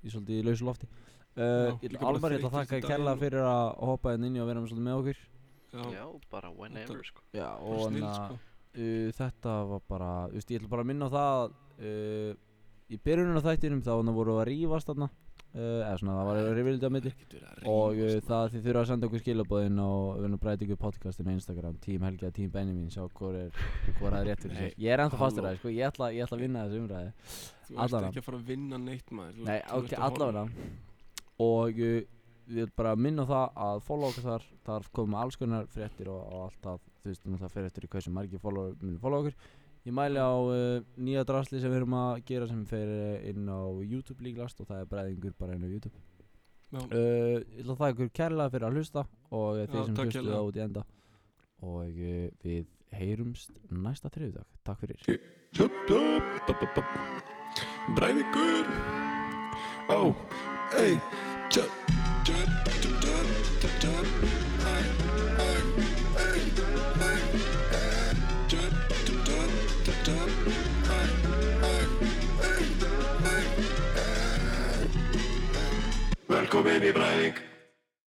B: í svolítið í lausu lofti
A: Já,
B: uh,
A: líka bara
B: Almar, ég
A: þreytist
B: ætla að
A: í
B: þakka
A: daginn
B: kærlega
A: og-
B: fyrir að hoppa hérna inn inn og vera með svolítið með okkur
A: já,
C: Já, bara whenever, sko.
B: Já,
A: bara
B: og en
A: snill,
B: að
A: sko
B: uh, þetta var bara, þú veist, ég ætla bara að minna á það að, uh, í byrjunum á þættinum þá þarna voru að rífast þarna uh, eða svona það var að rífildi á milli
A: Ekkert verið að
B: og uh,
A: rífast, sko. maður.
B: það þið þurfa að senda okkur skilabóðin og við erum breytið ykkur podcastinu á Instagram Team Helgi og Team Benjamin sjá hvor er, hvor er rétt fyrir
A: Nei,
B: sér ég er ennþá
A: halló.
B: fastur að sko, ég ætla, ég ætla að vinna þessu umræði
A: þú ert
B: allavega.
A: ekki að fara að vinna neitt maður Þú
B: Nei,
A: ert- þú
B: ok,
A: ert að horfa.
B: allavega Og uh, við erum bara að minna á það að follow okkur þar Þar koma alls konar fréttir og, og alltaf Þú veist, það fyrir eftir í hversu margir follow, munu follow okkur Ég mæli á uh, nýja drasli sem við erum að gera sem fer eh, inn á YouTube líklast og það er breiðingur bara inn á YouTube
A: Já.
B: uh, Ég ætla að þakka ykkur kærlega fyrir að hlusta og Já,
A: Já,
B: þeir sem
A: takk
B: hlustu
A: kærlega.
B: það út í enda og uh, við heyrumst næsta þriðudag Takk fyrir
G: Tup, tup, tup, tup, tup. Breiðingur Ó, ey Tup, tup, tup, tup, tup, tup Æ, æ, æ, æ, æ. Tup, tup, tup, tup, tup Æ, æ, æ, æ, æ. Velkomin í Breiðing